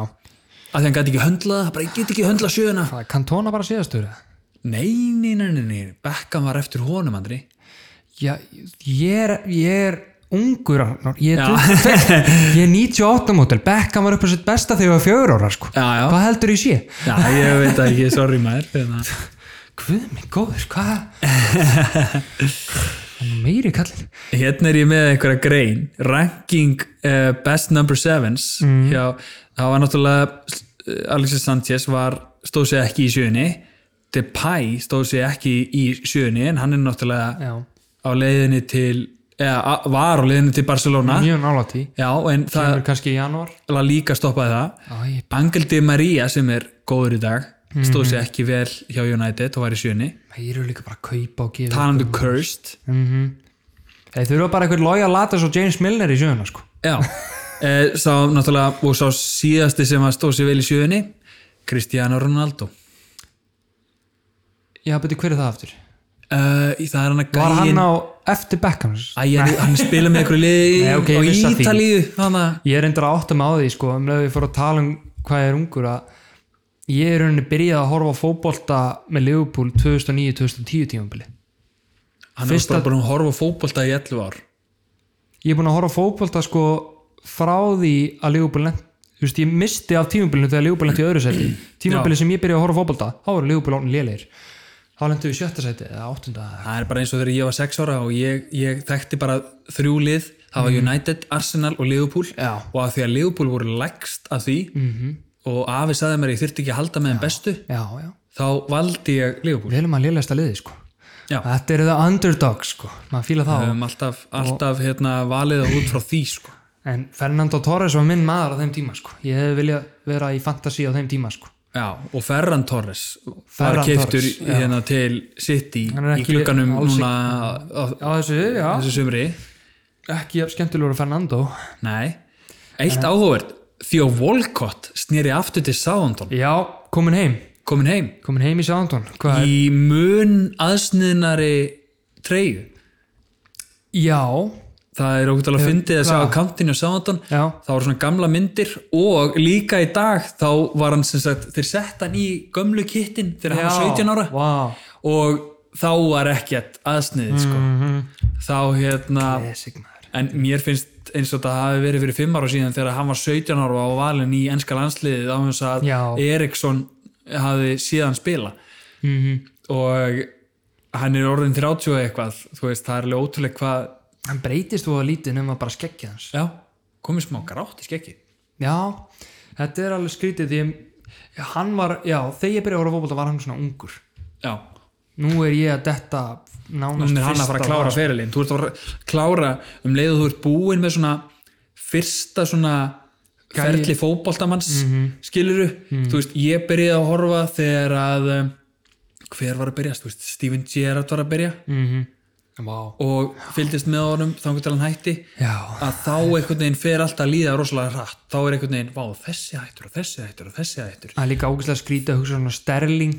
S1: því hann gæti ekki höndlað, það bara ég get ekki höndlað sjöuna
S2: það er Cantona bara síðastur eða?
S1: nei, nei, nei, nei, nei, Beckham var eftir honum Andri,
S2: já, ég er ég er ungur Arnór. ég
S1: Já.
S2: er, 22, ég er 98 mótil Beckham var upp á sitt besta þegar ég var fjör ára sko.
S1: Já, já.
S2: hvað heldur ég sé?
S1: já, ég veit það ekki sorry maður, hérna.
S2: Guð minn góður, hvað? Hann er meiri kallin
S1: hérna er ég með einhverja grein ranking
S2: Mm.
S1: uh, best number sevens hjá, það var náttúrulega eh, Alexis Sanchez var stóð sér ekki í sjöunni Depay stóð sér ekki í sjöunni en hann er náttúrulega
S2: Já.
S1: á leiðinni til eða a- var á leiðinni til Barcelona
S2: mjög nálægt í
S1: já, en það
S2: kemur kannski í janúar
S1: La Liga stoppaði það
S2: Æ,
S1: Angel Di Maria sem er góður í dag
S2: Mhm.
S1: stóð sér ekki vel hjá United og var í sjöunni
S2: það eru líka bara að kaupa og gefa
S1: talandu Cursed
S2: þeir þurfa bara einhver Loya Latas og James Milner í sjöuna sko.
S1: já, e, sá náttúrulega og sá síðasti sem að stóð sér vel í sjöunni Cristiano Ronaldo
S2: já, betur hver er það aftur?
S1: Uh, það er hann að
S2: var hann
S1: gæin
S2: á eftir Beckham?
S1: Æ, hann, hann spila með einhverju liði
S2: Nei, ok, ég
S1: á
S2: vissi að því.
S1: Ítalíu hana.
S2: ég er endur að átta mig á því sko, um leið við fórum að tala um hvað ég er ungur að ég er rauninni byrjað að horfa á fótbolta með Liverpool 2009-2010 tímabili
S1: Hann
S2: Fyrsta-
S1: Fyrsta... er bara búin að horfa á fótbolta í 11 ár
S2: ég er búin að horfa á fótbolta sko frá því að Liverpool lent þú veist, ég misti af tímabilinu þegar Liverpool lent í öðru seti tímabilinu sem ég byrjaði að horfa á fótbolta þá var Liverpool ánum lélegir þá lentu við í sjötta seti eða áttunda eða-
S1: Það er bara eins og þegar ég var 6 ára og ég, ég þekkti bara þrjú lið það var United, Arsenal og Liverpool
S2: Mhm. Já. Mhm.
S1: og að því að Liverpool voru lægst af því -hmm. og afi sagði mér að ég þyrfti ekki að halda með þeim bestu
S2: já, já,
S1: þá valdi ég Liverpool
S2: við erum að lélegasta liði sko
S1: Já.
S2: þetta eru það underdog sko maður fíla
S1: Við
S2: það
S1: höfum alltaf, alltaf hérna, valið það út frá því sko.
S2: En Fernando Torres var minn maður á þeim tíma sko. Ég hefði viljað vera í fantasy á þeim tíma sko.
S1: Já, og Ferran Torres var
S2: Ferran
S1: keiftur
S2: Torres, já.
S1: hérna til City
S2: Hann er
S1: í
S2: ekki-
S1: klukkanum
S2: alls
S1: núna á-
S2: Já, þessu, já.
S1: þessu sumri
S2: Ekki jafn skemmtilegur að Fernando.
S1: Nei, eitt áhugavert Theo Walcott snýri aftur til Southampton
S2: Já, komin heim.
S1: komin heim
S2: Komin heim í Southampton. Hvað er?
S1: í mun aðsniðnari treyju
S2: Já,
S1: það er okkur að fyndið að sjá
S2: hvað?
S1: á kantinu á Southampton
S2: Já.
S1: það voru svona gamla myndir og líka í dag þá var hann sem sagt þeir sett hann í gömlu kittin þegar hann var 17 ára
S2: Vá.
S1: og þá var ekkert aðsniðið sko. þá hérna
S2: Þessi maður.
S1: en mér finnst eins og þetta hafi verið fyrir fimm ára síðan þegar hann var 17 ára og á valin í enska landsliðið á hans að
S2: Já.
S1: Eriksson hafi síðan spila -hmm. og hann er orðin 30 og eitthvað þú veist það er alveg ótrúlega hvað
S2: Hann breytist þú að lítið nema bara skekkið hans.
S1: já, komið smá grátt í skeggi
S2: Já, þetta er alveg skrítið því ég- hann var, já, þegar ég byrjaði að horfa fókbólta var hann svona ungur.
S1: já,
S2: Nú er ég að detta nánast
S1: hann er hann að fara að
S2: fyrsta
S1: klára
S2: lag, sko.
S1: ferilinn þú ert að fara að klára um leið og þú ert búinn með svona fyrsta svona ferli fótboltamanns
S2: Mhm.
S1: skiluru, þú veist, ég byrjaði að horfa þegar að um, hver var að byrja, þú veist, Steven Gerrard var að byrja
S2: Mhm. Vá.
S1: og fylgdist með honum þangur til hann hætti
S2: Já.
S1: að þá einhvern veginn fer alltaf að líða rosalega hratt, þá er einhvern veginn, vá, þessi hættur og þessi hættur og þessi hættur
S2: Það er líka ágæslega skrítið að hugsa um svona Sterling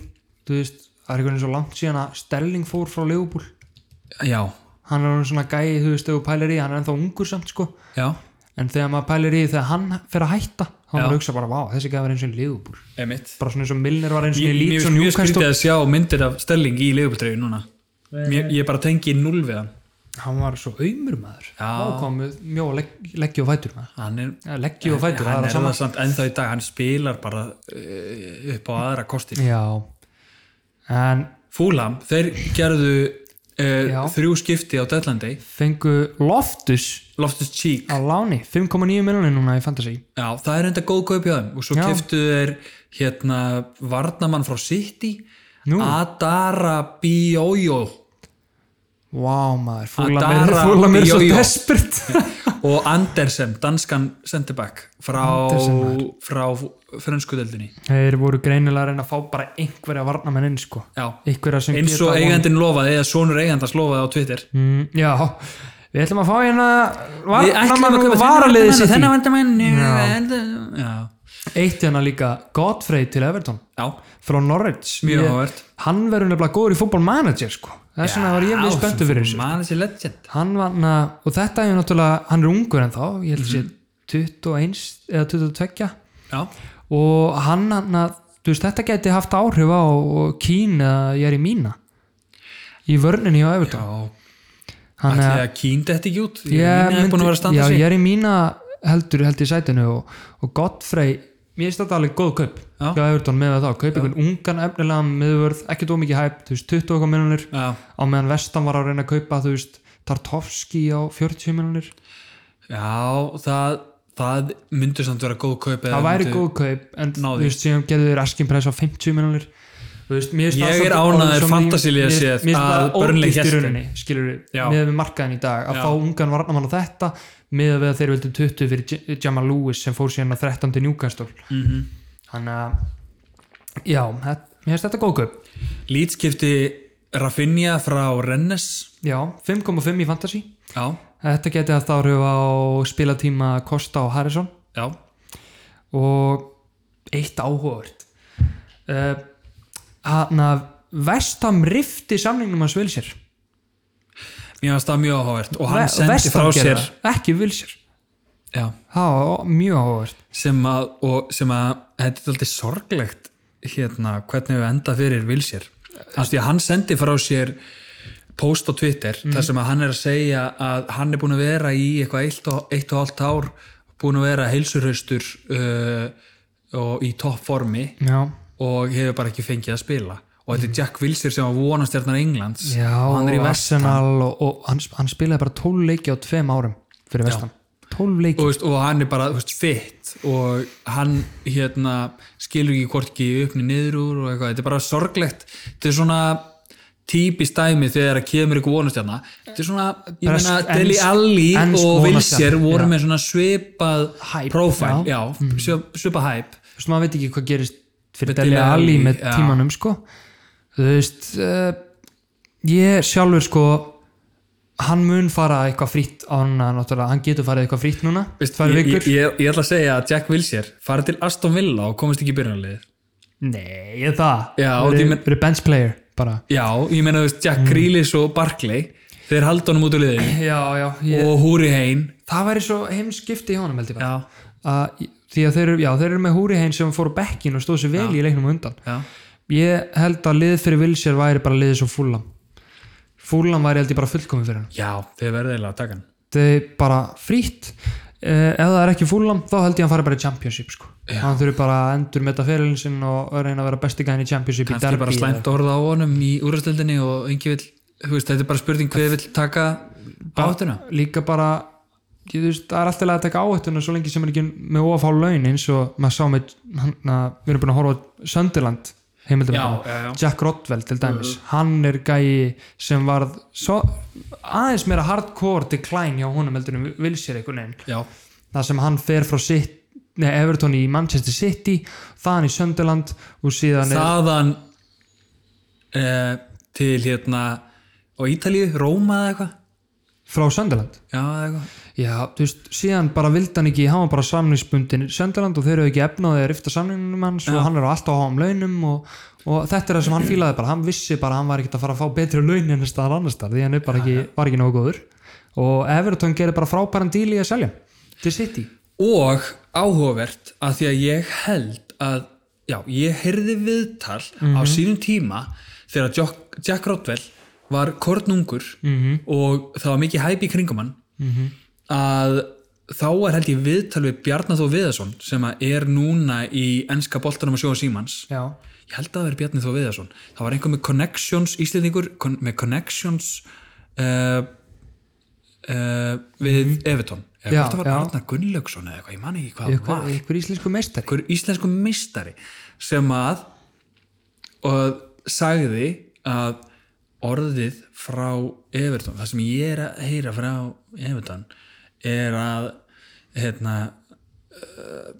S2: þú veist, það er einhvern veginn svo langt síðan að Sterling fór frá Leopold
S1: já,
S2: hann er orðinn svona gæi, þú veist, ef þú pælir í hann er ennþá ungur samt, sko
S1: já,
S2: en þegar maður pælir í þegar hann fer að hætta þá
S1: Já.
S2: maður hugsa bara, vá, þessi gæi var eins og Leopold
S1: emitt
S2: bara svona eins og Milner var eins og
S1: Mér mér
S2: Leeds og
S1: finnst mjög skrítið
S2: Newcastle
S1: að sjá myndir af Stelling í liðbúltreyju núna mér, ég bara tengi null við hann
S2: hann var svo aumur maður
S1: Já.
S2: þá komu mjög legg, leggju og fætur maður
S1: hann er,
S2: Ja, leggju og fætur, það
S1: hann er
S2: er að sama
S1: það samt ennþá í dag hann spilar bara uh, upp á aðra kosti
S2: já, en
S1: Fúlam, þeir gerðu
S2: Já.
S1: uh, þrjú skipti á Deadlandi
S2: fengu Loftus
S1: Loftus Cheek,
S2: á láni 5,9 miljonir núna í Fantasí
S1: já, það er enda góð kaup hjá þeim og svo
S2: Já.
S1: keftu þeir hérna Varnamann frá City
S2: Nú.
S1: Adara Biojo
S2: Vá maður, fúla
S1: Adara
S2: mér, fúla mér svo
S1: Bioyo.
S2: despert
S1: og Andersen, danskan centerback frá,
S2: Andersen, maður.
S1: frá frönskudeldinni
S2: Þeir voru greinilega að reyna að fá bara einhverja varnamenn inn sko
S1: Já.
S2: Einhverja sem
S1: eins og eigandin lofaði eða sonur eigandans lofaði á Twitter
S2: mm, Já, við ætlum að fá hérna
S1: Við ætlum að
S2: varnamenn
S1: kaupa
S2: og
S1: þennan
S2: varaliðið
S1: varnarmann og
S2: sitt
S1: þennan vandamenn já.
S2: í Eitt hérna líka Godfrey til Everton
S1: já,
S2: frá Norwich
S1: Mjög
S2: Ég-
S1: áhugavert.
S2: Hann verður nefnilega góður í fútbolmanager sko Þess vegna var ég mjög spenntu fyrir þessu
S1: mann þessi legend
S2: Hann var na, og þetta er náttúrulega, hann er ungur en þá Ég
S1: Mhm.
S2: held að sé 21 eða 22
S1: já,
S2: og hann hann að þú veist, þetta geti haft áhrif á Kín eða ég er í mína í vörninni á Everton hann
S1: ætli
S2: að
S1: að kýndi þetta ekki út ég
S2: ég
S1: er búin að vera að
S2: myndi-
S1: standa
S2: já,
S1: sig
S2: ég er í mína heldur held í sætinu og, og Godfrey mér finnst þetta alveg góð kaup
S1: Já.
S2: hjá Everton með það, kaup einhvern ungan efnilega miðvörð, ekki dó mikið hæp þú veist, 20 okkar miljonir
S1: já,
S2: á meðan Vestan var að reyna að kaupa þú veist, Tartovski á 40 miljonir
S1: já, það það myndi samt vera góð kaup eða
S2: það væri
S1: myndu-
S2: góð kaup en
S1: Ná
S2: þú
S1: því.
S2: veist, síðan getur þið raskin præs á 50 minúlir þú veist, mér finnst
S1: Ég
S2: það
S1: er
S2: svolítið
S1: ánægður
S2: ósómi-
S1: fantasy-lega
S2: mér-
S1: séð
S2: mér finnst
S1: að
S2: það
S1: Burnley
S2: ódýrt í
S1: hélt þeim.
S2: rauninni, skilur
S1: Já.
S2: við með við markaðin í dag, að
S1: Já.
S2: fá ungan varnamann á þetta með að við að þeir vildum 20 fyrir J- Jamal Lewis sem fór síðan á 13 til Newcastle -hmm.
S1: Mhm.
S2: þannig að já, þetta, mér finnst þetta góð kaup
S1: Leeds kipti Rafinha frá Rennes
S2: já, 5,5 í fantasy
S1: já,
S2: þetta geti að það eru á spilatíma Kosta og Harrison
S1: já,
S2: og eitt áhugavert uh, hann að Vestam rifti samningnum hans Vilsir
S1: mér finnst það mjög áhugavert og hann sendi frá sér
S2: ekki Vilsir,
S1: já,
S2: það var mjög áhugavert
S1: sem að, og sem að þetta er alltaf sorglegt hérna, hvernig við enda fyrir Vilsér því að hann sendi frá sér post á Twitter,
S2: Mhm.
S1: þar sem að hann er að segja að hann er búin að vera í eitthvað eitt og, eitt og allt ár búin að vera heilsurhaustur uh, og í topp formi
S2: já,
S1: og hefur bara ekki fengið að spila og þetta er Jack Wilshere sem var vonastjarnar Englands
S2: Mhm. já
S1: og hann er í
S2: og
S1: vest
S2: Arsenal og, og hann, hann spilaði bara 12 leiki á tveim árum fyrir Vestam, 12
S1: og,
S2: leiki
S1: veist, og hann er bara þú veist, fitt og hann hérna, skilur ekki hvort ekki uppni niður úr og eitthvað, þetta er bara sorglegt þetta er svona típist dæmi þegar að kemur ykkur vonastjarna þetta er svona, ég
S2: Bara
S1: meina,
S2: ensk-
S1: Deli Alli
S2: ensk
S1: og
S2: vonastjarna,
S1: Vilsér voru
S2: já.
S1: með svona svipað
S2: Hæp,
S1: profile,
S2: já. Mm.
S1: já, svipað hæp
S2: þú veist, maður veit ekki hvað gerist fyrir
S1: Dele
S2: Dele Alli
S1: Alli,
S2: með
S1: já.
S2: tímanum sko. þú veist uh, ég sjálfur sko hann mun fara eitthvað frýtt á hann náttúrulega, hann getur farið eitthvað frýtt núna
S1: Veist,
S2: tvær
S1: ég, ég,
S2: vikur,
S1: ég, ég ætla að segja að Jack Wilshere fari til Aston Villa og komist ekki í byrjunarliðið
S2: nei, ég það
S1: Já, og því
S2: verið
S1: men-
S2: men... bench player bara
S1: Já, ég meina þú veist
S2: Mm.
S1: Jack Grealish og Barkley þeir halda honum út úr liðin
S2: já, já, ég...
S1: og Húri Hein
S2: það væri svo heimskipti hjá honum held ég bara.
S1: já,
S2: að, því að þeir, eru- já, þeir eru með húri heim sem fór á bekkin og stóð sér vel í leiknum á undan
S1: já,
S2: ég held að lið fyrir Vilsér væri bara liðið svo fúlam fúlam væri held ég bara fullkomið fyrir hann
S1: já þeir verða eiginlega að taka hann
S2: þetta er eh, bara frýtt eh, ef það er ekki fúlam þá held ég að hann fari bara í championship sko. hann þurfi bara að endur með þetta ferilin sinn og reyna að vera besti gæðin í championship í
S1: kannski
S2: derby
S1: bara slæmt orð á honum í úrastöldinni og engi vill, þú veist, þetta er bara spurning hver vill taka áttuna
S2: eða- líka bara ég, þú veist, það er alltaf að taka áhættuna svo lengi sem er ekki með ofá laun eins og maður sá með hann, að, við erum búin að horfa á Sönderland heimildum
S1: Já, já, Uh-huh. já.
S2: Jack Rottwell til dæmis hann er gæi sem varð svo, aðeins meira hardcore decline hjá honum heldur en vil sér einhvern veginn
S1: já,
S2: þar sem hann fer frá sitt, nei, Everton í Manchester City þaðan í Sönderland og síðan er,
S1: þaðan eh, til hérna á Ítalíu, Róma eða eitthvað
S2: frá Sönderland
S1: já, eða eitthvað,
S2: já, þú veist, síðan bara vildi hann ekki hafa bara samningsbundin Sönderland og þeir eru ekki efnaði að rifta samningunum hans og hann er alltaf á háum launum og, og þetta er það sem hann fílaði bara hann vissi bara að hann var ekkert að fara að fá betri laun en staðar annars staðar því hann er bara ekki, var ekki nógu góður og Everton gerir bara frábæran díl í að selja til City
S1: og áhugavert að því að ég held að já, ég heyrði viðtal á sínum tíma þegar Jock, Jack Rodwell var kornungur -hmm. og það var mikið hæp í kringum hann -hmm. að þá er held ég viðtal við Bjarnar Þó Viðarsson sem að er núna í enska boltanum að sjóa símans
S2: já,
S1: ég held að það er Bjarni Þó Viðarsson það var einhver með Connections Íslendingur kon, með Connections uh, uh, við Everton eða
S2: Mm. Já,
S1: hvort það var
S2: já.
S1: Arnar Gunnlaugsson eða eitthvað, ég man ekki hvað það
S2: ykkur,
S1: var
S2: ykkur íslensku meistari
S1: einhver íslensku mistari sem að og sagði að orðið frá Everton, það sem ég er að heyra frá Everton er að hérna uh,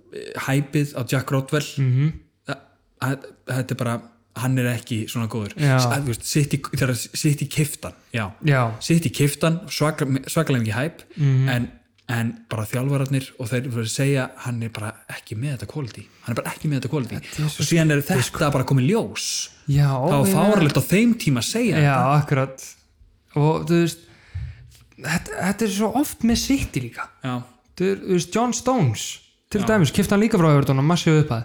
S1: hæpið á Jack Rodwell mm
S2: Mhm.
S1: -hmm. þetta er bara hann er ekki svona góður
S2: Já.
S1: S- að, þú veist, sitt í, þegar sitt í kiftan já,
S2: já,
S1: sitt í kiftan, svakalega mikið hæp
S2: Mhm.
S1: en, en bara þjálfararnir og þeir fyrir að segja hann er bara ekki með þetta quality hann er bara ekki með þetta quality og síðan er þetta bara komið ljós
S2: sko. já
S1: það var
S2: ég-
S1: fáralegt á þeim tíma að segja
S2: Já, akkurat og þú veist þetta, þetta er svo oft með City líka
S1: Já.
S2: þú þú veist, John Stones til dæmis, kipta hann líka frá Everton og massíu upphæð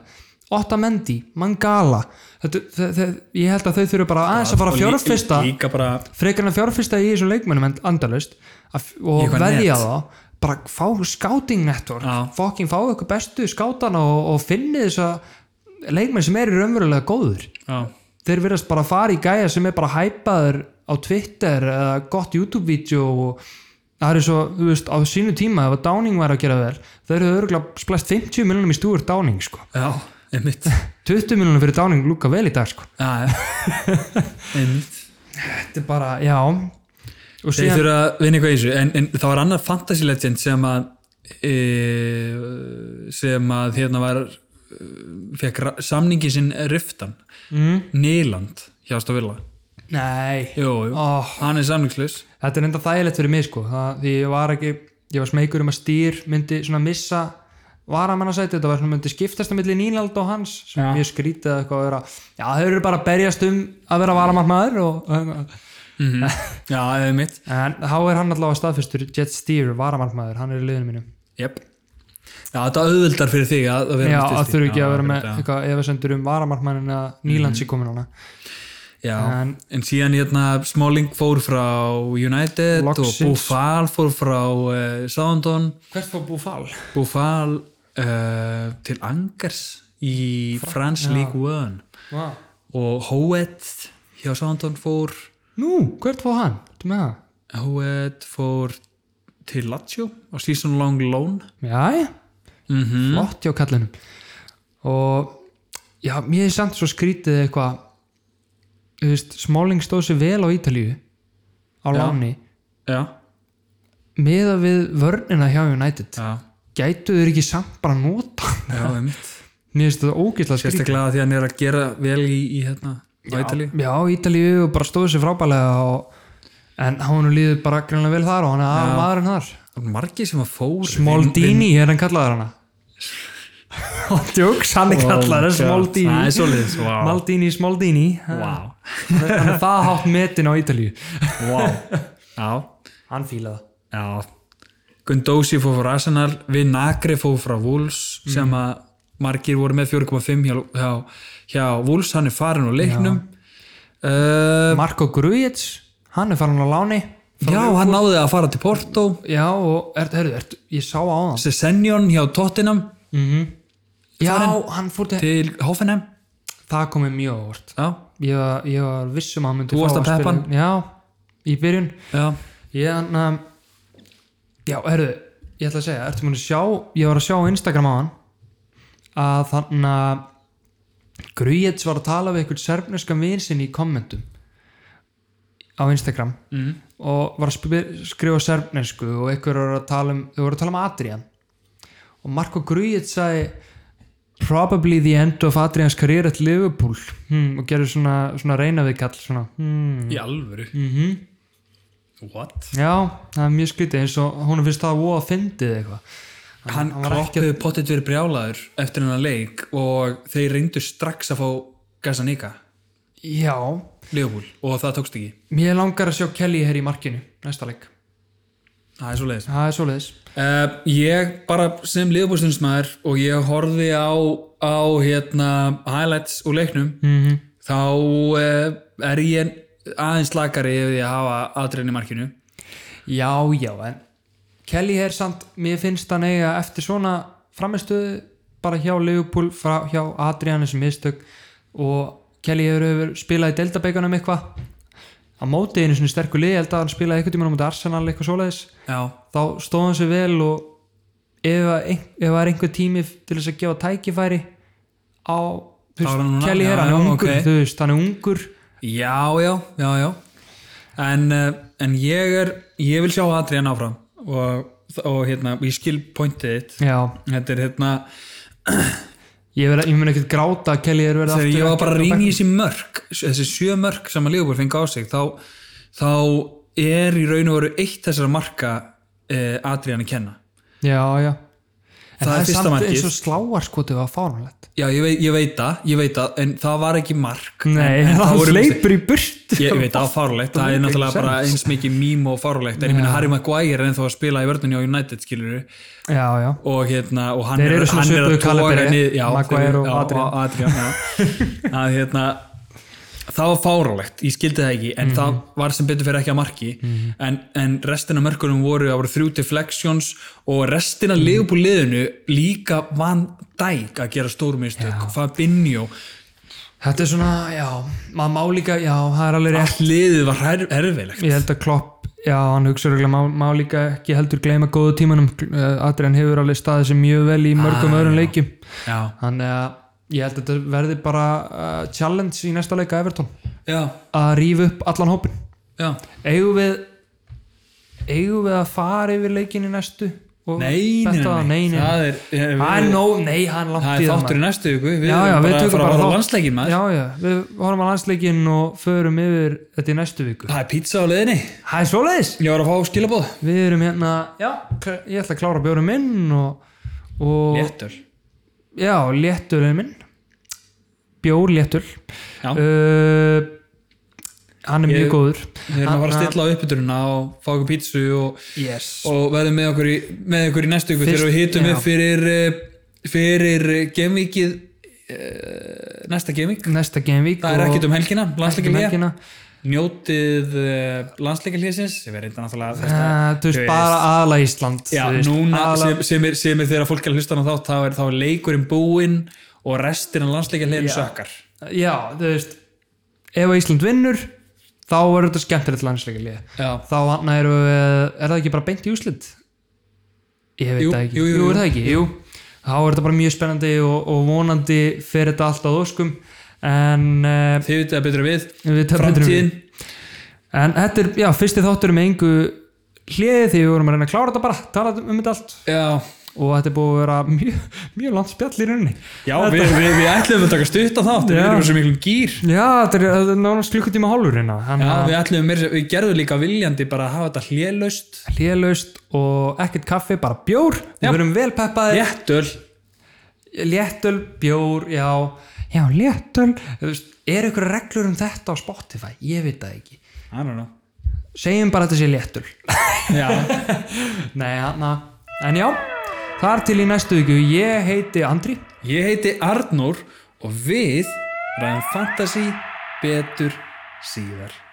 S2: Otamendi, Mangala þetta, þe þe ég held að þau þurfu bara aðeins að fara að
S1: Og lí-
S2: fjárfesta
S1: líka bara,
S2: frekar en að fjárfesta í þessum leikmönnum en- endalaust að- og
S1: eitthvað net.
S2: veðja þá bara fá scouting network
S1: Já.
S2: fokkin fá ykkur bestu skátana og, og finni þess að leikmenn sem eru raunverulega góður
S1: já,
S2: þeir verðast bara að fara í gæja sem er bara hæpaður á Twitter eða gott YouTube-vídeó og það er svo, þú veist, á sínu tíma ef að Downing var að gera vel, það eru örgulega splest 50 miljonum í stúr Downing sko.
S1: já, einmitt
S2: 20 miljonum fyrir Downing lúka vel í dag sko.
S1: já, já. einmitt
S2: þetta er bara, já og
S1: þeir
S2: síðan,
S1: þurfa að vinna eitthvað í þessu en, en það var annar fantasy legend sem að e, sem að hérna var fekk samningi sinn riftan mm. Nýland hjá Stavilla
S2: nei
S1: jú, jú.
S2: Ó.
S1: hann er samningslaus
S2: þetta er enda þægilegt fyrir mig sko það, því ég var ekki, ég var smeykur um að stýr myndi svona missa varamannasæti, þetta var svona myndi skiptast að milli Nýlald og hans, sem
S1: Já.
S2: ég skrítið eða eitthvað að vera, já þau eru bara að berjast um að vera varamannmaður og
S1: já, eða mitt
S2: en þá er hann allavega staðfyrstur Jet Steer, varamannmaður, hann er í liðinu mínu
S1: yep. já, þetta auðvildar fyrir þig að, að vera
S2: já,
S1: með
S2: það
S1: stilti.
S2: þurfi ekki að vera með
S1: já.
S2: eitthvað efasendur um varamannmannin að Nýland sé komin hana
S1: Já, en,
S2: En-
S1: síðan hérna Smalling fór frá United
S2: Loksins.
S1: og Bufal fór frá uh, Southampton
S2: hvert fór Búfal?
S1: Bufal uh, til Angers í France League One
S2: Wow.
S1: og Hoet hjá Southampton fór
S2: nú, hvert fór hann? Þú með það?
S1: Hoet fór til Lazio á season long loan
S2: Jæja, flott hjá kallinum og já, mér er samt svo skrítið eitthvað þú veist, Smáling stóð sér vel á Ítalíu
S1: Já.
S2: á láni
S1: já,
S2: meða við vörnina hjá United
S1: já,
S2: gætu þeir ekki samt bara nota hann?
S1: já, einmitt
S2: mér finnst þetta ógeðslega skrítið
S1: sérstaklega því að hann er að gera vel í, í hérna, Vætali
S2: já, Ítalíu og bara stóðu sér frábælega og, en hann líður bara greinlega vel þar og hann er aðal maðurinn þar
S1: margir sem að fór
S2: Smaldini er hann kallaður hana Jóks, hann er
S1: Oh,
S2: kallaður Smaldini
S1: það er svolítið wow.
S2: Maldini Smaldini
S1: Wow.
S2: hann er það hátt metin á Ítalíu
S1: Wow. já
S2: hann fílaði
S1: Já Gundósi fór frá Arsenal við Nagri fór frá Wolves sem að margir voru með 4,5 hjá, hjá, hjá Wolves, hann er farin á leiknum uh,
S2: það Marko Grujic, hann er farin á láni
S1: Já, hann náði að fara til Porto
S2: já og er, heru, er, ég sá á hann
S1: Sessenjón hjá Tottenham
S2: já, hann fór til
S1: til Hoffenheim
S2: það komið mjög ávart
S1: Já,
S2: ég var, ég var viss um að hann myndi
S1: Þú varst
S2: fá
S1: að peppa
S2: spila- já, í byrjun
S1: já,
S2: ég hann um, já, heru, ég ætla að segja, ertu múin að sjá ég var að sjá á Instagram á hann að þannig að Grujic var að tala við einhvern serbneskan vin sinni í kommentum á Instagram mm. og var að sp- skrifa serbnesku og einhver var að tala um þau voru að tala um Adrian og Marko Grujic sagði probably the end of Adrians career at Liverpool hmm, og gerði svona, svona reyna við kall svona hmm,
S1: í alvöru mm -hmm. What?
S2: Já, það er mjög skrítið eins og hún finnst það að voða að fyndið eitthvað
S1: Hann
S2: Hann var ekki
S1: kloppuði pottet verið brjálaður eftir hennar leik og þeir reyndu strax að fá Gazanika,
S2: Já,
S1: Leopold og það tókst ekki
S2: mér langar að sjá Kelly hér í markinu næsta leik,
S1: Það er svo leiðis
S2: það er svoleiðis
S1: Uh, ég bara sem liðbúrstunnsmaður og ég horfi á, á hérna, highlights úr leiknum -hmm. þá uh, er ég aðeins slakari ef ég hafa aðdrein í markinu
S2: Já, já, en Kelly hér samt, mér finnst hann eiga eftir svona framistuð bara hjá Liverpool, frá, hjá Adrian sem mistök og Kelly hefur, hefur spilað í Deltabeikunum eitthvað á móti einu svona sterku lið, ég held að hann spilaði eitthvað tímann á móti Arsenal eitthvað svoleiðis
S1: Já,
S2: þá stóð hann sér vel og ef, að ein- ef það er einhver tími til þess að gefa tækifæri á
S1: Þá
S2: þú
S1: er hann núna,
S2: veist, Kelly
S1: já,
S2: er, hann
S1: já,
S2: er ungur
S1: ok.
S2: þú veist, hann er ungur
S1: já, já, já, já. En, uh, en ég er ég vil sjá aðdrein áfram og, og hérna, ég skil pointið þitt
S2: já,
S1: þetta er hérna,
S2: ég, ver, ég mun ekkert gráta að Kelly er verið
S1: þegar
S2: aftur
S1: ég var bara að
S2: á
S1: rýna í
S2: bekknum.
S1: þessi mörk þessi sjö mörk sem að Leopold fengi á sig þá, þá er í raun og veru eitt þessara marka eh, Adrian að kenna
S2: já, já en
S1: Það
S2: það,
S1: er
S2: er
S1: fyrsta
S2: samt
S1: markið.
S2: eins og sláarskotið var fáránlegt
S1: já, ég, veit, ég veit það, ég veit það en það var ekki mark
S2: nei,
S1: en, en það
S2: hann
S1: voru-
S2: hleypur í burt
S1: ég, ég veit það, fárlegt, það er
S2: Make
S1: náttúrulega bara
S2: sense.
S1: eins mikið mím og fárlegt en ég minna Harry Maguire er ennþá að spila í vörnunni á United skilur
S2: já, já,
S1: og hérna og hann
S2: Þeir
S1: er,
S2: eru svona
S1: hann er að
S2: svipuðu kaliberi,
S1: niður- já,
S2: Maguire
S1: þeir eru-
S2: og
S1: já,
S2: Adrian.
S1: Adrian já. að hérna það var fárálegt, ég skildi það ekki en
S2: Mhm.
S1: það var sem betur fyrir ekki að marki en, en restina mörkunum voru, það voru þrjú deflections og restina
S2: Mhm.
S1: mm liðinu líka vann dæk að gera stórmistök Fabinho,
S2: þetta er svona já, maður má líka, já, það er alveg rétt
S1: allt liðið var herfilegt
S2: ég held að Klopp Já, hann hugsa röglega, má, má líka ekki heldur gleyma góðu tímanum, Eh, Adrian hefur alveg staðið sér mjög vel í mörgum
S1: Ah,
S2: öðrum
S1: já.
S2: leikjum
S1: já,
S2: þannig að ég held að þetta verði bara uh, challenge í næsta leika Everton
S1: já,
S2: að rífa upp allan hópin
S1: já.
S2: eigum við eigum við að fara yfir leikin í næstu og
S1: Nei, nei,
S2: þetta-
S1: nei,
S2: nei, nei.
S1: það er, ég, við,
S2: það er nóg, nei, hann langt
S1: það
S2: í
S1: er
S2: það,
S1: þáttur í
S2: maður.
S1: næstu viku við
S2: Já, já,
S1: erum
S2: við
S1: bara að
S2: tökum
S1: fara að
S2: bara
S1: horfa á
S2: þátt.
S1: landsleikin maður
S2: já, já, við horfum á landsleikin og förum yfir þetta í næstu viku
S1: það er pizza á leiðinni
S2: það er svoleiðis
S1: ég var að fá skilabóð
S2: við erum hérna, já, kl- ég ætla að klára bjórum minn og, og
S1: léttur
S2: já, létturinn minn bjór léttur
S1: Já.
S2: uh, hann er
S1: Ég-
S2: mjög góður
S1: Við erum að fara að
S2: Hann-
S1: stilla á uppbyturuna og fá okkur pítsu og,
S2: yes.
S1: og verðum með okkur í, með okkur í næstu ykkur
S2: Fyrst-
S1: þegar við hittum
S2: já.
S1: við fyrir, eh, fyrir gemvikið næsta gemvik.
S2: næsta genvík
S1: Það er ekkert um helgina, landsleikalíða.
S2: Mm. helgina
S1: Njótið landsleikalíðsins sem er reynda náttúrulega þetta-
S2: Uh, þú veist, bara aðla Ísland
S1: Já,
S2: þú veist,
S1: núna
S2: aðla-
S1: sem, sem, er, sem er þegar fólk er að hlusta á þátt þá er, þá er leikurinn búinn og restin af landsleikalíðin
S2: Já.
S1: sökkar.
S2: Já, þú veist ef að Ísland vinnur þá verður þetta skemmtilegt landsleikalið
S1: Já.
S2: þá hann er, er það ekki bara beint í úslit ég veit
S1: Jú,
S2: það ekki
S1: jú, jú,
S2: jú, er
S1: jú.
S2: það ekki, jú þá er þetta bara mjög spennandi og, og vonandi fer þetta allt á óskum en uh,
S1: Þið vitið að betra við.
S2: Við tefnum betur en
S1: Framtíðin.
S2: við. en þetta er, já, fyrsti þáttur með engu hliði því við vorum að reyna að klára þetta bara tala um þetta allt
S1: Já,
S2: og þetta er búið að vera mjög, mjög langt spjall í rauninni
S1: Já við, við, við ætlum að taka stutt á þátt en við
S2: Já.
S1: erum svo miklum gýr.
S2: Já, þetta er, þetta er nánast klukkutíma hálfur hérna
S1: Já,
S2: þannig að
S1: við ætlum mér, við gerðum líka viljandi bara að hafa þetta hljelaust
S2: hlélaust og ekkert kaffi, bara bjór
S1: Já.
S2: við verum vel peppaði,
S1: réttul
S2: léttöl, bjór já, já, léttöl Þú veist, er ykkur reglur um þetta á Spotify ég veit það ekki,
S1: I don't know
S2: segjum bara að þetta sé léttöl
S1: Já,
S2: nei, hann að en já, þar til í næstu viku ég heiti Andri
S1: ég heiti Arnór og við ræðum fantasy betur síðar